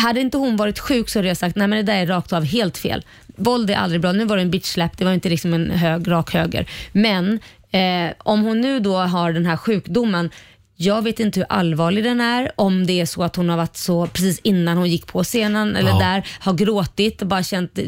Speaker 2: hade inte hon varit sjuk så hade jag sagt nej men det där är rakt av helt fel. Våld är aldrig bra. Nu var det en bitch slap, det var inte liksom en hög, rak höger. Men eh, om hon nu då har den här sjukdomen jag vet inte hur allvarlig den är, om det är så att hon har varit så precis innan hon gick på scenen eller
Speaker 8: Ja.
Speaker 2: där, har gråtit och bara känt,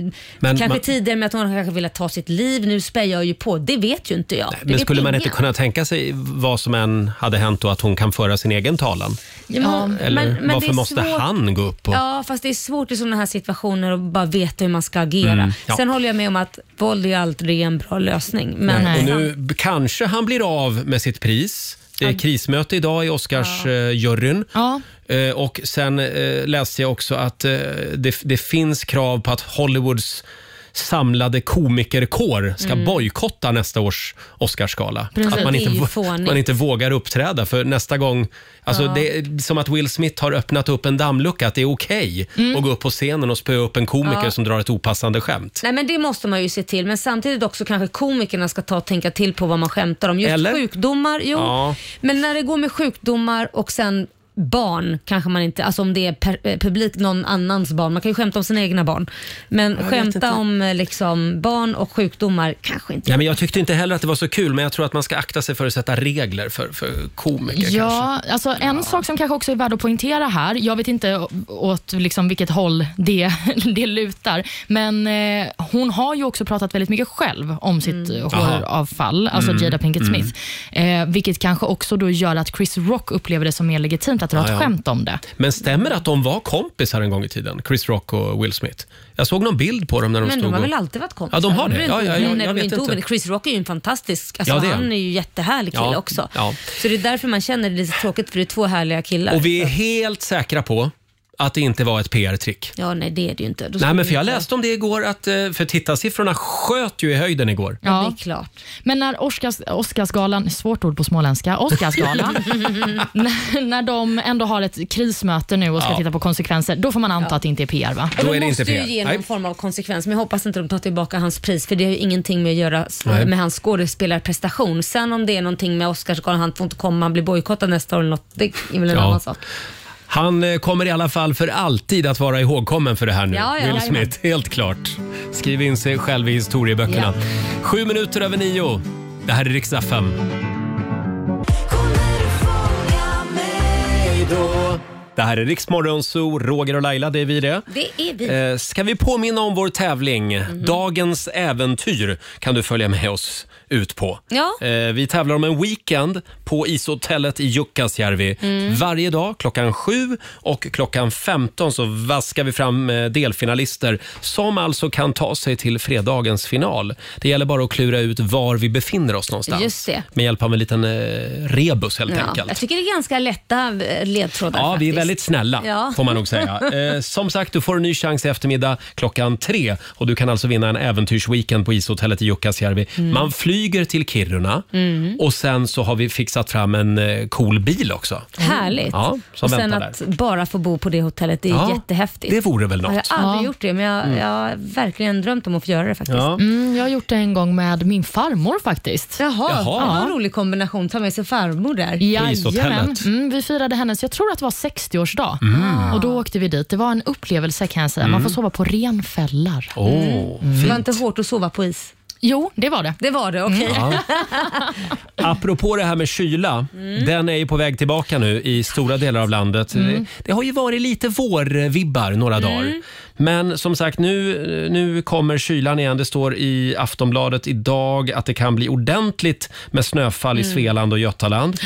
Speaker 2: kanske
Speaker 1: man-
Speaker 2: tidigare med att hon kanske ville ta sitt liv, nu spejar jag ju på, det vet ju inte jag. Det
Speaker 1: Men
Speaker 2: vet
Speaker 1: skulle man
Speaker 2: ingen.
Speaker 1: inte kunna tänka sig vad som än hade hänt då att hon kan föra sin egen talan?
Speaker 2: Ja, men hon-
Speaker 1: Eller
Speaker 2: men- men det
Speaker 1: varför
Speaker 2: är
Speaker 1: måste
Speaker 2: svårt-
Speaker 1: han gå upp? Och...
Speaker 2: Ja, fast det är svårt i sådana här situationer att bara veta hur man ska agera.
Speaker 1: Mm, ja.
Speaker 2: Sen håller jag med om att våld är aldrig en bra lösning. Men
Speaker 1: Nej. Och nu b- kanske han blir av med sitt pris. Det är krismöte idag i Oscarsjuryn.
Speaker 3: Ja.
Speaker 1: Eh, Och sen eh, läste jag också att eh, det, det finns krav på att Hollywoods samlade komikerkår ska
Speaker 2: Mm.
Speaker 1: bojkotta nästa års Oscarsgala.
Speaker 2: Precis.
Speaker 1: Att man
Speaker 2: Det är
Speaker 1: inte,
Speaker 2: ju
Speaker 1: vå-
Speaker 2: fånigt.
Speaker 1: man inte vågar uppträda för nästa gång. Alltså
Speaker 2: Ja.
Speaker 1: Det är som att Will Smith har öppnat upp en dammlucka att det är okej
Speaker 2: Mm.
Speaker 1: att gå upp på scenen och spöa upp en komiker
Speaker 2: Ja.
Speaker 1: som drar ett opassande skämt.
Speaker 2: Nej men det måste man ju se till, men samtidigt också kanske komikerna ska ta och tänka till på vad man skämtar om. Just
Speaker 1: Eller?
Speaker 2: sjukdomar, jo.
Speaker 1: Ja.
Speaker 2: Men när det går med sjukdomar och sen barn kanske man inte, alltså om det är per, eh, publik, någon annans barn. Man kan ju skämta om sina egna barn. Men
Speaker 1: vet
Speaker 2: skämta
Speaker 1: inte.
Speaker 2: om eh, liksom, barn och sjukdomar kanske inte.
Speaker 1: Nej, men jag tyckte inte heller att det var så kul, men jag tror att man ska akta sig för att sätta regler för, för komiker.
Speaker 3: Ja, alltså en sak som kanske också är värd att poängtera här, jag vet inte å- åt liksom vilket håll det, det lutar, men eh, hon har ju också pratat väldigt mycket själv om sitt mm. håravfall, alltså
Speaker 12: Mm,
Speaker 3: Jada Pinkett
Speaker 12: mm.
Speaker 3: Smith, eh, vilket kanske också då gör att Chris Rock upplever det som mer legitimt att dra
Speaker 1: Ja,
Speaker 3: ett
Speaker 1: ja.
Speaker 3: skämt om det.
Speaker 1: Men stämmer det att de var kompisar en gång i tiden? Chris Rock och Will Smith. Jag såg någon bild på dem när de
Speaker 2: men
Speaker 1: stod
Speaker 2: de har
Speaker 1: och...
Speaker 2: väl alltid varit kompisar?
Speaker 1: Ja, de har det.
Speaker 2: är väl
Speaker 1: Ja,
Speaker 2: inte-
Speaker 1: ja, ja,
Speaker 2: nej, de
Speaker 1: jag
Speaker 2: är
Speaker 1: vet
Speaker 2: inte
Speaker 1: inte.
Speaker 2: ovänner. Chris Rock är ju en fantastisk, alltså,
Speaker 1: Ja, det är
Speaker 2: han
Speaker 1: han.
Speaker 2: är ju jättehärlig kille
Speaker 1: Ja,
Speaker 2: också.
Speaker 1: ja.
Speaker 2: Så det är därför man känner det är lite tråkigt för det är två härliga killar.
Speaker 1: Och vi är helt säkra på att det inte var ett PR-trick.
Speaker 2: Ja, nej det är det ju inte. Då
Speaker 1: Nej,
Speaker 2: skulle
Speaker 1: men för
Speaker 2: vi
Speaker 1: jag
Speaker 2: inte-
Speaker 1: läste om det igår, att, eh, för tittarsiffrorna sköt ju i höjden igår.
Speaker 3: Ja,
Speaker 2: det är klart.
Speaker 3: Men när Oscars, Oscarsgalan, svårt ord på småländska, Oscarsgalan, när, när de ändå har ett krismöte nu och ska
Speaker 2: Ja.
Speaker 3: titta på konsekvenser, då får man anta att det inte är PR va?
Speaker 2: Och de måste ju ge någon form av konsekvens, men jag hoppas inte de tar tillbaka hans pris, för det har ju ingenting med att göra s-
Speaker 3: Nej.
Speaker 2: med hans skådespelarprestation. Sen om det är någonting med Oscarsgalan, han får inte komma, han blir bojkottad nästa år eller något, det är väl en
Speaker 1: Ja.
Speaker 2: annan sak.
Speaker 1: Han eh, kommer i alla fall för alltid att vara ihågkommen för det här nu.
Speaker 2: Ja, ja,
Speaker 1: Will
Speaker 2: jajamän.
Speaker 1: Smith, helt klart. Skriv in sig själv i historieböckerna. Sju minuter över nio. Det här är riksdag 5. Det här är Riksmorgon Zoo, Roger och Laila, det är vi det.
Speaker 2: Det är vi.
Speaker 1: Eh, Ska vi påminna om vår tävling?
Speaker 2: Mhm.
Speaker 1: Dagens äventyr kan du följa med oss ut på.
Speaker 2: Ja.
Speaker 1: Eh, Vi tävlar om en weekend på ishotellet i Jukkasjärvi.
Speaker 2: Mm.
Speaker 1: Varje dag klockan 7 och klockan 15 så vaskar vi fram eh, delfinalister som alltså kan ta sig till fredagens final. Det gäller bara att klura ut var vi befinner oss någonstans.
Speaker 2: Just det.
Speaker 1: Med hjälp av en liten eh, rebus helt
Speaker 2: Ja.
Speaker 1: enkelt.
Speaker 2: Jag tycker det är ganska lätta eh, ledtrådar
Speaker 1: Ja, vi är
Speaker 2: faktiskt.
Speaker 1: väldigt snälla
Speaker 2: Ja.
Speaker 1: får man nog säga. Eh, som sagt, du får en ny chans i eftermiddag klockan tre och du kan alltså vinna en äventyrsweekend på ishotellet i Jukkasjärvi.
Speaker 12: Mm.
Speaker 1: Man flyger till Kiruna
Speaker 2: Mm.
Speaker 1: och sen så har vi fixat fram en eh, cool bil också.
Speaker 2: Härligt.
Speaker 1: Mm. Ja, som
Speaker 2: och sen
Speaker 1: väntar
Speaker 2: att
Speaker 1: där.
Speaker 2: bara få bo på det hotellet, det är
Speaker 1: Ja,
Speaker 2: jättehäftigt.
Speaker 1: det vore väl något.
Speaker 2: Jag har aldrig
Speaker 1: Ja.
Speaker 2: gjort det, men jag,
Speaker 1: Mm.
Speaker 2: jag har verkligen drömt om att få göra det faktiskt.
Speaker 1: Ja.
Speaker 3: Mm, jag har gjort det en gång med min farmor faktiskt.
Speaker 2: Jaha,
Speaker 3: Jaha.
Speaker 2: Jaha. en rolig kombination. Ta med sig farmor där.
Speaker 3: Jajamän. Mm, vi firade hennes, jag tror att det var 60-årsdag.
Speaker 2: Mm.
Speaker 3: Och Då åkte vi dit. Det var en upplevelse kan jag säga. Man
Speaker 2: Mm.
Speaker 3: får sova på renfällar.
Speaker 1: Åh,
Speaker 2: Det var inte hårt att sova på is.
Speaker 3: Jo, det var det.
Speaker 2: Det var det, okej.
Speaker 1: Ja. Apropå det här med kyla, den är ju på väg tillbaka nu i stora delar av landet. Det, det har ju varit lite vårvibbar några dagar. Men som sagt, nu, nu kommer kylan igen. Det står i Aftonbladet idag att det kan bli ordentligt med snöfall i
Speaker 12: Mm.
Speaker 1: Svealand och Götaland.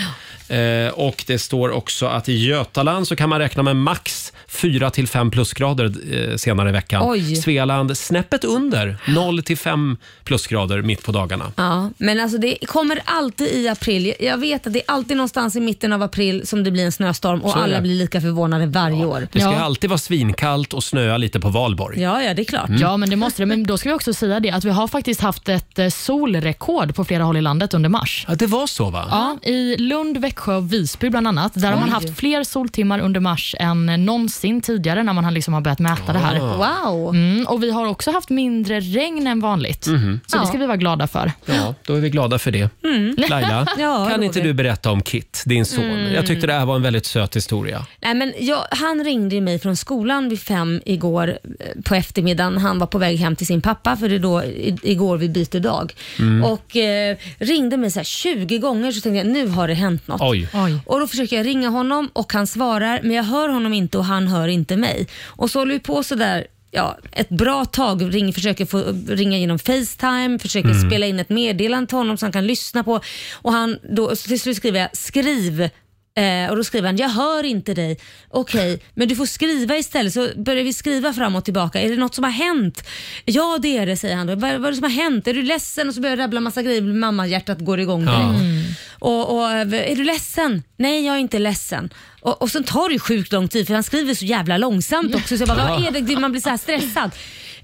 Speaker 1: Eh, och det står också att i Götaland så kan man räkna med max 4-5 plusgrader eh, senare i veckan.
Speaker 2: Oj.
Speaker 1: Svealand snäppet under 0-5 plusgrader mitt på dagarna.
Speaker 2: Ja, men alltså det kommer alltid i april. Jag vet att det är alltid någonstans i mitten av april som det blir en snöstorm och
Speaker 1: Så är
Speaker 2: alla
Speaker 1: det.
Speaker 2: blir lika förvånade varje år.
Speaker 1: Det ska ju alltid vara svinkallt och snöa lite på valborg.
Speaker 2: Ja, ja, det är klart.
Speaker 1: Mm.
Speaker 3: Ja, men det måste det. Men då ska vi också säga det att vi har faktiskt haft ett eh, solrekord på flera håll i landet under mars.
Speaker 1: Ja, det var så va?
Speaker 3: Ja, I Lund, Växjö och Visby bland annat. Där har man
Speaker 1: Oj.
Speaker 3: haft fler soltimmar under mars än eh, någonsin tidigare när man har liksom har börjat mäta det här.
Speaker 1: Ah.
Speaker 2: Wow!
Speaker 3: Mm, och Vi har också haft mindre regn än vanligt.
Speaker 1: Mhm.
Speaker 3: Så det ska vi vara glada för.
Speaker 1: Ja, då är vi glada för det.
Speaker 2: Mm.
Speaker 1: Laila,
Speaker 2: Ja,
Speaker 1: kan inte
Speaker 2: Roger.
Speaker 1: du berätta om Kit, din son?
Speaker 2: Mm.
Speaker 1: Jag tyckte det här var en väldigt söt historia.
Speaker 2: Nej, men jag, han ringde ju mig från skolan vid fem igår eh, på eftermiddagen. Han var på väg hem till sin pappa, för det är då i, igår vi byter dag.
Speaker 12: Mm.
Speaker 2: Och eh, ringde mig så här 20 gånger så tänkte jag nu har det hänt något.
Speaker 12: Oj. Oj.
Speaker 2: Och då försöker jag ringa honom och han svarar men jag hör honom inte och han hör inte mig. Och så håller vi på sådär Ja, ett bra tag, ring, försöker få, ringa genom Facetime, försöker
Speaker 12: Mm.
Speaker 2: spela in ett meddelande till honom som han kan lyssna på. Och han, då, så till slut skriver jag skriv Eh, och då skriver han, jag hör inte dig. Okej, men du får skriva istället. Så börjar vi skriva fram och tillbaka. Är det något som har hänt? Ja, det är det, säger han. Då. Vad, vad är det som har hänt? Är du ledsen? Och så börjar jag rabbla massa grejer. Mamma-hjärtat går igång direkt.
Speaker 12: Ja. Mm.
Speaker 2: Och, och, är du ledsen? Nej, jag är inte ledsen. Och, och sen tar det ju sjukt lång tid för han skriver så jävla långsamt också. Så jag bara,
Speaker 12: Mm. Ja.
Speaker 2: vad är det? Man blir så här stressad.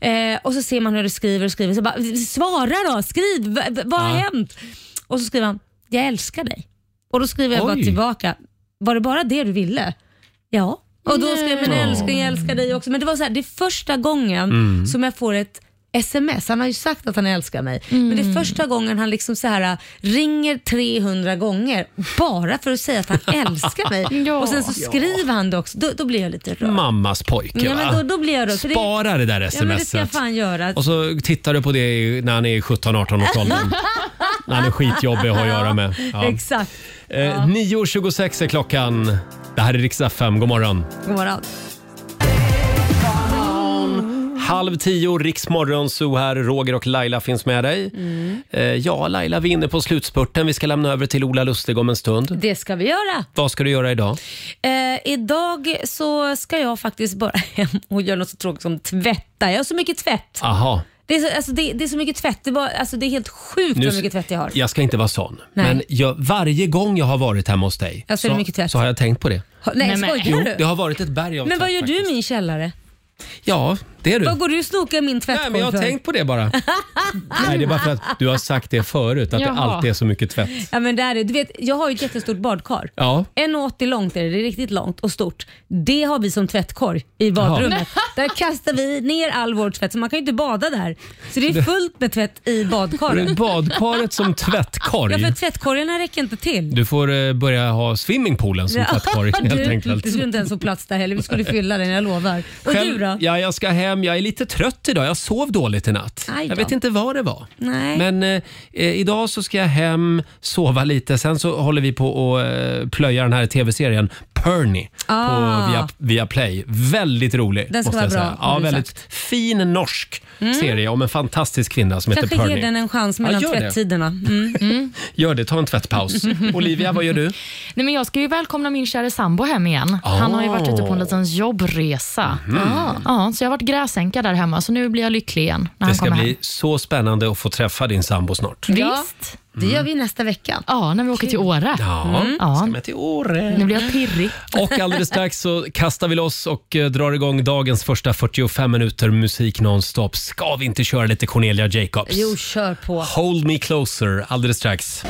Speaker 2: Eh, och så ser man hur du skriver och skriver. Så bara, svara då, skriv, v- v- vad har
Speaker 12: Ja.
Speaker 2: hänt? Och så skriver han, jag älskar dig. Och då skriver jag bara
Speaker 12: Oj.
Speaker 2: tillbaka, var det bara det du ville? Ja. Och då skrev jag, men
Speaker 12: Nej.
Speaker 2: älskling jag älskar dig också. Men det var så här, det är första gången
Speaker 12: Mm.
Speaker 2: som jag får ett sms. Han har ju sagt att han älskar mig. Men
Speaker 1: Mm.
Speaker 2: det är första gången han liksom så här, äh, ringer 300 gånger bara för att säga att han älskar mig.
Speaker 1: Ja.
Speaker 2: Och sen så
Speaker 1: Ja.
Speaker 2: skriver han det också. Då, då blir jag lite rörd.
Speaker 1: Mammas pojke
Speaker 2: Ja,
Speaker 1: va?
Speaker 2: men då, då blir jag rörd. för det-
Speaker 1: Spara det där
Speaker 2: Ja, men det ska jag
Speaker 1: smset.
Speaker 2: fan göra.
Speaker 1: Och så tittar du på det i- när han är i 17-18 års åldern. när han är skitjobbig att ha att göra med. Ja.
Speaker 2: Exakt.
Speaker 1: Eh, 9.26 är klockan. Det här är riksdag 5. God morgon.
Speaker 2: God morgon.
Speaker 1: Halv tio, Riksmorgon, så här. Roger och Laila finns med dig. Eh, ja, Laila, vi är inne på slutspurten. Vi ska lämna över till Ola Lustig om en stund.
Speaker 2: Det ska vi göra.
Speaker 1: Vad ska du göra idag?
Speaker 2: Eh, idag så ska jag faktiskt bara hem och göra något så tråkigt som tvätta. Jag har så mycket tvätt.
Speaker 1: Aha.
Speaker 2: Det är, så, alltså det, det är så mycket tvätt. Det, var, alltså det är helt sjukt
Speaker 1: Nu-
Speaker 2: hur mycket tvätt jag har.
Speaker 1: Jag ska inte vara sån,
Speaker 2: Nej.
Speaker 1: men jag, varje gång jag har varit hemma hos dig
Speaker 2: Ja, så är det
Speaker 1: så,
Speaker 2: mycket tvätt.
Speaker 1: så har jag tänkt på det.
Speaker 2: Ha- nej, Nej, men- skojar
Speaker 1: jo,
Speaker 2: du?
Speaker 1: Det har varit ett berg av
Speaker 2: Men vad
Speaker 1: tvätt
Speaker 2: gör
Speaker 1: faktiskt.
Speaker 2: du i min källare?
Speaker 1: Ja, det är du.
Speaker 2: Vad går du och snokar i min
Speaker 1: Nej,
Speaker 2: tvättkorg
Speaker 1: men jag har
Speaker 2: för?
Speaker 1: tänkt på det bara. Nej, det är bara för att du har sagt det förut, att
Speaker 2: Jaha.
Speaker 1: det alltid är så mycket tvätt.
Speaker 2: Ja, men där är, du vet, jag har ju ett jättestort badkar.
Speaker 1: Ja.
Speaker 2: 1,80 långt är det, det är riktigt långt och stort. Det har vi som tvättkorg i badrummet. Där kastar vi ner all vår tvätt, så man kan ju inte bada där. Så det är fullt med tvätt i
Speaker 1: Men
Speaker 2: badkaret.
Speaker 1: Badkaret som
Speaker 2: Ja,
Speaker 1: tvättkorg.
Speaker 2: för tvättkorgarna räcker inte till.
Speaker 1: Du får eh, börja ha swimmingpoolen som tvättkorg
Speaker 2: du,
Speaker 1: helt enkelt.
Speaker 2: Du skulle inte ens få plats där heller. Vi skulle fylla den, jag lovar. Och
Speaker 1: Själv-
Speaker 2: du då?
Speaker 1: Ja, jag ska hem. Jag är lite trött idag. Jag sov dåligt i natt.
Speaker 2: Aj då.
Speaker 1: Jag vet inte vad det var.
Speaker 2: Nej.
Speaker 1: Men eh, eh, idag så ska jag hem, sova lite. Sen så håller vi på och eh, plöja den här tv-serien Perny
Speaker 2: Ah.
Speaker 1: på via, via Play. Väldigt rolig.
Speaker 2: Den ska
Speaker 1: måste
Speaker 2: vara
Speaker 1: jag
Speaker 2: bra,
Speaker 1: säga.
Speaker 2: har
Speaker 1: Ja,
Speaker 2: du
Speaker 1: väldigt fin norsk serie om en fantastisk kvinna som
Speaker 2: Kanske
Speaker 1: heter
Speaker 2: ger
Speaker 1: Perny.
Speaker 2: den en chans
Speaker 1: Ja,
Speaker 2: mellan
Speaker 1: gör det.
Speaker 2: tvättiderna. Mm. Mm.
Speaker 1: Gör det, ta en tvättpaus. Olivia, vad gör du?
Speaker 3: Nej, men jag ska ju välkomna min kära sambo hem igen. Han har ju varit ute på en liten jobbresa.
Speaker 1: Mhm.
Speaker 3: Ja, så jag har varit gräsänka där hemma, så nu blir jag lycklig igen när
Speaker 1: Det
Speaker 3: han
Speaker 1: ska
Speaker 3: kommer
Speaker 1: bli
Speaker 3: hem.
Speaker 1: så spännande att få träffa din sambo snart.
Speaker 3: Visst.
Speaker 2: Det gör vi nästa vecka.
Speaker 3: Ja, när vi åker till Åre.
Speaker 2: Mm.
Speaker 1: Ja, ska med till Åre.
Speaker 3: Nu blir jag pirrig.
Speaker 1: Och alldeles strax så kastar vi loss och eh, drar igång dagens första 45 minuter musik nonstop. Ska vi inte köra lite Cornelia Jacobs?
Speaker 2: Jo, kör på.
Speaker 1: Hold me closer alldeles strax.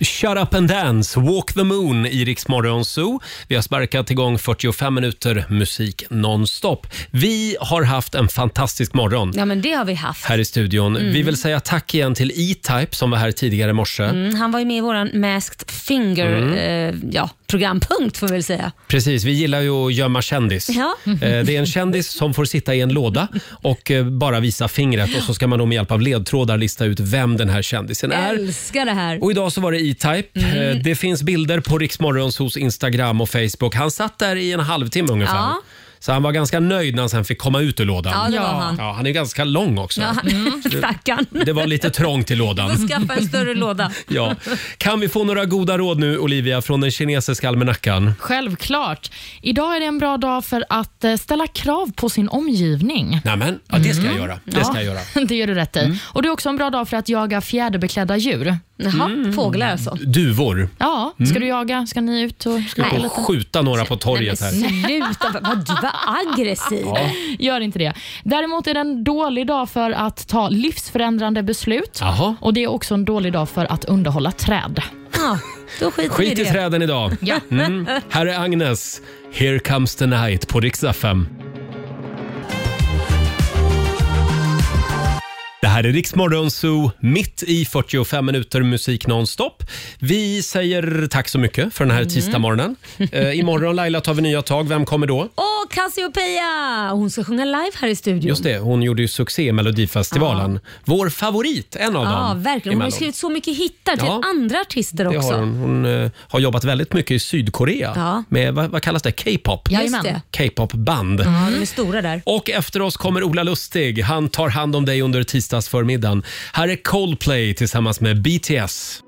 Speaker 1: Shut up and dance, walk the moon i Rix Morgon Zoo. Vi har sparkat igång 45 minuter musik nonstop. Vi har haft en fantastisk morgon
Speaker 2: Ja, men det har vi haft.
Speaker 1: här i studion.
Speaker 2: Mm.
Speaker 1: Vi vill säga tack igen till E-Type som var här tidigare i morse.
Speaker 2: Mm, han var ju med i våran Masked Finger
Speaker 1: Mm.
Speaker 2: eh, ja, programpunkt får vi väl säga.
Speaker 1: Precis, vi gillar ju att gömma kändis.
Speaker 2: Ja.
Speaker 1: Eh, Det är en kändis som får sitta i en låda och eh, bara visa fingret och så ska man då med hjälp av ledtrådar lista ut vem den här kändisen är.
Speaker 2: Älskar Mm. det här.
Speaker 1: Och idag så var det E-Type. Eh, Det finns bilder på Riksmorgons hos Instagram och Facebook. Han satt där i en halvtimme ungefär.
Speaker 2: Ja.
Speaker 1: Så han var ganska nöjd när han sen fick komma ut ur lådan.
Speaker 2: Ja, Mm. det var han.
Speaker 1: Ja, han är ganska lång också.
Speaker 2: Ja, stackarn.
Speaker 1: Det var lite trångt i lådan.
Speaker 2: Får skaffa en större låda.
Speaker 1: Ja. Kan vi få några goda råd nu, Olivia, från den kinesiska almanackan?
Speaker 3: Självklart. Idag är det en bra dag för att eh, ställa krav på sin omgivning.
Speaker 1: Nämen, ja, det
Speaker 2: Mm.
Speaker 1: ska jag göra. Det ska jag göra.
Speaker 3: det gör du rätt i.
Speaker 1: Mm.
Speaker 3: Och Det är också en bra dag för att jaga fjäderbeklädda djur.
Speaker 2: Jaha, fåglar alltså.
Speaker 1: Duvor.
Speaker 3: Ja, ska
Speaker 1: Mm.
Speaker 3: du jaga? Ska ni ut och
Speaker 1: Ska gå och skjuta några på torget här.
Speaker 2: Sluta, vad- vad du var aggressiv.
Speaker 1: Ja.
Speaker 3: Gör inte det. Däremot är det en dålig dag för att ta livsförändrande beslut.
Speaker 1: Jaha.
Speaker 3: Och Det är också en dålig dag för att underhålla träd.
Speaker 2: Ja, då skiter
Speaker 1: Skit i träden idag.
Speaker 3: Ja.
Speaker 1: Mm. Här är Agnes. Here comes the night på riksdag 5. Det här är Riksmorgon Zoo, mitt i 45 minuter musik nonstop. Vi säger tack så mycket för den här
Speaker 2: Mm.
Speaker 1: tisdagsmorgonen. Eh, imorgon Laila tar vi nya tag. Vem kommer då?
Speaker 2: Och Cassiopeia, hon ska sjunga live här i studion.
Speaker 1: Just det, hon gjorde ju succé i Melodifestivalen. Vår favorit, en av
Speaker 2: Ja, verkligen.
Speaker 1: dem.
Speaker 2: Hon har
Speaker 1: emellan.
Speaker 2: ju skrivit så mycket hittar till
Speaker 1: Ja.
Speaker 2: andra artister
Speaker 1: Det
Speaker 2: också.
Speaker 1: har hon. Hon eh, har jobbat väldigt mycket i Sydkorea
Speaker 2: Ja.
Speaker 1: med, vad, vad kallas det, K-pop?
Speaker 2: Ja, just det.
Speaker 1: K-pop-band.
Speaker 2: Ja, de är stora där.
Speaker 1: Och efter oss kommer Ola Lustig. Han tar hand om dig under tisdagsförmiddagen. Här är Coldplay tillsammans med BTS.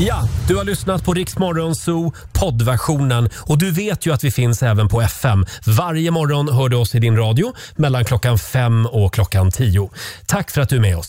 Speaker 1: Ja, du har lyssnat på Rix Morgon Zoo poddversionen och du vet ju att vi finns även på FM. Varje morgon hör du oss i din radio mellan klockan fem och klockan tio. Tack för att du är med oss.